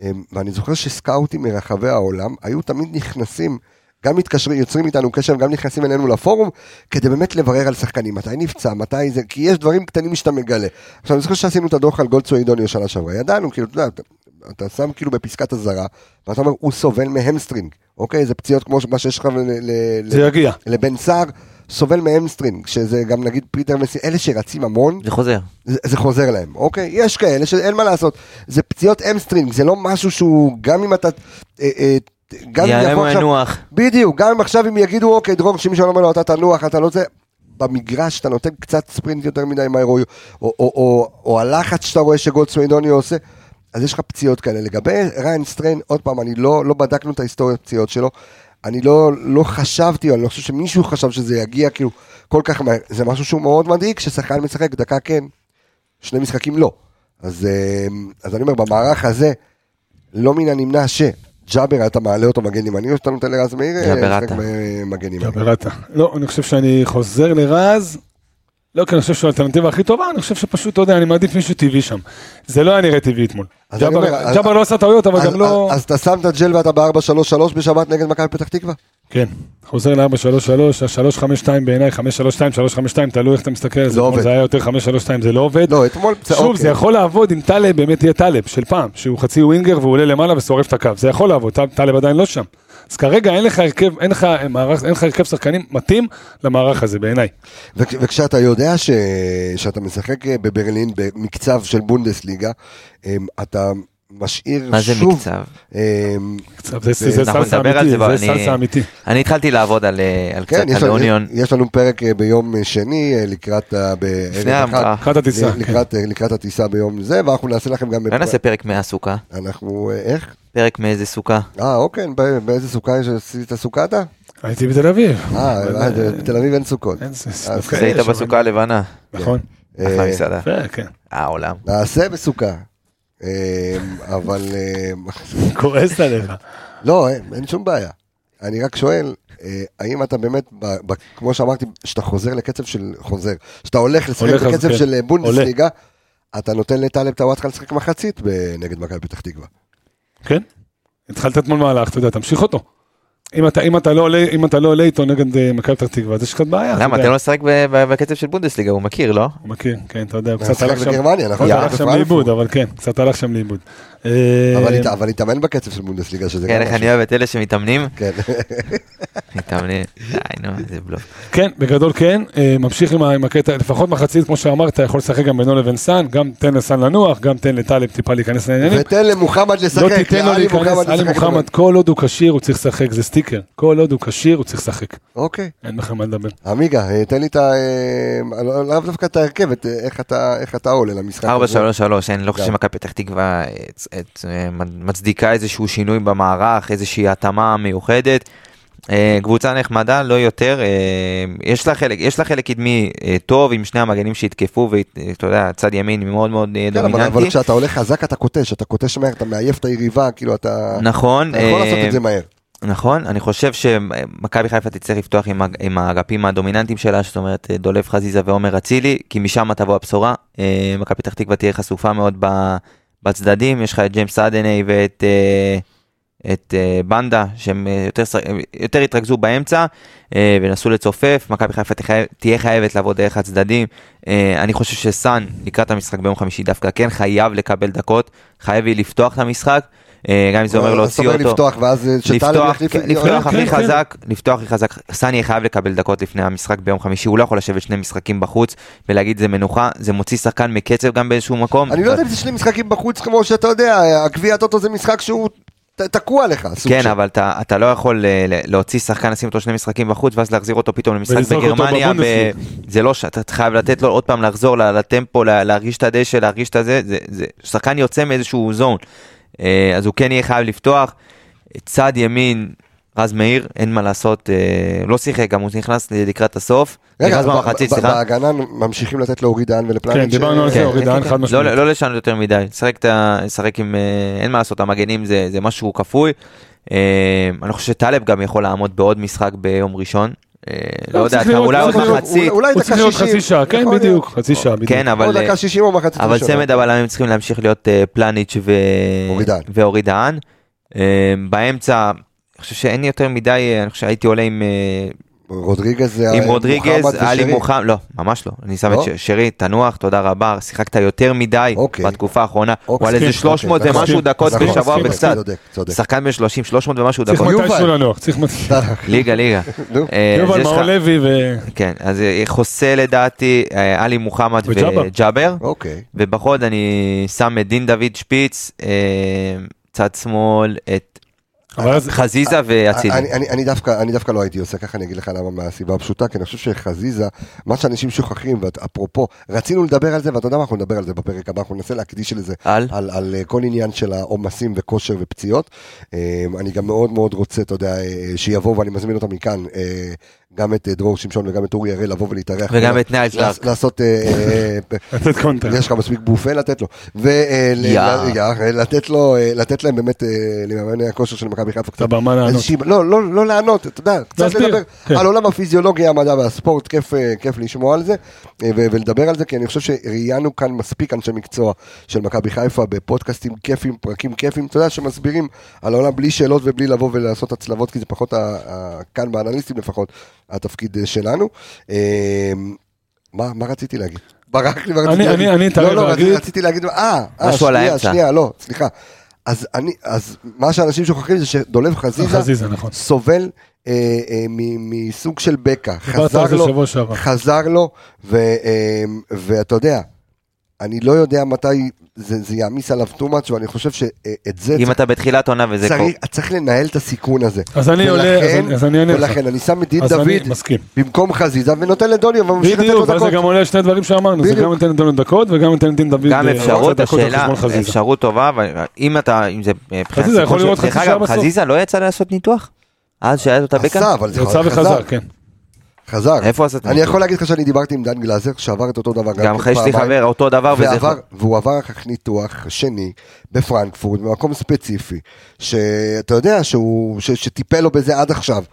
אה, ואני זוכר שסקאוטים מרחבי העולם היו תמיד נכנסים. גם מתקשרים, יוצרים איתנו קשר, גם נכנסים אלינו לפורום, כדי באמת לברר על שחקנים, מתי נפצע, מתי זה, כי יש דברים קטנים שאתה מגלה. עכשיו, אני זוכר שעשינו את הדוח על גולדסו אידוניו שנה שעברה, ידענו, כאילו, אתה יודע, אתה- אתה שם כאילו בפסקת אזהרה, ואתה אומר, הוא סובל מהמסטרינג, אוקיי? זה פציעות כמו מה שיש לך ל- ל- ל-
זה יגיע.
לבן סער, סובל מאמסטרינג, שזה גם נגיד פיטר מסי, אלה שרצים המון,
זה חוזר.
זה, זה חוזר להם, אוקיי? יש כאלה שאין מה לעשות, זה פציעות אמסטרינג, זה לא משהו שהוא, גם אם אתה... אה, אה, גם אם
יעלה
יבוא עכשיו...
מנוח.
בדיוק, גם אם עכשיו אם יגידו, אוקיי, דרור, שמישהו אומר לו, אתה תנוח, אתה לא זה... במגרש אתה נותן קצת ספרינט יותר מדי מהר, או, או, או, או, או הלחץ שאתה רואה שגולדסווינוני עושה, אז יש לך פציעות כאלה. לגבי ריין סטריין, עוד פעם, אני לא, לא בדקנו את ההיסטוריית פציעות שלו, אני לא, לא חשבתי, או אני לא חושב שמישהו חשב שזה יגיע כאילו כל כך מהר. זה משהו שהוא מאוד מדאיג, ששחקן משחק דקה כן, שני משחקים לא. אז, אה, אז אני אומר, במערך הזה, לא מן הנמנע ש... ג'אבר, אתה מעלה אותו מגן ימני, או שאתה נותן לרז מאיר? אה,
ג'אבר
לשחק
עטר.
מ- מגן ימני.
קבלתה. לא, אני חושב שאני חוזר לרז. לא, כי אני חושב שהוא האלטרנטיבה הכי טובה, אני חושב שפשוט, אתה יודע, אני מעדיף מישהו טבעי שם. זה לא היה נראה טבעי אתמול.
אז אני אומר,
ג'אבר
אז-
ג'אבר לא עשה טעויות, אבל
אז-
גם לא...
אז- אז אתה שם את הג'ל ואתה ב-4-3-3 בשבת נגד מכבי פתח תקווה?
כן, חוזר ל-4-3-3, ה-3-5-2 בעיניי, 5-3-2, 3-5-2, תלוי איך אתה מסתכל על זה.
לא
אתמול
עובד.
זה היה יותר 5-3-2, זה לא עובד.
לא, אתמול...
שוב, זה יכול לעבוד אם טלב באמת יהיה טלב של פעם, שהוא חצי ווינגר והוא עולה למעלה ושורף את הקו, זה יכול לעבוד, טל- טלב עדיין לא שם. אז כרגע אין לך הרכב, אין לך מערך, אין לך הרכב שחקנים מתאים למערך הזה בעיניי.
וכש- וכשאתה יודע ש... שאתה משחק אה, בברלין במקצב של בונדסליגה, אמ, אתה משאיר
מה זה
שוב...
מקצב?
אמ,
עכשיו, זה- זה זה
אנחנו
סלסה
נדבר על
אמיתי,
זה, אבל
זה
אני-
סלסה אמיתי.
אני התחלתי לעבוד על אה, על קצת,
כן, יש
על
לנו-
אוניון.
יש לנו פרק אה, ביום אה, שני אה, לקראת ה- בערב
לפני
החג,
ההמראה.
לקראת הטיסה, כן.
לקראת- אה, לקראת הטיסה ביום זה, ואנחנו נעשה לכם גם...
לא נעשה פרק מהסוכה,
אנחנו... אה, איך?
פרק מאיזה סוכה.
אה, אוקיי, בא- באיזה סוכה יש? עשית סוכתה?
כן. הייתי בתל אביב.
אה,
אבל,
אה, זה- בתל אביב אין סוכות.
אין זה-
אה,
דווקא
זה אוקיי. היית
יש, אבל-
בסוכה הלבנה.
נכון,
אחלה
אה,
מסעדה.
יפה, כן.
אה, עולם.
נעשה בסוכה. אמ, אבל אמ,
כועס עליך.
לא, אין אין שום בעיה. אני רק שואל, אה, האם אתה באמת, ב- ב- כמו שאמרתי, שאתה חוזר לקצב של חוזר, שאתה הולך לשחק
הולך, אז
בקצב
כן.
של אה, בונדסליגה, אתה נותן לטלב טוואטחה לשחק מחצית ב- נגד מכבי פתח תקווה.
כן. התחלת אתמול מהלך, אתה יודע, תמשיך אותו. אם אתה- אם אתה לא עולה- אם אתה לא עולה איתו נגד אה, מכבי פתח תקווה, אז יש קצת בעיה. אתה
למה,
יודע.
אתה לא משחק ב- ב- בקצב של בונדסליגה, הוא מכיר, לא?
הוא מכיר, כן, אתה יודע, הוא קצת
אה, משחק
הלך שם.
בגרמניה, נכון?
קצת
זה
הלך שם
בפרנקפורט.
לאיבוד, אבל כן, קצת הלך שם לאיבוד. אה,
אבל הת- אבל התאמן בקצב של בונדסליגה, שזה
כן,
גם
איך אני
משהו.
אוהב את אלה שמתאמנים.
כן,
מתאמנים. די, נו, איזה בלוף.
כן, בגדול כן, אה, ממשיך עם ה- עם הקטע, לפחות מחצית, כמו שאמרת, יכול לשחק גם בינו לבין סאן, גם תן לסאן לנוח, גם תן לטלב טיפה להיכנס לעניינים.
ותן למוחמד לשחק,
לא תיתן לו
לעלי
להיכנס,
מוחמד
עלי
לשחק.
מוחמד, כל עוד הוא כשיר הוא צריך לשחק, זה סטיקר. כל עוד הוא כשיר הוא צריך לשחק.
אוקיי.
אין לכם מה לדבר.
עמיגה, אה, תן לי את ה... אה, לא- לאו דווקא את ההרכב, את, אה, איך אתה- איך אתה עולה למשחק.
4-3-3, אני לא חושב
גם.
שמכבי פתח תקווה אה, צ- אה, צ- אה, מ- מצדיקה איזשהו שינוי במערך, איזושהי התאמה מיוחדת. אה, קבוצה נחמדה, לא יותר. אה, יש לה חלק, יש לה חלק קדמי אה, טוב עם שני המגנים שהתקפו, ואתה יודע, צד ימין מאוד מאוד אה,
כן, אבל, אבל
דומיננטי.
כשאתה הולך חזק אתה קוטש, אתה קוטש מהר, אתה מעייף את היריבה, כאילו אתה...
נכון.
אתה יכול לעשות
אה,
את זה מהר.
נכון, אני חושב שמכבי חיפה תצטרך לפתוח עם, ה- עם האגפים הדומיננטיים שלה, זאת אומרת אה, דולב חזיזה ועומר אצילי, כי משם תבוא הבשורה. אה, מכבי פתח תקווה תהיה חשופה מאוד ב- בצדדים, יש לך את ג'יימס אדני ואת אה, את, אה, בנדה, שהם אה, יותר, ש- הם יותר התרכזו באמצע אה, ונסו לצופף, מכבי חיפה תחי- תהיה חייבת לעבוד דרך הצדדים. אה, אני חושב שסאן לקראת המשחק ביום חמישי דווקא כן חייב לקבל דקות, חייב היא לפתוח את המשחק, אה, גם אם זה אומר
אז
להוציא
אתה
אותו.
לפתוח, ואז אה, שטלב
לפתוח,
יחליף-
כן, לפתוח
כן,
הכי
כן.
חזק, לפתוח הכי חזק, סני חייב לקבל דקות לפני המשחק ביום חמישי, הוא לא יכול לשבת שני משחקים בחוץ ולהגיד זה מנוחה, זה מוציא שחקן מקצב גם באיזשהו מקום.
אני לא יודע אם זה שני משחקים בחוץ, כמו שאתה יודע, אה, הגביע הטוטו זה משחק שהוא ת- תקוע לך. סוג
כן,
של.
אבל אתה, אתה לא יכול אה, ל- להוציא שחקן, לשים אותו שני משחקים בחוץ, ואז להחזיר אותו פתאום למשחק
ולזרוק אותו
בגרמניה.
בבונדסליג.
ב... זה לא ש... אתה חייב לתת לו עוד פעם לחזור ל- לטמפו, ל- להרגיש את הדשא, להרגיש את הזה. זה, זה... שחקן יוצא מאיזשהו זון. אה, אז הוא כן יהיה חייב לפתוח. צד ימין, רז מאיר, אין מה לעשות, אה, לא שיחק, גם הוא נכנס לקראת הסוף.
רגע,
נכנס
ב-
במחצית,
ב-
סליחה.
בהגנה ממשיכים לתת לאורי דהן ולפלניץ'. אה,
כן, דיברנו על
כן,
זה, אורי
כן,
דהן
כן.
חד משמעית.
לא, לא לשנות יותר מדי, לשחק את ה... לשחק עם... אה, אין מה לעשות, המגנים זה, זה משהו כפוי. אה, אני חושב שטלב גם יכול לעמוד בעוד משחק ביום ראשון. אה, לא
לא,
יודע,
צריך
אתה-
לראות,
אולי עוד
צריך לראות,
מחצית,
אולי
הוא
דקה
צריך להיות
60,
חצי שעה, כן
יכול להיות.
בדיוק, חצי שעה, בדיוק.
כן,
או
אבל... אה,
דקה 60 או מחצית
אבל
ראשונה.
צמד הבלמים צריכים להמשיך להיות אה, פלניץ' ו...
אורי דהן.
ואורי דהן. אה, באמצע, אני חושב שאין יותר מדי, אה, אני חושב שהייתי עולה עם אה,
רודריגז זה
עם
ה-
רודריגז,
אה, מוחמד
עלי
ושרי.
מוחמד, לא, ממש לא. אני שם
לא?
את ש- שרי, תנוח, תודה רבה, שיחקת יותר מדי
אוקיי.
בתקופה האחרונה.
אוקיי.
הוא על איזה
מסכים,
300
אוקיי,
ומשהו
נכון,
דקות
נכון,
בשבוע
מסכים,
וקצת.
צודק, צודק.
שחקן בן 30, 300 ומשהו
צריך
דקות.
מתישהו
יובל. אה,
לנוח, צריך מתישהו.
ליגה, ליגה.
נו.
אה, אז
יובל
יש לך-
מאור לוי ו...
כן, אז אה, חוסה לדעתי, אה, עלי מוחמד
וג'אבר.
וג'אבר.
אוקיי.
ובחוד אני שם את דין דוד שפיץ, אה, צד שמאל, את
אבל אז
חזיזה ואצילי.
אה, אני, אני, אני, דווקא, אני דווקא לא הייתי עושה ככה, אני אגיד לך למה מהסיבה הפשוטה, כי אני חושב שחזיזה, מה שאנשים שוכחים, ואפרופו, רצינו לדבר על זה, ואתה יודע מה, אנחנו נדבר על זה בפרק הבא, אנחנו ננסה להקדיש לזה,
על?
על, על אה, כל עניין של העומסים וכושר ופציעות. אה, אני גם מאוד מאוד רוצה, אתה יודע, אה, שיבואו, ואני מזמין אותם מכאן, אה, גם את אה, דרור שמשון וגם את אורי הראל, לבוא ולהתארח.
וגם את ניל
לעס-
קלארק.
לעשות... אה, אה,
לתת קונטרה.
יש לך מספיק בופה לתת לו. אה,
יא.
ולתת לו, אה, לתת להם באמת, אה, למאמני הכושר של מכבי חיפה קצת.
אתה במה לענות.
איזושהי- לא, לא לא לענות, אתה יודע, קצת
להסביר,
לדבר
כן.
על עולם הפיזיולוגיה, המדע והספורט, כיף, אה, כיף לשמוע על זה אה, ו- ולדבר על זה, כי אני חושב שראיינו כאן מספיק אנשי מקצוע של מכבי חיפה בפודקאסטים כיפים, פרקים כיפים, אתה יודע, שמסבירים על העולם בלי שאלות ובלי לבוא ולעשות הצלבות, כי זה פחות, ה- ה- כאן באנליסטים לפחות, התפקיד אה, שלנו. אה, מה, מה רציתי להגיד? ברח לי מה רציתי
אני-
להגיד.
אני- אני, תעלה
לא, לא,
להגיד.
רציתי להגיד, אה, אה,
משהו על
שנייה,
האמצע.
שנייה, לא, סליחה. אז אני, אז מה שאנשים שוכחים זה שדולב חזיזה
חזיזה, נכון.
סובל אה, אה, מ- מסוג של בקע.
דיברת
חזר
על זה
לו,
שבוע שעבר.
חזר לו, ו- אה, ואתה יודע, אני לא יודע מתי זה זה יעמיס עליו too much, ואני חושב שאת זה
אם
צריך-
אתה בתחילת עונה וזה קורה.
צריך- צריך לנהל את הסיכון הזה.
אז אני עולה, אז
ולכן-
אני- אז אני עונה לך.
ולכן אני שם את דין
אז אני
דוד
מסכים.
במקום חזיזה ונותן לדוניו וממשיך לתת לו
בדיוק, ואז
דקות.
זה גם עולה שני דברים שאמרנו, זה
בדיוק.
גם נותן לנו דקות וגם נותן לדין דוד
גם
אה,
אפשרות,
עוד דקות על
השאלה,
חשבון חזיזה.
אפשרות טובה, אבל אם אתה, אם זה... אה, מבחינת
חזיזה יכול
סיכון
לראות
של-
חצי
דרך
שעה
אגב,
בסוף.
חזיזה לא יצא לעשות ניתוח? אז שהיה לו את הבקע?
עשה, אבל זה
יצא וחזר, כן.
חזר.
איפה עשית?
אני יכול להגיד לך שאני דיברתי עם דן גלזר, שעבר את אותו דבר.
גם
כן
אחרי שלי
פעמיים,
חבר, אותו דבר וזה...
ועבר, והוא עבר אחר כך ניתוח שני בפרנקפורט, במקום ספציפי, שאתה יודע שהוא, ש, שטיפל לו בזה עד עכשיו,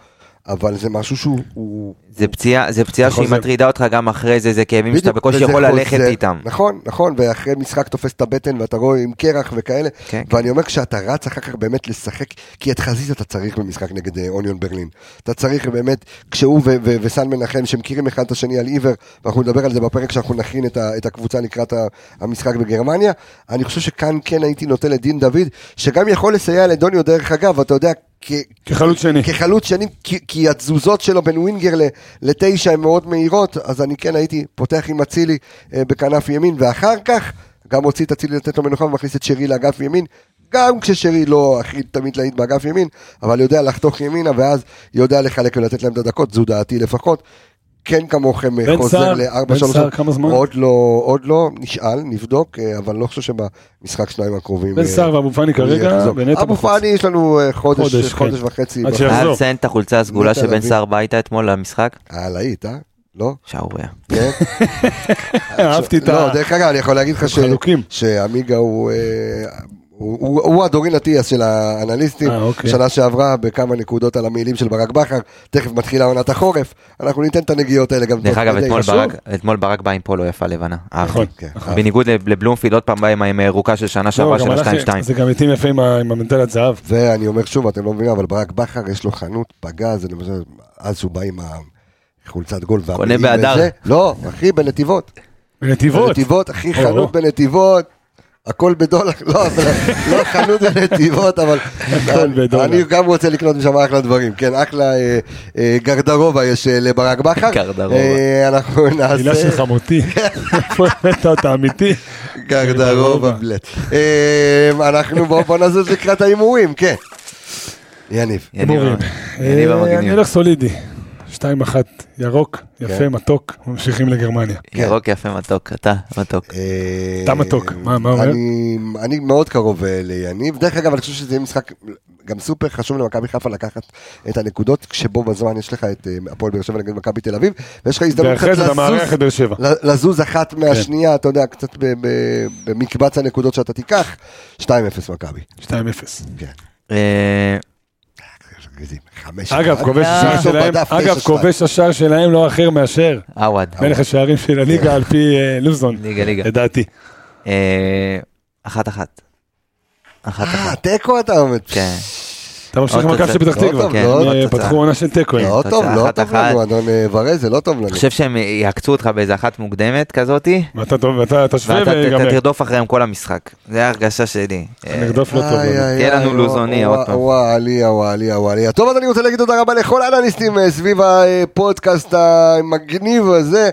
אבל זה משהו שהוא... הוא,
זה פציעה, זה פציעה
זה
שהיא
חוזר.
מטרידה אותך גם אחרי זה, זה כאבים שאתה
בדיוק,
בקושי
וזה
יכול
חוזר.
ללכת איתם.
נכון, נכון, ואחרי משחק תופס את הבטן ואתה רואה עם קרח וכאלה,
כן.
ואני אומר כשאתה רץ אחר כך באמת לשחק, כי את חזיזה אתה צריך במשחק נגד אה, אוניון ברלין. אתה צריך באמת, כשהוא ו- ו- וסן מנחם, שמכירים אחד את השני על עיוור, ואנחנו נדבר על זה בפרק שאנחנו נכין את, ה- את הקבוצה לקראת ה- המשחק בגרמניה, אני חושב שכאן כן הייתי נותן לדין דוד, שגם יכול לסייע לדוניו דרך אגב, אתה יודע, כ-
כחלוץ שני.
כחלוץ שני, כי, כי התזוזות שלו בין ווינגר ל- לתשע הן מאוד מהירות, אז אני כן הייתי פותח עם אצילי אה, בכנף ימין, ואחר כך גם הוציא את אצילי לתת לו מנוחה ומכניס את שרי לאגף ימין, גם כששרי לא הכי תמיד להיט באגף ימין, אבל יודע לחתוך ימינה, ואז יודע לחלק ולתת להם את הדקות, זו דעתי לפחות. כן כמוכם אה,
בן
חוזר
סער, בן סער
ל-4-3,
כמה זמן?
עוד לא, עוד לא, נשאל, נבדוק, אה, אבל לא חושב שבמשחק שניים הקרובים.
בן
אה,
סער ואבו פאני
הוא יחזור.
כרגע, ונטע
אבו
בחוץ.
פאני יש לנו אה, חודש,
חודש, כן.
חודש וחצי.
עד
בחוץ.
שיחזור.
חייב לציין את החולצה הסגולה
נטע
שבן
לביא.
סער בא איתה אתמול למשחק,
אה, להיט, אה? לא?
שערוריה.
כן?
אה, אהבתי את ה...
לא, דרך אגב, אני יכול להגיד לך ש-
חלוקים.
שעמיגה הוא... אה, הוא- הוא הוא הדורין אטיאס של האנליסטים,
אה, אוקיי.
שנה שעברה בכמה נקודות על המעילים של ברק בכר, תכף מתחילה עונת החורף, אנחנו ניתן את הנגיעות האלה גם.
דרך
תוך
אגב,
כדי.
אתמול
חשוב.
ברק, אתמול ברק בא עם פולו יפה לבנה. אהבתי.
נכון.
כן.
בניגוד לב- לבלומפילד, עוד פעם בא עם- עם הירוקה של שנה
לא,
שעברה
גם
של
הלך-
ה-2-2.
זה גם התאים יפה עם ה- עם המנטלת זהב.
ואני אומר שוב, אתם לא מבינים, אבל ברק בכר יש לו חנות פגז, אני חושב, אז הוא בא עם החולצת גול. והמעיל
בהדר.
וזה. לא, אחי, בנתיבות.
בנתיבות.
בנתיבות, אחי,
או.
חנות בנתיבות. הכל בדולר, לא, אבל- לא חנות בנתיבות, אבל
הכל בדולר.
אני גם רוצה לקנות משם אחלה דברים, כן, אחלה אה, אה, גרדרובה יש אה, לברק בכר.
גרדרובה.
אה, אנחנו
מילה
נעשה
של חמותי. איפה הבאת אותה אמיתי?
גרדרובה. בלט. אה, אנחנו בואו בואו נזוז לקראת ההימורים, כן. יניב,
יניב
הימורים.
המגניב. יניב
אה, אני
המגניב.
הולך סולידי. 2-1 ירוק, יפה,
כן.
מתוק, ממשיכים לגרמניה.
ירוק יפה מתוק, אתה מתוק.
אה,
אתה מתוק, מה- מה אומר?
אני- אני מאוד קרוב אה, ליניב, דרך אגב אני חושב שזה יהיה משחק גם סופר חשוב למכבי חיפה לקחת את הנקודות, כשבו בזמן יש לך את אה, הפועל באר שבע נגד מכבי תל אביב, ויש לך הזדמנות קצת
ואחרי זה אתה מארח
לזוז,
את באר שבע.
ל- לזוז אחת
כן.
מהשנייה, אתה יודע, קצת ב- ב- במקבץ הנקודות שאתה תיקח, 2-0 מכבי.
2-0.
אה,
מגזים. חמש-
אגב,
אחד.
כובש השער
תרשום
שלהם,
בדף,
אגב,
תשע, אה,
כובש השער שלהם לא אחר מאשר
עווד.
מלך השערים של
כן.
הליגה על פי אה, לוזון,
ליגה, ליגה.
לדעתי.
אה, אחת אחת. אחת
שתיים. אה,
אחת.
תיקו אתה אומר.
כן.
אתה ממשיך עם
עוד
מכבי של פתח
תוצאה.
תקווה.
לא טוב, לא
אה,
עוד
פתחו
תוצאה.
עונה של תיקואים.
לא טוב,
כן, תוצאה
לא
אחת
טוב
אחת.
לנו, אדון אה, ורז, זה לא טוב לנו.
אני חושב שהם יעקצו אותך באיזה אחת מוקדמת כזאתי,
ואתה טוב, ואתה תשווה
ואתה ת-
ויגמר.
תרדוף אחריהם כל המשחק. זה ההרגשה שלי. אה,
נרדוף לא טוב. לנו.
תהיה לנו לוזוני, עוד פעם.
וואליה, וואליה, וואליה. טוב, אז אני רוצה להגיד תודה רבה לכל האנליסטים אה, סביב הפודקאסט המגניב הזה.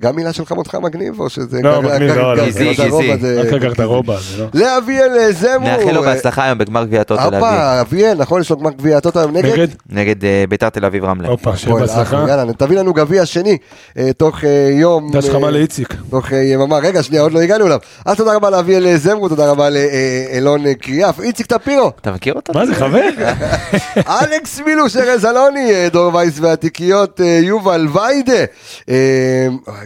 גם מילה שלך מותך מגניב, או שזה...
לא,
גם-
מגניב,
גם-
לא,
גם-
לא,
גיזי,
גם-
גיזי.
גם- זה-
רק הגרדרובה, זה לא.
לאביאל אה, זמרו.
נאחל לו
אה,
בהצלחה היום בגמר גביע הטוטו תל אביב.
הופה, אביאל, נכון, יש לו גמר גביע הטוטו היום נגד?
נגד?
נגד אה, ביתר תל אביב רמלה.
אוקיי.
הופה, שיהיה
הפועל
בהצלחה.
אחלה, יאללה, תביא לנו גביע שני אה, תוך אה, יום.
דש
אה,
חמה לאיציק.
תוך אה, יממה, רגע, שנייה, עוד לא הגענו אליו. אז תודה רבה לאביאל אה, זמרו, תודה רבה לאלון אה, קריאף, איציק טפירו,
אתה מכיר אותו?
מה זה חבר?
אה, אלכס מילוש, ארז אלוני, אה, דור וייס והתיקיות, אה, יובל ויידה. אה,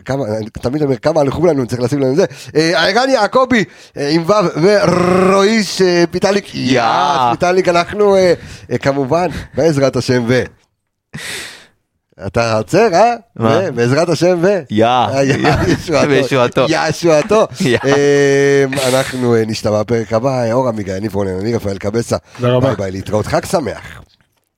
כמה, אני תמיד אומר, כמה הלכו לנו, צריך לשים לנו את זה. אה, ערן יעקבי אה, עם ו' ורואיש אה, פיטליק.
יא.
יאס, פיטליק, אנחנו אה, אה, כמובן, בעזרת השם ו... אתה עוצר, אה?
מה?
ו- בעזרת השם ו... אה,
יא.
ישועתו.
בישועתו.
ישועתו.
יא.
אה, אנחנו אה, נשתמע בפרק הבא, אור עמיגה, יניב רונן, אני רפאל קבסה.
תודה רבה.
ביי ביי, להתראות. חג שמח.